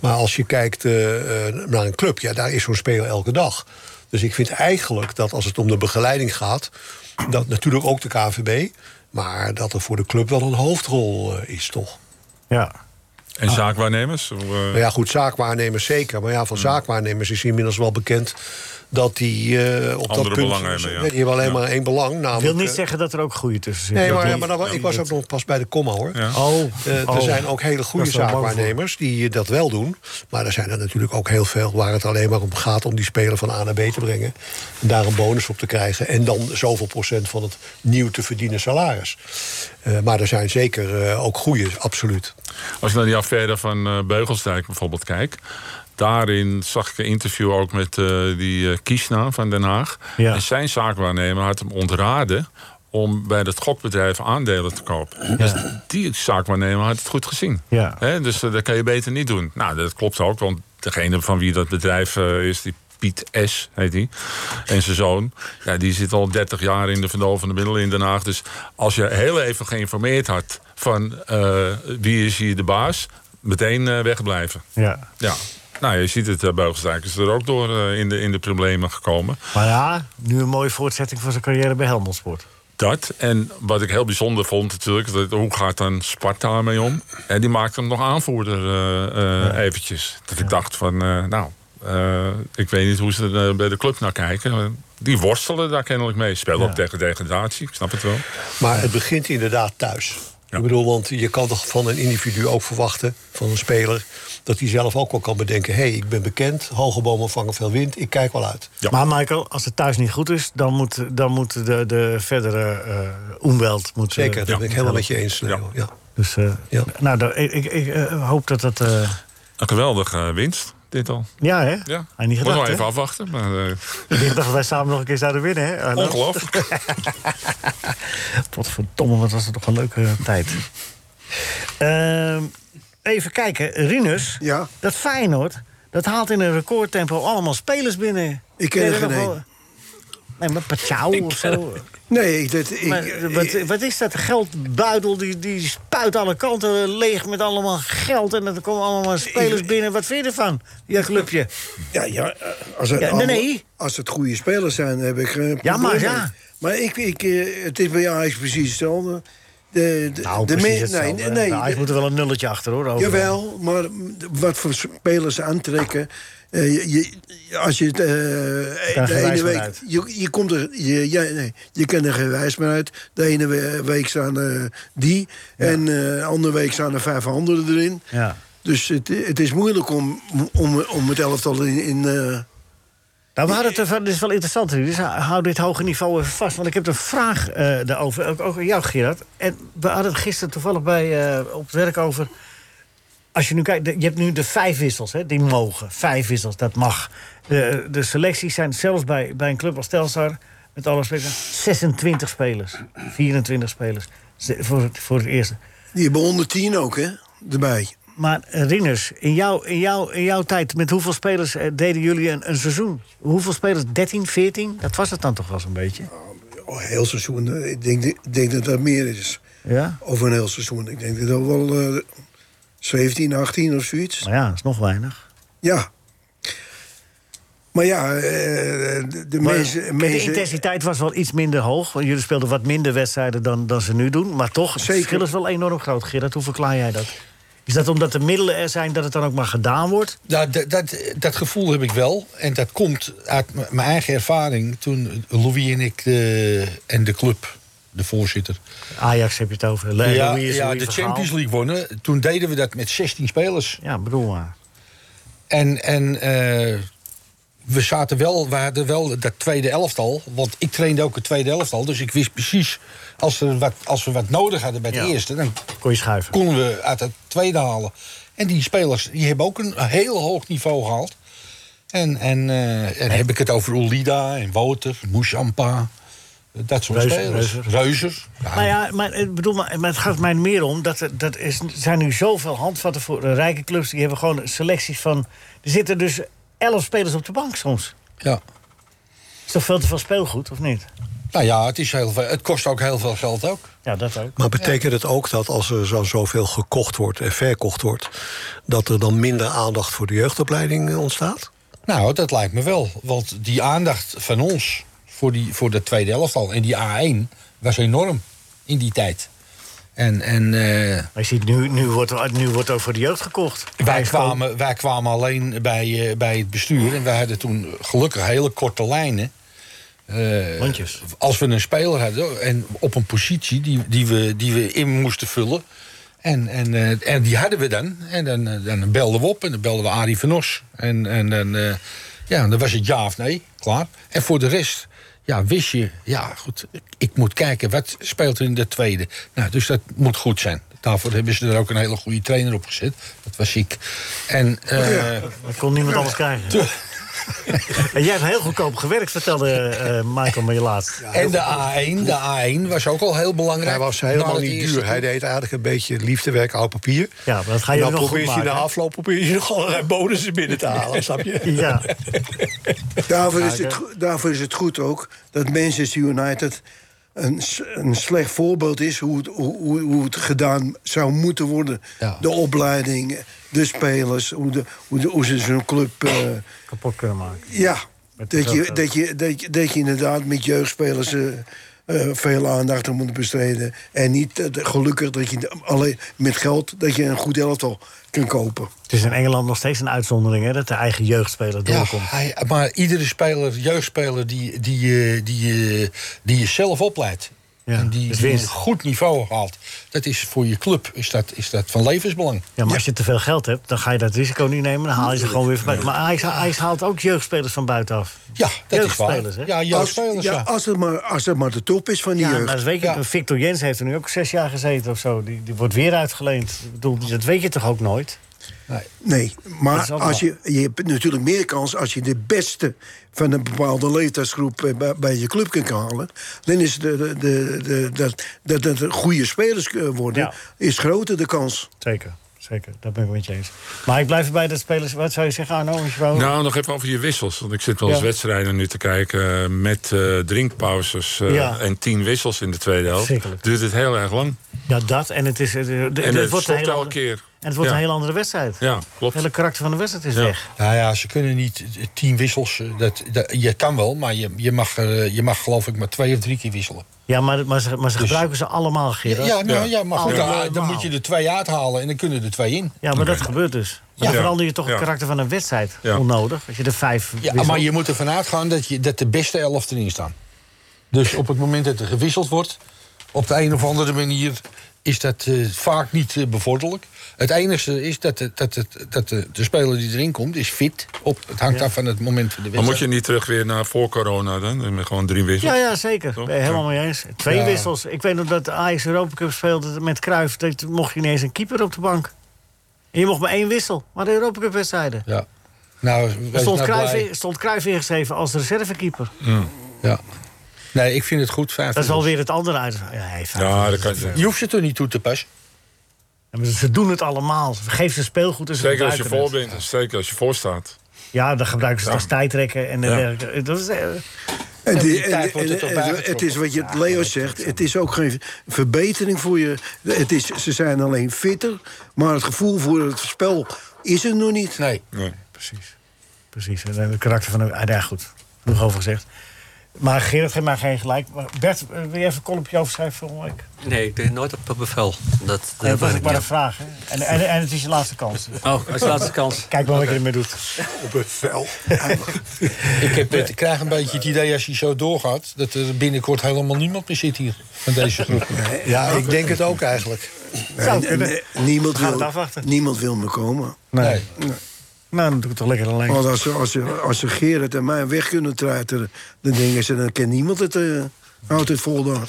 Speaker 8: Maar als je kijkt eh, eh, naar een club, ja, daar is zo'n speler elke dag. Dus ik vind eigenlijk dat als het om de begeleiding gaat, dat natuurlijk ook de KNVB. Maar dat er voor de club wel een hoofdrol eh, is, toch?
Speaker 3: Ja.
Speaker 7: En zaakwaarnemers. hoe, eh, Hmm.
Speaker 8: Nou ja, goed, zaakwaarnemers zeker. Maar ja, van zaakwaarnemers is inmiddels wel bekend dat die eh,
Speaker 7: Andere
Speaker 8: op dat punt...
Speaker 7: belangen hebben, ja.
Speaker 8: Nee, die hebben alleen
Speaker 7: Ja.
Speaker 8: maar één belang, namelijk...
Speaker 3: wil niet
Speaker 8: eh,
Speaker 3: zeggen dat er ook goede tussen zitten.
Speaker 8: Nee,
Speaker 3: Dat
Speaker 8: maar,
Speaker 3: niet.
Speaker 8: maar dan- ik was ook nog pas bij de comma, hoor.
Speaker 7: Ja.
Speaker 3: Oh,
Speaker 8: Eh,
Speaker 3: oh.
Speaker 8: Er zijn ook hele goede
Speaker 3: Dat is wel bang voor.
Speaker 8: zaakwaarnemers die eh, dat wel doen. Maar er zijn er natuurlijk ook heel veel waar het alleen maar om gaat om die speler van A naar B te brengen. En daar een bonus op te krijgen. En dan zoveel procent van het nieuw te verdienen salaris. Eh, maar er zijn zeker eh, ook goede, absoluut.
Speaker 7: Als je naar die affaire van eh, Beugelstijk bijvoorbeeld kijkt. Daarin zag ik een interview ook met eh, die eh, Kiesna van Den Haag.
Speaker 3: Ja.
Speaker 7: En zijn zaakwaarnemer had hem ontraden om bij dat gokbedrijf aandelen te kopen. Dus die zaakwaarnemer had het goed gezien.
Speaker 3: Ja.
Speaker 7: Hè, dus eh, dat kan je beter niet doen. Nou, dat klopt ook, want degene van wie dat bedrijf eh, is, die Piet S. heet die, en zijn zoon, ja, die zit al 30 jaar in de verdovende middelen in Den Haag. Dus als je heel even geïnformeerd had van eh, wie is hier de baas, meteen eh, wegblijven.
Speaker 3: Ja.
Speaker 7: Ja. Nou, je ziet het, uh, is er ook door eh, in, de, in de problemen gekomen.
Speaker 3: Maar ja, nu een mooie voortzetting van zijn carrière bij Helmond Sport.
Speaker 7: Dat. En wat ik heel bijzonder vond natuurlijk, dat, hoe gaat dan Sparta ermee om? En die maakte hem nog aanvoerder eh, eh, eventjes. Dat ik dacht van, eh, nou, eh, ik weet niet hoe ze er eh, bij de club naar kijken. Eh, Die worstelen daar kennelijk mee. Spelen op tegen degradatie, ik snap het wel.
Speaker 8: Maar het begint inderdaad thuis.
Speaker 7: Ja.
Speaker 8: Ik bedoel, want je kan toch van een individu ook verwachten, van een speler, dat hij zelf ook wel kan bedenken: hé, hey, ik ben bekend, hoge bomen vangen veel wind, ik kijk wel uit.
Speaker 7: Ja.
Speaker 3: Maar Michael, als het thuis niet goed is, dan moet, dan moet de, de verdere eh omweld... Moet, eh,
Speaker 8: Zeker, dat ben ik helemaal met je eens.
Speaker 7: Ja.
Speaker 8: Leo. Ja.
Speaker 3: Dus, eh,
Speaker 8: Ja.
Speaker 3: Nou, dan- ik, ik, ik eh, hoop dat dat... eh,
Speaker 7: Een geweldige eh, winst, dit al.
Speaker 3: ja, hè?
Speaker 7: Ja.
Speaker 3: Hij niet
Speaker 7: Moet nog
Speaker 3: gedacht, hè?
Speaker 7: even afwachten. Maar, eh,
Speaker 3: Ik dacht dat wij samen nog een keer zouden winnen, hè? Arno?
Speaker 7: ongelooflijk.
Speaker 3: Potverdomme, wat was het toch een leuke tijd. Ehm, even kijken, Rinus.
Speaker 4: Ja.
Speaker 3: Dat Feyenoord, dat haalt in een recordtempo allemaal spelers binnen.
Speaker 4: Ik ken
Speaker 3: Nee,
Speaker 4: er
Speaker 3: dat
Speaker 4: geen
Speaker 3: nog
Speaker 4: één.
Speaker 3: wel- Nee, maar Pachau of zo.
Speaker 4: Nee, ik, dat, ik,
Speaker 3: Maar wat,
Speaker 4: ik-
Speaker 3: wat is dat? De geldbuidel die, die spuit alle kanten leeg met allemaal geld. En er komen allemaal spelers binnen. Wat vind je ervan? Ja, clubje.
Speaker 4: ja, ja, als, het
Speaker 3: Ja, nee,
Speaker 4: allemaal-
Speaker 3: nee.
Speaker 4: als het goede spelers zijn, heb ik geen
Speaker 3: Ja, maar
Speaker 4: probleem.
Speaker 3: ja.
Speaker 4: Maar ik, ik, eh, het is bij Ajax precies hetzelfde. De, de,
Speaker 3: Nou,
Speaker 4: de
Speaker 3: precies
Speaker 4: me-
Speaker 3: hetzelfde.
Speaker 4: nee, nee,
Speaker 3: Nou, hij moet er wel een nulletje achter, hoor. overal.
Speaker 4: Jawel, maar wat voor spelers ze aantrekken. eh, je, je- als je het eh,
Speaker 3: kan
Speaker 4: de
Speaker 3: geen wijs
Speaker 4: ene
Speaker 3: meer
Speaker 4: week.
Speaker 3: uit.
Speaker 4: Je, je, komt er, je, ja, nee, je kan er geen wijs meer uit. De ene we- week staan eh, die. En de andere week staan er vijf anderen erin.
Speaker 3: Ja.
Speaker 4: Dus het, het is moeilijk om, om, om het elftal in. in eh,
Speaker 3: Nou, we hadden het ervan, dit is wel interessant. Dus hou dit hoge niveau even vast. Want ik heb een vraag eh daarover, ook, ook aan jou Gerard. En we hadden het gisteren toevallig bij, eh, op het werk over... Als je nu kijkt, de- je hebt nu de vijf wissels, hè, die mogen. Vijf wissels, dat mag. De, de selecties zijn zelfs bij, bij een club als Telstar... met alle respect, 26 spelers. 24 spelers. Ze- Voor, het- voor het eerste.
Speaker 4: die hebben 110 ook, hè? Erbij.
Speaker 3: Maar eh, Rinus, in, jou, in, jou, in jouw tijd, met hoeveel spelers eh, deden jullie een, een seizoen? Hoeveel spelers? 13, 14? Dat was het dan toch wel zo'n beetje?
Speaker 4: Oh, heel seizoen. eh, Ik denk, ik denk dat dat meer is.
Speaker 3: Ja?
Speaker 4: Over een heel seizoen. Ik denk dat dat wel eh, 17, 18 of zoiets.
Speaker 3: Maar ja, dat is nog weinig.
Speaker 4: Ja. Maar ja, eh, de, de
Speaker 3: Maar
Speaker 4: mensen...
Speaker 3: de
Speaker 4: mensen-
Speaker 3: intensiteit was wel iets minder hoog. want Jullie speelden wat minder wedstrijden dan, dan ze nu doen. Maar toch, het
Speaker 4: Zeker.
Speaker 3: verschil is wel enorm groot. Gerard, hoe verklaar jij dat? Is dat omdat de middelen er zijn dat het dan ook maar gedaan wordt?
Speaker 5: Nou, dat, dat, dat gevoel heb ik wel. En dat komt uit m- mijn eigen ervaring toen Louis en ik de, en de club, de voorzitter.
Speaker 3: Ajax heb je het over. Le-
Speaker 5: ja,
Speaker 3: Louis is
Speaker 5: ja,
Speaker 3: Louis
Speaker 5: de
Speaker 3: Vergaal.
Speaker 5: Champions League wonnen. Toen deden we dat met 16 spelers.
Speaker 3: Ja, bedoel maar.
Speaker 5: En, en eh, we zaten wel, we hadden wel dat tweede elftal. Want ik trainde ook het tweede elftal. Dus ik wist precies, als, er wat, als we wat nodig hadden bij de
Speaker 3: Ja.
Speaker 5: eerste... dan
Speaker 3: Kon je schuiven.
Speaker 5: konden we uit het tweede halen. En die spelers die hebben ook een heel hoog niveau gehaald. En, en, eh, en dan heb ik het over Ulida en Wouter, Moesampa. Dat soort
Speaker 3: Reuzer,
Speaker 5: spelers.
Speaker 3: Reuzer.
Speaker 5: Reuzer. Ja,
Speaker 3: Maar Nou ja, maar, ik bedoel, maar, maar het gaat mij meer om. Dat, er- dat is, er zijn nu zoveel handvatten voor eh, rijke clubs. Die hebben gewoon selecties van. Er zitten dus elf spelers op de bank soms.
Speaker 5: ja.
Speaker 3: Is toch veel te veel speelgoed, of niet?
Speaker 5: Nou ja, het, is heel veel, het kost ook heel veel geld ook.
Speaker 3: Ja, dat ook.
Speaker 8: Maar betekent het ook dat als er zo zoveel gekocht wordt en verkocht wordt... dat er dan minder aandacht voor de jeugdopleiding eh, ontstaat?
Speaker 5: Nou, dat lijkt me wel. Want die aandacht van ons voor, die, voor de tweede elftal en die A1 was enorm in die tijd. En, en eh,
Speaker 3: Maar je ziet, nu, nu, wordt, nu wordt ook voor de jeugd gekocht.
Speaker 5: wij, kwamen, wij kwamen alleen bij, eh, bij het bestuur. En wij hadden toen gelukkig hele korte lijnen. Eh,
Speaker 3: Landjes.
Speaker 5: als we een speler hadden en op een positie die, die, we, die we in moesten vullen. En, en, eh, en die hadden we dan. En dan, eh, dan belden we op en dan belden we Arie van Os. En, en dan, eh, ja, dan was het ja of nee, klaar. En voor de rest ja, wist je, ja goed, ik moet kijken wat speelt er in de tweede. Nou, dus dat moet goed zijn. Daarvoor hebben ze er ook een hele goede trainer op gezet. Dat was ik. En eh,
Speaker 3: Dat kon niemand anders krijgen. En jij hebt heel goedkoop gewerkt, vertelde eh, Michael me laatst.
Speaker 5: En de A1, de A1 was ook al heel belangrijk.
Speaker 8: Hij was
Speaker 5: Na
Speaker 8: helemaal
Speaker 5: nou, het
Speaker 8: niet
Speaker 5: eerste
Speaker 8: duur. Hij deed eigenlijk een beetje liefdewerk oud papier.
Speaker 3: Ja, maar dat ga je
Speaker 8: dan
Speaker 3: nog goed
Speaker 8: probeert je
Speaker 3: maken.
Speaker 8: na afloop probeer je nog allerlei bonussen binnen te halen, snap je?
Speaker 3: hè? Ja,
Speaker 4: Daarvoor is, het, go- daarvoor is het goed ook dat Manchester United een, s- een slecht voorbeeld is hoe het, hoe, hoe- hoe het gedaan zou moeten worden.
Speaker 5: Ja.
Speaker 4: De opleiding, de spelers, hoe, de, hoe, de, hoe ze zo'n club. eh,
Speaker 3: kapot kunnen maken.
Speaker 4: ja,
Speaker 3: Met
Speaker 4: dat je,
Speaker 3: geld,
Speaker 4: dat, je, dat, je, dat je inderdaad met jeugdspelers. eh, eh, veel aandacht aan moet besteden. En niet eh, gelukkig dat je de- alleen met geld dat je een goed elftal kan kopen.
Speaker 3: Het is in Engeland nog steeds een uitzondering, hè, dat de eigen jeugdspeler
Speaker 5: Ja,
Speaker 3: doorkomt.
Speaker 5: hij, maar iedere speler, jeugdspeler die, die, eh, die, eh, die je zelf opleidt.
Speaker 3: Ja,
Speaker 5: en die,
Speaker 3: dat is
Speaker 5: die
Speaker 3: winst.
Speaker 5: een goed niveau haalt. Dat is voor je club is dat, is dat van levensbelang.
Speaker 3: Ja, maar als je te veel geld hebt, dan ga je dat risico niet nemen. Dan haal je ze gewoon weer van buiten. Maar Ajax, Ajax haalt ook jeugdspelers van buitenaf.
Speaker 5: Ja, dat is
Speaker 3: Jeugdspelers, hè?
Speaker 5: waar. Ja, jeugdspelers,
Speaker 4: ja,
Speaker 5: ja.
Speaker 4: als, het maar, als het maar de top is van die
Speaker 3: Ja, maar
Speaker 4: jeugd.
Speaker 3: dat weet je.
Speaker 5: Ja.
Speaker 3: Victor Jens heeft er nu ook zes jaar gezeten of zo. Die, die wordt weer uitgeleend. Ik bedoel, dat weet je toch ook nooit?
Speaker 4: Nee,
Speaker 3: Dat is
Speaker 4: maar
Speaker 3: ook
Speaker 4: als je, je hebt natuurlijk meer kans als je de beste van een bepaalde leeftijdsgroep eh, bij, bij je club kunt halen. Dan is de, de, de, de- dat, dat dat er goede spelers eh, worden,
Speaker 3: Ja.
Speaker 4: is groter de kans.
Speaker 3: Zeker, zeker. Dat ben ik met je eens. Maar ik blijf erbij dat spelers... Wat zou je zeggen, Arno? als je wou-
Speaker 7: Nou, nog even over je wissels. Want ik zit wel eens
Speaker 3: Ja.
Speaker 7: wedstrijden nu te kijken eh, met eh, drinkpauzes eh,
Speaker 3: Ja.
Speaker 7: en tien wissels in de tweede helft.
Speaker 3: Verschrikkelijk.
Speaker 7: Duurt het heel erg lang.
Speaker 3: Ja, dat. En het, is, het, het-
Speaker 7: En
Speaker 3: het
Speaker 7: het
Speaker 3: wordt een
Speaker 7: stopt
Speaker 3: hele
Speaker 7: elke
Speaker 3: andere-
Speaker 7: keer.
Speaker 3: En het wordt
Speaker 7: Ja.
Speaker 3: een hele andere wedstrijd.
Speaker 7: Ja, klopt.
Speaker 3: Het hele karakter van de wedstrijd is
Speaker 7: Ja.
Speaker 3: weg.
Speaker 5: Nou ja, ze kunnen niet eh, tien wissels. eh, Dat, dat, je kan wel, maar je, je, mag, er, eh, je mag geloof ik maar twee of drie keer wisselen.
Speaker 3: Ja, maar, maar, ze,
Speaker 7: Dus-
Speaker 3: maar ze gebruiken ze allemaal,
Speaker 5: Ja,
Speaker 3: Gerard. Ja,
Speaker 5: ja, nou, ja maar goed,
Speaker 3: Allemaal.
Speaker 5: dan, dan moet je er twee uithalen en dan kunnen er twee in.
Speaker 3: maar dat gebeurt dus. Dan
Speaker 7: Ja.
Speaker 3: verander je toch
Speaker 7: Ja.
Speaker 3: het karakter van een wedstrijd.
Speaker 7: Ja.
Speaker 3: Onnodig. Als je er vijf
Speaker 5: Ja,
Speaker 3: wisselt.
Speaker 5: maar je moet ervan uitgaan dat, je, dat de beste elf erin staan. Dus op het moment dat er gewisseld wordt, op de een of andere manier is dat eh, vaak niet eh, bevorderlijk. Het enige is dat, de, dat, het dat de, de speler die erin komt, is fit. Op, het hangt af van het moment van de
Speaker 7: Dan
Speaker 5: wedstrijd.
Speaker 7: moet je niet terug weer naar voor corona dan. Met gewoon drie wissels.
Speaker 3: Ja, ja, zeker.
Speaker 7: Toch?
Speaker 3: Ben je helemaal mee eens. Twee
Speaker 5: Ja.
Speaker 3: wissels. Ik weet nog dat de Ajax Europa Cup speelde met Cruijff. Dat mocht je niet eens een keeper op de bank. En je mocht maar één wissel. Maar de Europa Cup wedstrijden.
Speaker 5: Ja. Nou,
Speaker 3: Er
Speaker 5: wees
Speaker 3: stond,
Speaker 5: nou
Speaker 3: Cruijff
Speaker 5: blij.
Speaker 3: in- stond Cruijff ingeschreven als reservekeeper.
Speaker 5: Ja. Nee, ik vind het goed. Vijf
Speaker 3: Dat is
Speaker 5: minuten.
Speaker 3: alweer het andere uit. Ja, hij heeft-
Speaker 7: Ja, dat kan je.
Speaker 5: Je hoeft het er niet toe te passen.
Speaker 3: Ja, maar Ze doen het allemaal. Ze geven ze speelgoed en ze
Speaker 7: Zeker als je
Speaker 3: gebruiken
Speaker 7: voor
Speaker 3: het.
Speaker 7: bent. Zeker als je voor staat.
Speaker 3: Ja, dan gebruiken ze het als tijdrekken en
Speaker 7: Ja.
Speaker 3: dergelijke. Dat is, eh,
Speaker 4: En
Speaker 5: die
Speaker 4: die- en-
Speaker 5: tijd wordt
Speaker 4: en-
Speaker 5: er toch
Speaker 4: en-
Speaker 5: bijgetrokken.
Speaker 4: Eh, het is wat je, Leo zegt, het is ook geen verbetering voor je. Het is, ze zijn alleen fitter, maar het gevoel voor het spel is er nog niet.
Speaker 5: Nee.
Speaker 7: Nee.
Speaker 3: precies. Precies. En het karakter van... de- Ah, ja, goed. Nog over gezegd. Maar Gerard geeft mij geen gelijk. Maar Bert, eh, wil je even een kolompje overschrijven volgende week?
Speaker 6: Nee, ik deed nooit op bevel. Dat,
Speaker 3: Nee, dat was ook maar een vraag. Hè? En, en, en het is je laatste kans.
Speaker 6: Oh, als laatste kans.
Speaker 3: Kijk maar wat je ermee doet.
Speaker 8: Op het vel.
Speaker 5: Ik, heb, het- ik krijg een beetje het idee als je zo doorgaat... dat er binnenkort helemaal niemand meer zit hier van deze groep.
Speaker 8: Ja, ik denk het ook eigenlijk.
Speaker 3: Zou
Speaker 4: En,
Speaker 3: kunnen.
Speaker 4: eh, niemand,
Speaker 3: We gaan het
Speaker 4: wil,
Speaker 3: afwachten.
Speaker 4: niemand wil me komen.
Speaker 5: Nee.
Speaker 3: Nou, dan doe ik het toch lekker alleen.
Speaker 4: Want als ze, als, ze, als ze Gerrit en mij weg kunnen treiteren... dan denken ze, dan kent niemand het... eh houdt het vol daar.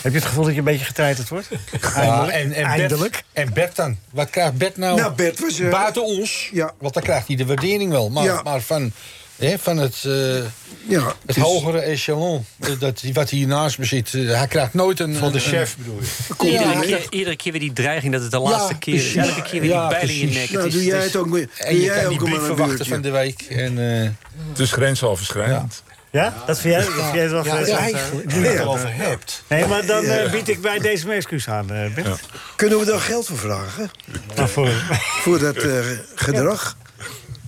Speaker 3: Heb je het gevoel dat je een beetje getreiterd wordt?
Speaker 5: Ja, en, en,
Speaker 3: Eindelijk.
Speaker 5: Bert, en Bert dan? Wat krijgt Bert nou?
Speaker 4: Nou, Bert was, eh,
Speaker 5: Buiten ons,
Speaker 4: ja.
Speaker 5: want dan krijgt hij de waardering wel. Maar,
Speaker 4: Ja.
Speaker 5: maar van, hè, van het, eh,
Speaker 4: Ja, dus-
Speaker 5: het
Speaker 4: is-
Speaker 5: hogere echelon, eh, dat, die- wat hij hiernaast bezit... eh, hij krijgt nooit een... Van de chef bedoel je?
Speaker 4: komt er
Speaker 6: Iedere
Speaker 4: niet.
Speaker 6: keer, iedere keer weer die dreiging dat het de laatste keer is.
Speaker 5: precies.
Speaker 6: Elke keer weer die
Speaker 5: Ja,
Speaker 6: bijling in je nek.
Speaker 5: precies.
Speaker 4: Nou,
Speaker 6: Het is-
Speaker 4: doe jij
Speaker 6: het is-
Speaker 4: het ook, mee-
Speaker 5: En
Speaker 4: doe
Speaker 5: je
Speaker 4: jij
Speaker 5: kan
Speaker 4: ook
Speaker 5: die
Speaker 4: maar
Speaker 5: brief
Speaker 4: een
Speaker 5: verwachten
Speaker 4: buurtje.
Speaker 5: van de week. En, eh,
Speaker 7: Het is grensoverschrijdend.
Speaker 3: Ja? Dat vind jij, dat vind jij wel
Speaker 5: ja,
Speaker 3: geweest?
Speaker 5: eigenlijk, nu je het erover hebt.
Speaker 3: Nee, maar dan eh, bied ik bij deze mijn excuus aan, eh, Bert.
Speaker 4: Kunnen we daar geld voor vragen?
Speaker 3: Daarvoor.
Speaker 4: Voor dat eh, gedrag?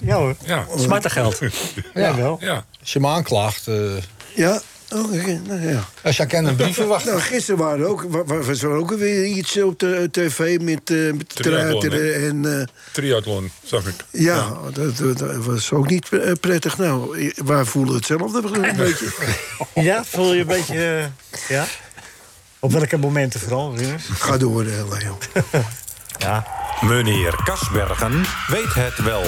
Speaker 3: Ja hoor.
Speaker 7: Ja.
Speaker 6: Smartengeld.
Speaker 3: Ja. wel.
Speaker 7: Ja.
Speaker 5: Als je me aanklaagt... eh,
Speaker 4: Ja? Oh, oké, nou ja.
Speaker 5: Als jij kent een brief verwacht.
Speaker 4: Nou, gisteren waren ook, wa- wa- was er ook weer iets op de tv met, eh met
Speaker 7: Triathlon,
Speaker 4: truiteren
Speaker 7: hè?
Speaker 4: en... eh,
Speaker 7: Triathlon, zag ik.
Speaker 4: ja, Dat, dat- dat was ook niet eh, prettig. Nou, eh, wij voelen hetzelfde een beetje.
Speaker 3: Ja, voel je een beetje... eh, ja? Op welke momenten vooral, Rinus?
Speaker 4: Ga door, eh, Leon.
Speaker 3: Ja.
Speaker 11: Meneer Kasbergen weet het wel.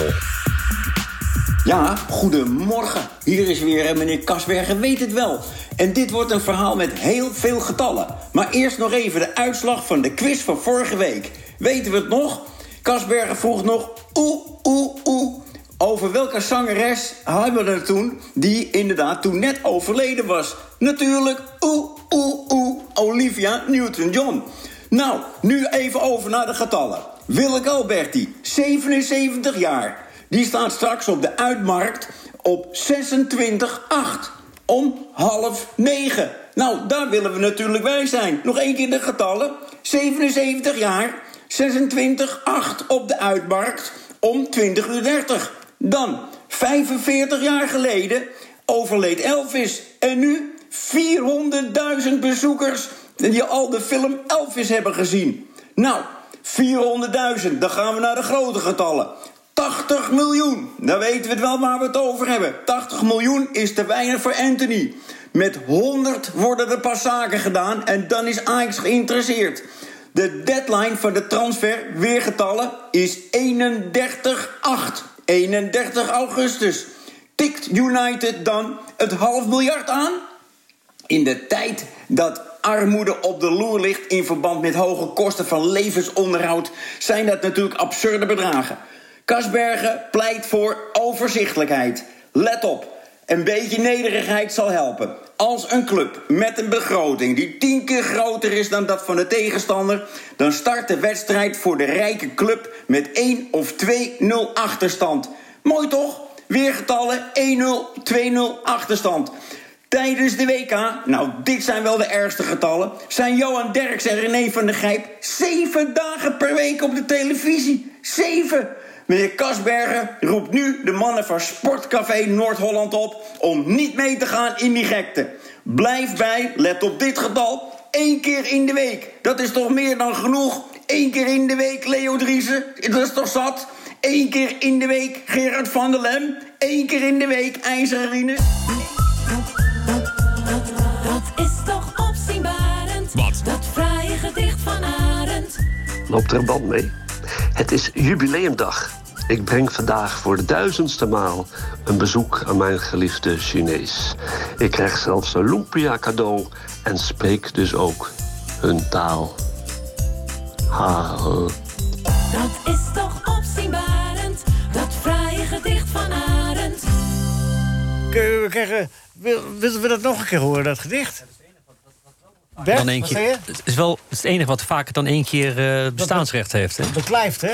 Speaker 12: Ja, goedemorgen. Hier is weer eh, meneer Kasbergen, weet het wel. En dit wordt een verhaal met heel veel getallen. Maar eerst nog even de uitslag van de quiz van vorige week. Weten we het nog? Kasbergen vroeg nog oe, oe, oe. Over welke zangeres hadden we het toen... die inderdaad toen net overleden was? Natuurlijk oe, oe, oe, Olivia Newton-John. Nou, nu even over naar de getallen. Willeke Alberti, 77 jaar. Die staat straks op de uitmarkt op 26,8 om half 9. Nou, daar willen we natuurlijk bij zijn. Nog één keer de getallen. 77 jaar, 26,8 op de uitmarkt om 20.30 uur. Dan, 45 jaar geleden, overleed Elvis. En nu 400.000 bezoekers die al de film Elvis hebben gezien. Nou, 400.000, dan gaan we naar de grote getallen. 80 miljoen. Dan weten we het wel waar we het over hebben. 80 miljoen is te weinig voor Anthony. Met 100 worden er pas zaken gedaan en dan is Ajax geïnteresseerd. De deadline van de transfer, weer getallen, is 31-8. 31 augustus. Tikt United dan het half miljard aan? In de tijd dat armoede op de loer ligt in verband met hoge kosten van levensonderhoud, zijn dat natuurlijk absurde bedragen. Kasbergen pleit voor overzichtelijkheid. Let op, een beetje nederigheid zal helpen. Als een club met een begroting die tien keer groter is dan dat van de tegenstander, dan start de wedstrijd voor de rijke club met 1 of 2-0 achterstand. Mooi toch? Weer getallen 1-0, 2-0 achterstand. Tijdens de WK, nou dit zijn wel de ergste getallen... zijn Johan Derks en René van der Gijp zeven dagen per week op de televisie. Zeven! Meneer Kasbergen roept nu de mannen van Sportcafé Noord-Holland op... om niet mee te gaan in die gekte. Blijf bij, let op dit getal, één keer in de week. Dat is toch meer dan genoeg? Eén keer in de week Leo Driessen, dat is toch zat? Eén keer in de week Gerard van der Lem. Eén keer in de week IJzeren Rienes.
Speaker 13: Dat is toch opzienbarend? Wat? Dat fraaie gedicht van Arend.
Speaker 14: Loopt er een band mee? Het is jubileumdag. Ik breng vandaag voor de duizendste maal een bezoek aan mijn geliefde Chinees. Ik krijg zelfs een lumpia cadeau en spreek dus ook hun taal. Haal.
Speaker 13: Dat is toch opzienbarend? Dat fraaie gedicht van Arend.
Speaker 3: Kun- we krijgen- wil- Willen we dat nog een keer horen, dat gedicht? Bert,
Speaker 6: Dan één
Speaker 3: wat
Speaker 6: keer-
Speaker 3: zei je?
Speaker 6: Het is wel het enige wat vaker dan één keer eh, bestaansrecht heeft. Hè?
Speaker 3: Beklijft, hè?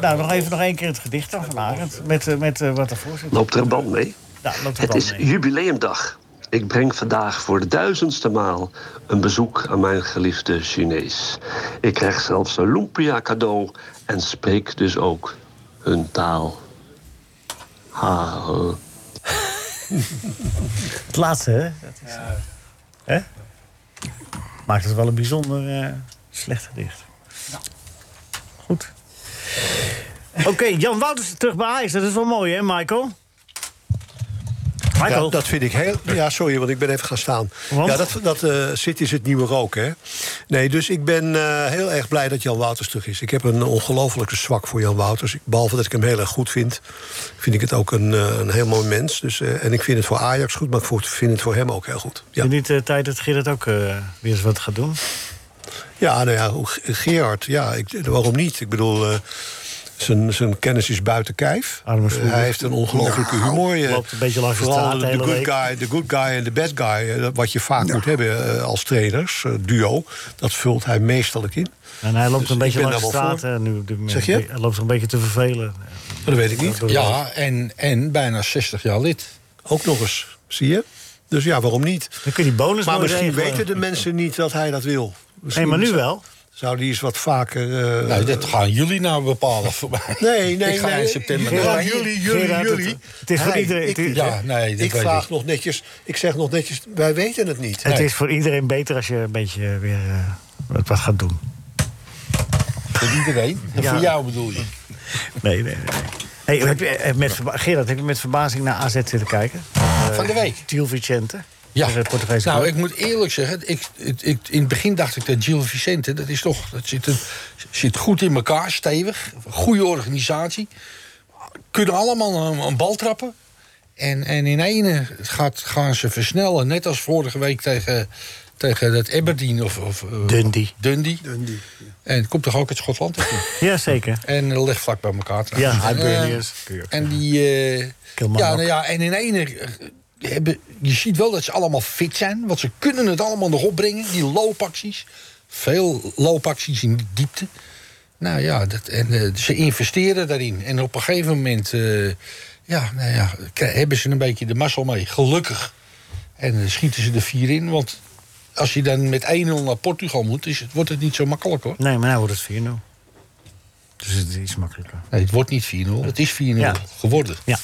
Speaker 3: Nou, nog even nog één keer het gedicht dan van Arend. Met, eh, met eh, wat ervoor zit.
Speaker 14: Loopt er een band mee?
Speaker 3: Ja, loopt er
Speaker 14: Het
Speaker 3: band
Speaker 14: is
Speaker 3: mee.
Speaker 14: jubileumdag. Ik breng vandaag voor de duizendste maal een bezoek aan mijn geliefde Chinees. Ik krijg zelfs een lumpia cadeau en spreek dus ook hun taal. Ha. eh.
Speaker 3: Het laatste, hè? Dat is, hè? Maakt het wel een bijzonder eh, slecht gedicht. Goed. Oké, Jan Wouters terug bij Ajax. Dat is wel mooi, hè, Michael?
Speaker 8: Ja, dat vind ik heel... Ja, sorry, want ik ben even gaan staan. Ja, dat, dat eh, zit is het nieuwe rook, hè? Nee, dus ik ben eh, heel erg blij dat Jan Wouters terug is. Ik heb een ongelofelijke zwak voor Jan Wouters. Ik- Behalve dat ik hem heel erg goed vind, vind ik het ook een, eh, een heel mooi mens. Dus, eh, en ik vind het voor Ajax goed, maar ik vo- vind het voor hem ook heel goed.
Speaker 3: Is het niet de tijd dat Gerrit ook eh, weer eens wat gaat doen?
Speaker 8: Ja, nou ja, hoe- Ge- Gerard, ja, ik, waarom niet? Ik bedoel, eh, zijn, zijn kennis is buiten kijf. Eh,
Speaker 3: smoeder.
Speaker 8: hij heeft een ongelofelijke
Speaker 3: Nou,
Speaker 8: humor. eh,
Speaker 3: loopt een beetje langs de
Speaker 8: vooral
Speaker 3: straat de hele
Speaker 8: good
Speaker 3: week.
Speaker 8: guy, de good guy en de bad guy, eh, dat wat je vaak moet hebben eh, als trainers, eh, duo. Dat vult hij meestal in.
Speaker 3: En hij loopt
Speaker 8: Dus
Speaker 3: een
Speaker 8: ik
Speaker 3: beetje
Speaker 8: ben
Speaker 3: langs de
Speaker 8: daar wel
Speaker 3: straat eh.
Speaker 8: voor.
Speaker 3: hè, nu op dit moment.
Speaker 8: Zeg je?
Speaker 3: Hij loopt zich een beetje te vervelen.
Speaker 8: Dat weet ik niet.
Speaker 5: Ja, en, en bijna 60 jaar lid.
Speaker 8: Ook nog eens, zie je? Dus ja, waarom niet?
Speaker 3: Dan kun je die bonus
Speaker 8: maar
Speaker 3: mooi
Speaker 8: misschien
Speaker 3: regelen.
Speaker 8: weten de mensen niet dat hij dat wil.
Speaker 3: Nee, eh. maar nu wel.
Speaker 8: Zou die eens wat vaker... eh,
Speaker 5: Nou, dat gaan jullie nou bepalen voor mij.
Speaker 8: Nee, nee,
Speaker 5: Ik ga
Speaker 8: nee.
Speaker 5: in september
Speaker 8: Gerard,
Speaker 5: naar
Speaker 8: jullie, jullie,
Speaker 5: Gerard,
Speaker 8: jullie.
Speaker 5: het- het is voor
Speaker 8: Hij,
Speaker 5: iedereen-
Speaker 8: ik-
Speaker 5: het is-
Speaker 8: ja,
Speaker 5: hè?
Speaker 8: nee,
Speaker 5: dat
Speaker 8: ik
Speaker 5: weet
Speaker 8: vraag
Speaker 5: ik.
Speaker 8: nog netjes. Ik zeg nog netjes, wij weten het niet.
Speaker 3: Het is voor iedereen beter als je een beetje weer eh, wat wat gaat doen.
Speaker 5: Voor iedereen? En
Speaker 3: Ja.
Speaker 5: Voor jou bedoel je?
Speaker 3: Nee, nee, nee. Hey, heb je, eh, met verba- Gerard, heb je met verbazing naar AZ zitten kijken?
Speaker 5: Van de week.
Speaker 3: Gil Vicente.
Speaker 5: Ja.
Speaker 3: de Portugese
Speaker 5: Nou,
Speaker 3: club.
Speaker 5: ik moet eerlijk zeggen, ik, ik, ik- in het begin dacht ik dat Gil Vicente, dat is toch, dat zit, er- zit goed in elkaar, stevig, goede organisatie, kunnen allemaal een, een bal trappen. En, en in ene gaat, gaan ze versnellen, net als vorige week tegen, tegen dat Aberdeen of, of eh,
Speaker 3: Dundee.
Speaker 5: Dundee. En het komt toch ook uit Schotland? of niet?
Speaker 3: Jazeker.
Speaker 5: En dat ligt vlak bij elkaar.
Speaker 3: Ja,
Speaker 5: trouwens. En, eh,
Speaker 3: Hibernians.
Speaker 5: En die. eh,
Speaker 3: Kilmarnock.
Speaker 5: ja, nou ja, en in één. eh, hebben- Je ziet wel dat ze allemaal fit zijn, want ze kunnen het allemaal nog opbrengen. Die loopacties. Veel loopacties in die diepte. Nou ja, dat, en, eh, ze investeren daarin. En op een gegeven moment. eh, ja, nou ja, krij- hebben ze een beetje de mazzel mee. Gelukkig. En eh, schieten ze er vier in, want. Als je dan met 1-0 naar Portugal moet, is het, wordt het niet zo makkelijk hoor.
Speaker 3: Nee, maar nou wordt het 4-0. Dus het is iets makkelijker.
Speaker 5: Nee, het wordt niet 4-0, het is 4-0 geworden.
Speaker 3: Ja.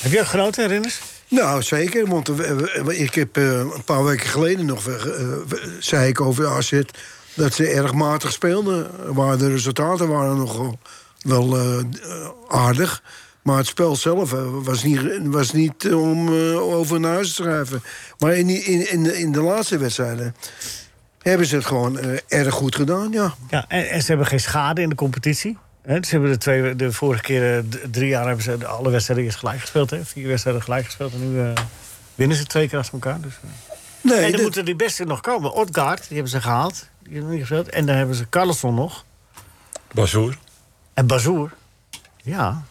Speaker 3: Heb je ook genoten, herinners?
Speaker 4: Nou, zeker. Want we- we- ik heb eh, een paar weken geleden nog... eh, we- zei ik over AZ dat ze erg matig speelden. Waar de resultaten waren nog wel eh, aardig. Maar het spel zelf eh, was niet, was niet om eh, over naar huis te schrijven. Maar in, die- in, in, de- in de laatste wedstrijden hebben ze het gewoon eh, erg goed gedaan, ja.
Speaker 3: Ja, en, en ze hebben geen schade in de competitie. Hè, ze hebben de, twee, de vorige keer, eh, d- drie jaar, hebben ze de- alle wedstrijden eerst gelijk gespeeld. Hè? Vier wedstrijden gelijk gespeeld. En nu eh, winnen ze twee keer achter elkaar. Dus, eh.
Speaker 4: Nee,
Speaker 3: en dan
Speaker 4: dat-
Speaker 3: moeten die beste nog komen. Odgaard, die hebben ze gehaald. Die hebben niet gespeeld. En dan hebben ze Carlson nog.
Speaker 7: Bazoer.
Speaker 3: En Bazoer. Ja.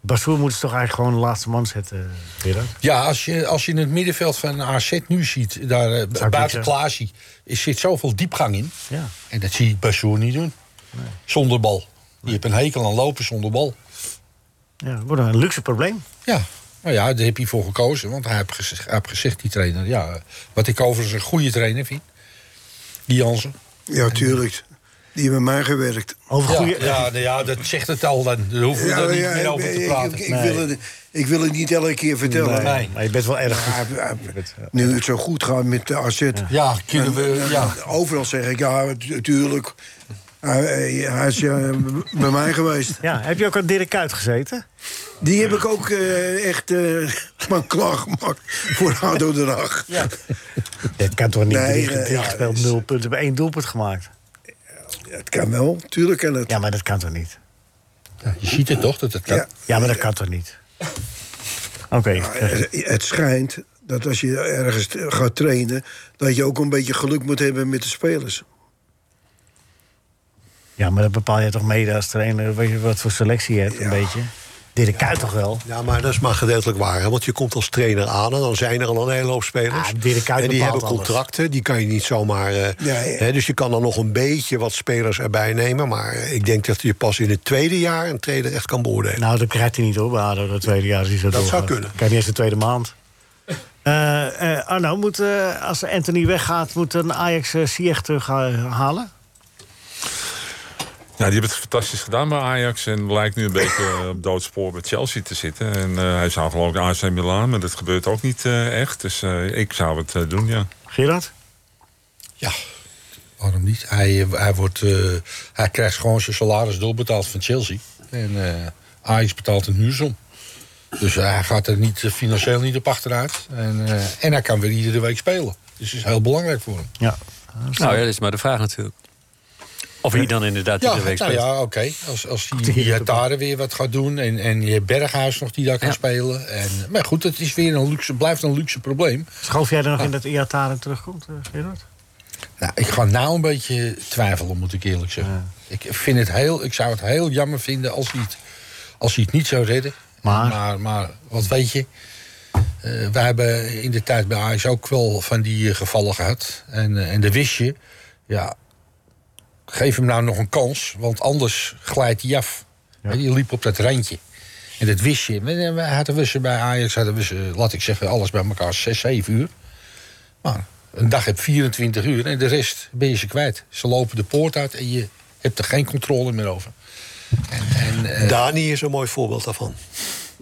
Speaker 3: Bazoer moeten ze toch eigenlijk gewoon de laatste man zetten, Gerard?
Speaker 5: Ja, als je, als je in het middenveld van AZ nu ziet, daar eh,
Speaker 3: ik niet
Speaker 5: buiten
Speaker 3: zeggen.
Speaker 5: Klaasie, er zit zoveel diepgang in.
Speaker 3: Ja.
Speaker 5: En dat zie ik Bassoer niet doen. Zonder bal. Je hebt een hekel aan lopen zonder bal.
Speaker 3: Ja, dat wordt een luxe probleem.
Speaker 5: Ja, nou ja, daar heb hij voor gekozen. Want hij heeft gezegd, hij heeft gezegd die trainer, ja, eh, wat ik overigens een goede trainer vind. Die Jansen.
Speaker 4: Ja, tuurlijk. Die hebben mij gewerkt.
Speaker 3: Over
Speaker 5: Ja, ja, nou ja, dat zegt het al. Dan daar hoeven we daar niet meer over te
Speaker 4: ik-
Speaker 5: praten.
Speaker 4: Ik, ik, wil het, ik wil het niet elke keer vertellen.
Speaker 5: Nee.
Speaker 3: Maar je bent wel erg
Speaker 4: Maar, eh, Nu het zo goed gaat met de AZ.
Speaker 5: Ja, kunnen we-
Speaker 4: En, eh,
Speaker 5: ja.
Speaker 4: Overal zeg ik, ja, tu- tuurlijk. Hij, hij is eh, b- bij mij geweest.
Speaker 3: Ja, heb je ook aan Dirk Kuyt gezeten?
Speaker 4: Die heb ik ook eh, echt eh mijn klaar gemaakt voor ADO Den Haag.
Speaker 3: Dat kan toch niet
Speaker 4: Nee,
Speaker 3: nee,
Speaker 4: eh, ja,
Speaker 3: gespeeld, nul punten, bij één doelpunt gemaakt.
Speaker 4: Het kan wel, tuurlijk kan het.
Speaker 3: Ja, maar dat kan toch niet?
Speaker 5: Je ziet het toch, dat het kan.
Speaker 4: Ja.
Speaker 3: Ja, maar dat kan toch niet? Oké.
Speaker 4: Het- Het schijnt dat als je ergens t- gaat trainen... dat je ook een beetje geluk moet hebben met de spelers.
Speaker 3: Ja, maar dat bepaal je toch mede als trainer weet je, wat voor selectie je hebt, een beetje. Dirk Kuyt toch wel?
Speaker 8: Ja, maar dat is maar gedeeltelijk waar. hè, Want je komt als trainer aan en dan zijn er al een hele hoop spelers.
Speaker 3: Ah, Dirk Kuyt
Speaker 8: en die
Speaker 3: bepaalt
Speaker 8: hebben
Speaker 3: alles.
Speaker 8: contracten, die kan je niet zomaar... eh, Hè, dus je kan dan nog een beetje wat spelers erbij nemen. Maar eh, ik denk dat je pas in het tweede jaar een trainer echt kan beoordelen.
Speaker 3: Nou, dat krijgt hij niet hoor, bij ADO, dat tweede jaar. als hij zo
Speaker 8: Dat zou
Speaker 3: doorgaat.
Speaker 8: kunnen.
Speaker 3: Krijgt niet eens de tweede maand. Eh, eh, Arno, moet, eh, als Anthony weggaat, moet een Ajax eh, Ziyech terughalen?
Speaker 7: Ja, die hebben het fantastisch gedaan bij Ajax. En lijkt nu een beetje eh, op doodspoor bij Chelsea te zitten. En eh, hij zou geloof ik AC Milan, maar dat gebeurt ook niet eh, echt. Dus eh, ik zou het eh, doen, ja.
Speaker 3: Gerard?
Speaker 5: Ja, waarom niet? Hij, eh, hij, wordt, eh, hij krijgt gewoon zijn salaris doorbetaald van Chelsea. En eh Ajax betaalt een huursom. Dus hij gaat er niet, eh, financieel niet op achteruit. En, eh, en hij kan weer iedere week spelen. Dus dat is heel belangrijk voor hem.
Speaker 3: Ja.
Speaker 6: Nou ja, dat is maar de vraag natuurlijk. Of hij dan inderdaad
Speaker 5: Ja,
Speaker 6: iedere week
Speaker 5: nou
Speaker 6: speelt.
Speaker 5: ja, oké. Als, als die, die Jatare weer wat gaat doen. En, en je hebt Berghuis nog die daar kan spelen. En, maar goed, het is weer een luxe, blijft een luxe probleem.
Speaker 3: Schoof jij er nog in dat Iataren terugkomt, eh, Gerard?
Speaker 5: Nou, ik ga nou een beetje twijfelen, moet ik eerlijk zeggen. Ik, vind het heel, ik zou het heel jammer vinden als hij het, als hij het niet zou redden.
Speaker 3: Maar?
Speaker 5: maar, maar wat weet je... eh, wij hebben in de tijd bij Ajax ook wel van die eh, gevallen gehad. En, eh, en dan wist je... Ja, geef hem nou nog een kans, want anders glijdt hij af. Hè, Je liep op dat randje. En dat wist je. eh, We- we Hadden we ze bij Ajax, hadden we ze, laat ik zeggen, alles bij elkaar 6, 7 uur. Maar Een dag heb 24 uur en de rest ben je ze kwijt. Ze lopen de poort uit en je hebt er geen controle meer over. eh,
Speaker 8: Dani is een mooi voorbeeld daarvan.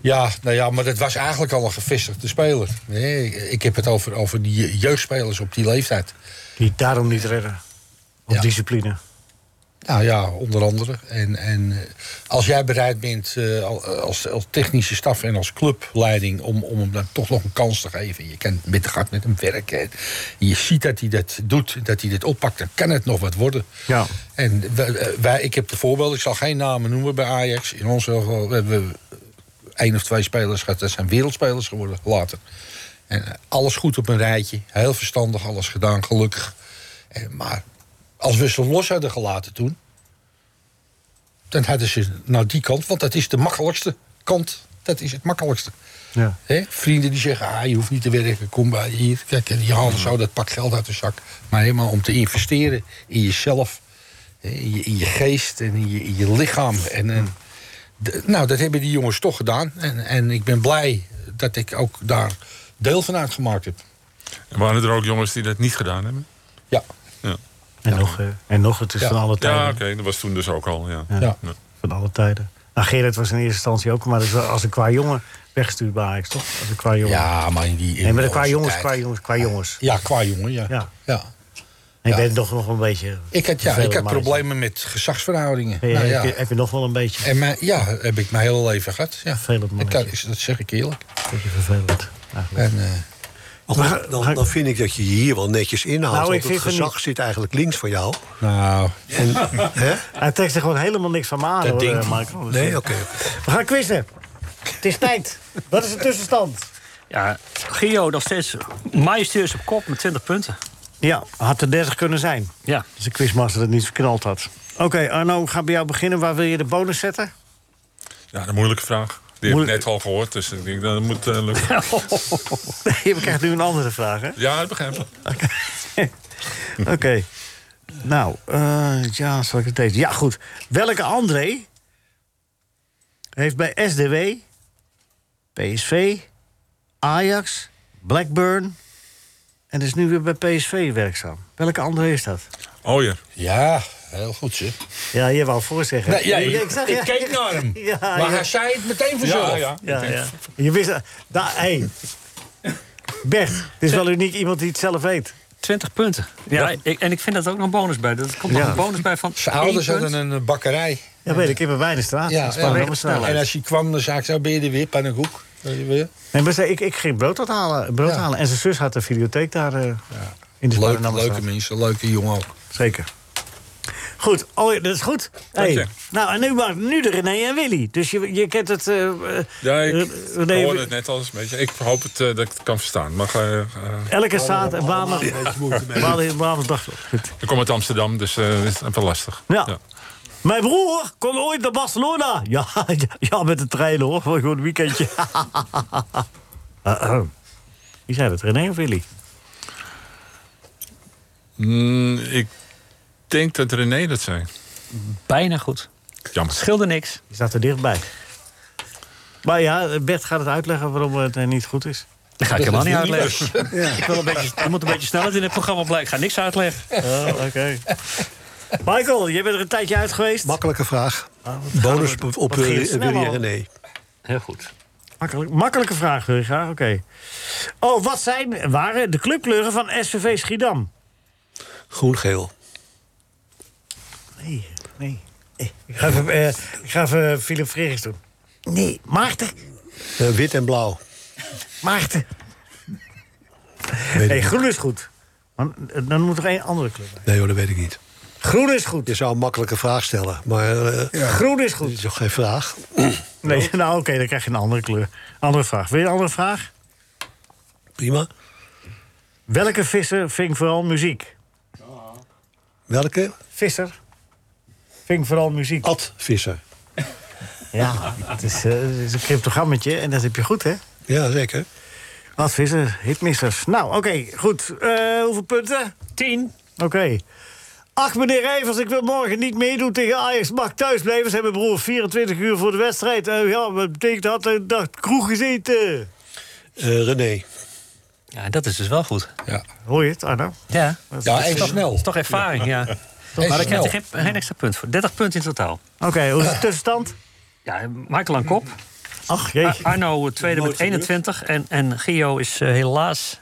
Speaker 5: Ja, nou ja, maar dat was eigenlijk al een gevestigde speler. Nee, ik- ik heb het over, over die je- jeugdspelers op die leeftijd.
Speaker 3: Die het daarom niet redden. Op discipline.
Speaker 5: Nou ja, onder andere. En, en eh, als jij bereid bent eh, al- als, als technische staf en als clubleiding om, om hem dan toch nog een kans te geven. Je kan met, gaat met hem werken. En je ziet dat hij dat doet, dat hij dit oppakt. Dan kan het nog wat worden.
Speaker 3: Ja.
Speaker 5: En wij, wij- ik heb de voorbeelden, ik zal geen namen noemen bij Ajax. In ons geval hebben we één of twee spelers gehad. Dat zijn wereldspelers geworden later. En eh, alles goed op een rijtje. Heel verstandig, alles gedaan, gelukkig. En, maar als we ze los hadden gelaten toen... dan hadden ze naar die kant, want dat is de makkelijkste kant. Dat is het makkelijkste.
Speaker 3: Ja.
Speaker 5: Hè? Vrienden die zeggen, ah, je hoeft niet te werken, kom bij hier. Kijk, en die halen zo dat pak geld uit de zak. Maar helemaal om te investeren in jezelf, hè, in je, in je geest en in je, in je lichaam. En, en, d- nou, dat hebben die jongens toch gedaan. En, en ik ben blij dat ik ook daar deel van uitgemaakt heb.
Speaker 7: En waren er ook jongens die dat niet gedaan hebben?
Speaker 5: Ja.
Speaker 7: Ja,
Speaker 3: En, nog, eh, en nog, het is
Speaker 7: Ja.
Speaker 3: van alle tijden.
Speaker 7: Ja, oké, dat was toen dus ook al. Ja.
Speaker 3: Ja. Van alle tijden. Nou, Gerrit was in eerste instantie ook, maar dat is wel als een qua jongen weggestuurd bij Ajax, toch? Als een qua jongen.
Speaker 5: Ja, maar in die...
Speaker 3: Nee, maar de qua jongens,
Speaker 5: tijd.
Speaker 3: qua jongens, qua jongens.
Speaker 5: Ja, qua jongen, ja.
Speaker 3: Ja.
Speaker 5: ja.
Speaker 3: En je
Speaker 5: Ja.
Speaker 3: bent nog, nog een beetje...
Speaker 5: Ik had, ja,
Speaker 3: vervelend
Speaker 5: ik had
Speaker 3: mannetje.
Speaker 5: problemen met gezagsverhoudingen.
Speaker 3: Ja,
Speaker 5: Nou
Speaker 3: heb
Speaker 5: ja.
Speaker 3: je- Heb je nog wel een beetje.
Speaker 5: En mijn, ja, heb ik mijn hele leven gehad. Ja. Ik, dat, is- dat zeg ik eerlijk.
Speaker 3: Vind je vervelend.
Speaker 5: En, eh,
Speaker 8: Maar dan- dan, dan vind ik dat je je hier wel netjes inhoudt.
Speaker 3: Nou, ik
Speaker 8: want het
Speaker 3: vind van
Speaker 8: gezag
Speaker 3: niet.
Speaker 8: zit eigenlijk links van jou.
Speaker 5: Nou.
Speaker 8: En, hè?
Speaker 3: Hij trekt er gewoon helemaal niks van me aan,
Speaker 8: Dat
Speaker 3: hoor,
Speaker 8: ding.
Speaker 3: eh, Michael. Dus,
Speaker 8: Nee,
Speaker 3: eh,
Speaker 8: oké.
Speaker 3: We gaan quizzen. Het is tijd. Wat is de tussenstand?
Speaker 6: Ja, Gio nog steeds majestueus op kop met 20 punten.
Speaker 3: Ja, had er 30 kunnen zijn.
Speaker 6: Ja.
Speaker 3: Als de quizmaster het niet verknald had. Oké, Arno, we gaan bij jou beginnen. Waar wil je de bonus zetten?
Speaker 7: Ja, een moeilijke vraag. Die heb ik net al gehoord, dus ik denk dat moet eh, lukken.
Speaker 3: Nee, we krijgen nu een andere vraag, hè?
Speaker 7: Ja, dat begrijp ik.
Speaker 3: Oké. Nou, eh, ja, zal ik het deze? Ja, goed. Welke André heeft bij SDW, PSV, Ajax, Blackburn en is nu weer bij PSV werkzaam? Welke André is dat?
Speaker 7: Oh ja.
Speaker 5: Ja, heel goed zeg.
Speaker 3: Ja, je wou voorzeggen.
Speaker 5: Nee, ja,
Speaker 3: Ja,
Speaker 5: ik,
Speaker 3: zag- ja,
Speaker 5: ik keek naar hem.
Speaker 3: Ja,
Speaker 5: maar
Speaker 3: ja.
Speaker 5: hij zei het meteen vanzelf.
Speaker 3: Ja, ja. ja, ja. Je wist dat. Nou, hey. Bert, het is wel uniek iemand die het zelf weet.
Speaker 6: 20 punten. Ja, ik- en ik vind dat er ook nog een bonus bij. Er komt nog
Speaker 5: Ja.
Speaker 6: een bonus bij van
Speaker 5: Zijn ouders
Speaker 6: één
Speaker 5: hadden
Speaker 6: punt.
Speaker 5: een eh, bakkerij.
Speaker 3: Ja, weet ik, in mijn Wijnenstraat.
Speaker 5: Ja,
Speaker 3: Spaan-
Speaker 5: ja.
Speaker 3: Rammenstraat.
Speaker 5: En als je kwam, dan zei ik, zo ben je er weer, pannenkoek. Weet je weer?
Speaker 3: Nee, maar ze- ik, ik ging brood, dat halen, brood halen. En zijn zus had de videotheek daar eh, in de
Speaker 5: Leuk,
Speaker 3: Sparenammerstraat.
Speaker 5: leuke mensen, leuke jongen ook.
Speaker 3: Zeker. Goed, oh, ja, dat is goed.
Speaker 7: Dank je.
Speaker 3: Hey. Nou, en nu, maar nu de René en Willy. Dus je, je kent het... eh, eh,
Speaker 7: Ja, ik
Speaker 3: eh,
Speaker 7: ik
Speaker 3: René-
Speaker 7: hoorde het net al eens een beetje. Ik hoop het, eh, dat ik het kan verstaan. Maar, eh, eh,
Speaker 3: Elke zaad en Bamer. Bamerdag.
Speaker 7: ik kom uit Amsterdam, dus eh, dat is wel lastig.
Speaker 3: Ja. Mijn broer kon ooit naar Barcelona. Ja, ja, ja, met de trein hoor. Voor gewoon een weekendje. Eh, Ahem. Wie zei dat, René of Willy?
Speaker 7: Mm, ik denk dat René dat zei.
Speaker 6: Bijna goed.
Speaker 7: Jammer.
Speaker 6: Scheelde niks.
Speaker 3: Je staat er dichtbij. Maar ja, Bert gaat het uitleggen waarom het eh, niet goed is.
Speaker 6: Dat ga ik helemaal niet uitleggen.
Speaker 3: Ja.
Speaker 6: Ik wil een beetje, er moet een beetje snelheid in het programma blijken. Ik ga niks uitleggen.
Speaker 3: Oh, Oké. Michael, jij Oh, bent er een tijdje uit geweest.
Speaker 8: Makkelijke vraag.
Speaker 3: gaan
Speaker 8: Bonus
Speaker 3: we- Ah,
Speaker 8: op,
Speaker 3: wat
Speaker 8: op
Speaker 3: ging
Speaker 8: eh,
Speaker 3: het snel
Speaker 8: Willy en
Speaker 3: al?
Speaker 8: René.
Speaker 6: Heel goed.
Speaker 3: Makkelijk, makkelijke vraag, Hurga. Oké. Oh, wat zijn, waren de clubkleuren van SVV Schiedam?
Speaker 8: Groen-geel.
Speaker 3: Nee, nee. Ik ga even, eh, ik ga even Philip Frerichs doen. Nee, Maarten.
Speaker 8: Eh, wit en blauw.
Speaker 3: Maarten.
Speaker 8: Weet
Speaker 3: Nee,
Speaker 8: ik
Speaker 3: groen is goed. Maar eh, dan moet er één andere club bij.
Speaker 8: Nee hoor, dat weet ik niet.
Speaker 3: Groen is goed.
Speaker 8: Je zou een makkelijke vraag stellen, maar... eh,
Speaker 3: Groen is
Speaker 8: Dat
Speaker 3: goed.
Speaker 8: is toch geen vraag?
Speaker 3: Nee, nou oké, dan krijg je een andere kleur. Andere vraag. Wil je een andere vraag?
Speaker 8: Prima.
Speaker 3: Welke visser ving vooral muziek?
Speaker 8: Welke?
Speaker 3: Visser ving vooral muziek.
Speaker 8: Ad Visser.
Speaker 3: Ja, het is, eh, het is een cryptogrammetje en dat heb je goed, hè?
Speaker 8: Ja, zeker.
Speaker 3: Ad Visser, hitmissers. Nou, oké, goed. Eh, hoeveel punten?
Speaker 6: Tien.
Speaker 3: Oké. Ach, meneer Rijvers, ik wil morgen niet meedoen tegen Ajax. Mag ik thuis blijven? Ze hebben broer 24 uur voor de eh, wedstrijd. Eh, ja, wat betekent dat? Hij dacht kroeg gezeten.
Speaker 8: Eh, René.
Speaker 6: Ja, dat is dus wel goed.
Speaker 5: Ja.
Speaker 3: Hoor je het, Arno?
Speaker 6: Ja,
Speaker 3: Dat is-
Speaker 6: Dat
Speaker 3: dat
Speaker 6: is
Speaker 3: is
Speaker 6: toch-
Speaker 3: toch-
Speaker 6: is toch ervaring, ja. maar dan krijg je geen, geen extra punt voor. 30 punten in totaal.
Speaker 3: Oké, hoe is de tussenstand?
Speaker 6: Ja, Michael aan kop.
Speaker 3: Ach,
Speaker 6: Arno eh, tweede met 21 en, en Gio is eh, helaas...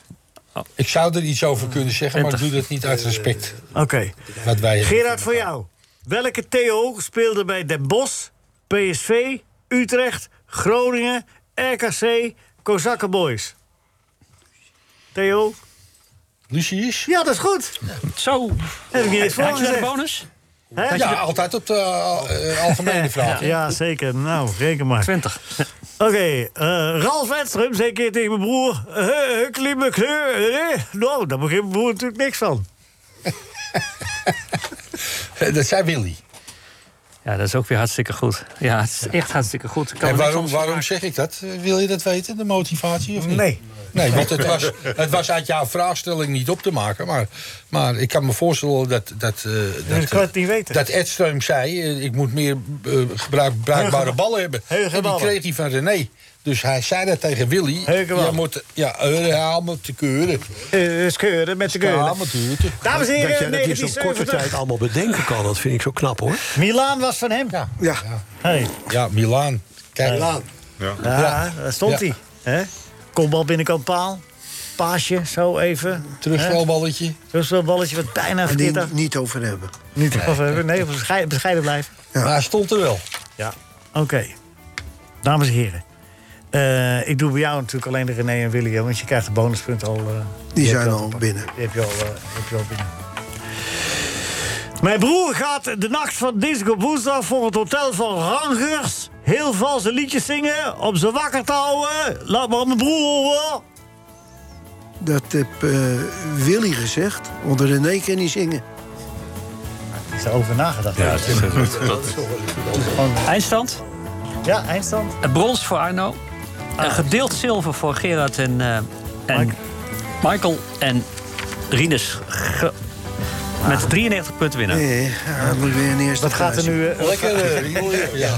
Speaker 5: Ik zou er iets over kunnen zeggen, maar ik doe
Speaker 6: 20.
Speaker 5: dat niet uit respect.
Speaker 3: Oké.
Speaker 5: Wat wij hebben.
Speaker 3: Gerard, voor jou. Welke Theo speelde bij Den Bosch, PSV, Utrecht, Groningen, RKC, Kozakkenboys? Theo?
Speaker 5: Lucius?
Speaker 3: Ja, dat is goed.
Speaker 6: Zo.
Speaker 3: Heb ik je dit voor
Speaker 6: Had je daar een
Speaker 3: gezegd?
Speaker 6: bonus?
Speaker 3: Hè?
Speaker 5: Ja, altijd op de eh, algemene vraag.
Speaker 3: Ja, zeker. Nou, reken maar.
Speaker 6: 20.
Speaker 3: Oké, eh, Ralf Edstrum zei een keer tegen mijn broer... Uh, klimme kleur. eh." nou, daar begint mijn broer natuurlijk niks van.
Speaker 5: Dat zei Willy.
Speaker 6: Ja, dat is ook weer hartstikke goed. Ja, het is echt hartstikke goed. Ik kan er
Speaker 5: En
Speaker 6: niks
Speaker 5: waarom,
Speaker 6: anders
Speaker 5: waarom zeg ik dat? Eh, Wil je dat weten, de motivatie of niet?
Speaker 3: Nee.
Speaker 5: Nee, want het was, het was uit jouw vraagstelling niet op te maken. Maar, maar ik kan me voorstellen dat... dat, eh, dat
Speaker 3: ik kan het niet weten.
Speaker 5: Dat Ed Streum zei, eh, ik moet meer eh, gebruik, bruikbare
Speaker 3: Heugeba-
Speaker 5: ballen hebben. En die
Speaker 3: Heugeballen.
Speaker 5: kreeg hij van René. Dus hij zei dat tegen Willy. Je moet, ja, eh, helemaal te keuren.
Speaker 3: Uh, skeuren met de keuren. Dames en
Speaker 8: dat jij
Speaker 3: heren,
Speaker 8: dat in zo'n korte tijd
Speaker 3: 1970.
Speaker 8: allemaal bedenken kan, dat vind ik zo knap hoor.
Speaker 3: Milaan was van hem. Ja.
Speaker 4: Ja.
Speaker 3: Hey.
Speaker 5: Ja, Milaan. Kijk.
Speaker 3: Milaan.
Speaker 7: Ja.
Speaker 3: Ja, daar stond
Speaker 5: Ja.
Speaker 3: hij. hè? Kopbal binnenkant paal. Paasje, zo even.
Speaker 5: Terugspelballetje.
Speaker 3: Terugspelballetje, wat bijna
Speaker 4: En die
Speaker 3: verkeerd.
Speaker 4: niet over hebben.
Speaker 3: Niet of even, nee, bescheiden, bescheiden blijven.
Speaker 5: Maar hij stond er wel.
Speaker 3: Ja. Oké. Dames en heren. Eh, ik doe bij jou natuurlijk alleen de René en Willy, hè, want je krijgt de bonuspunten al. eh,
Speaker 4: Die
Speaker 3: je hebt
Speaker 4: zijn
Speaker 3: je
Speaker 4: al
Speaker 3: gepakt.
Speaker 4: binnen.
Speaker 3: Die heb je al, eh, die heb je al binnen. Mijn broer gaat de nacht van dinsdag op woensdag voor het hotel van Rangers heel valse liedjes zingen om ze wakker te houden. Laat maar mijn broer horen.
Speaker 4: Dat heb eh, Willy gezegd, want René kan niet zingen.
Speaker 3: Die is erover nagedacht.
Speaker 6: Ja, het is, eh, dat- Eindstand?
Speaker 3: Ja, eindstand. Ah.
Speaker 6: Een brons voor Arno. Een gedeeld zilver voor Gerard en, eh, en Michael. En Rinus ge-
Speaker 3: Ah.
Speaker 6: met 93 punten winnen.
Speaker 4: Nee, hij moet weer een eerste
Speaker 3: Wat gaat er nu? eh,
Speaker 5: Lekker, uh, ja.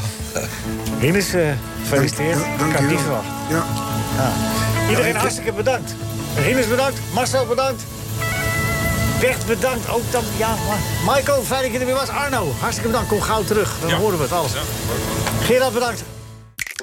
Speaker 3: Rinus, eh, gefeliciteerd.
Speaker 4: Dank- dank
Speaker 3: ik had
Speaker 4: u
Speaker 3: het niet
Speaker 4: wel.
Speaker 3: verwacht.
Speaker 4: Ja.
Speaker 3: Iedereen hartstikke bedankt. Rinus bedankt, Marcel bedankt. Bert bedankt, ook dan, ja, maar- Michael, fijn dat je er weer was. Arno, hartstikke bedankt, kom gauw terug. Dan horen we het alles. Gerard, bedankt.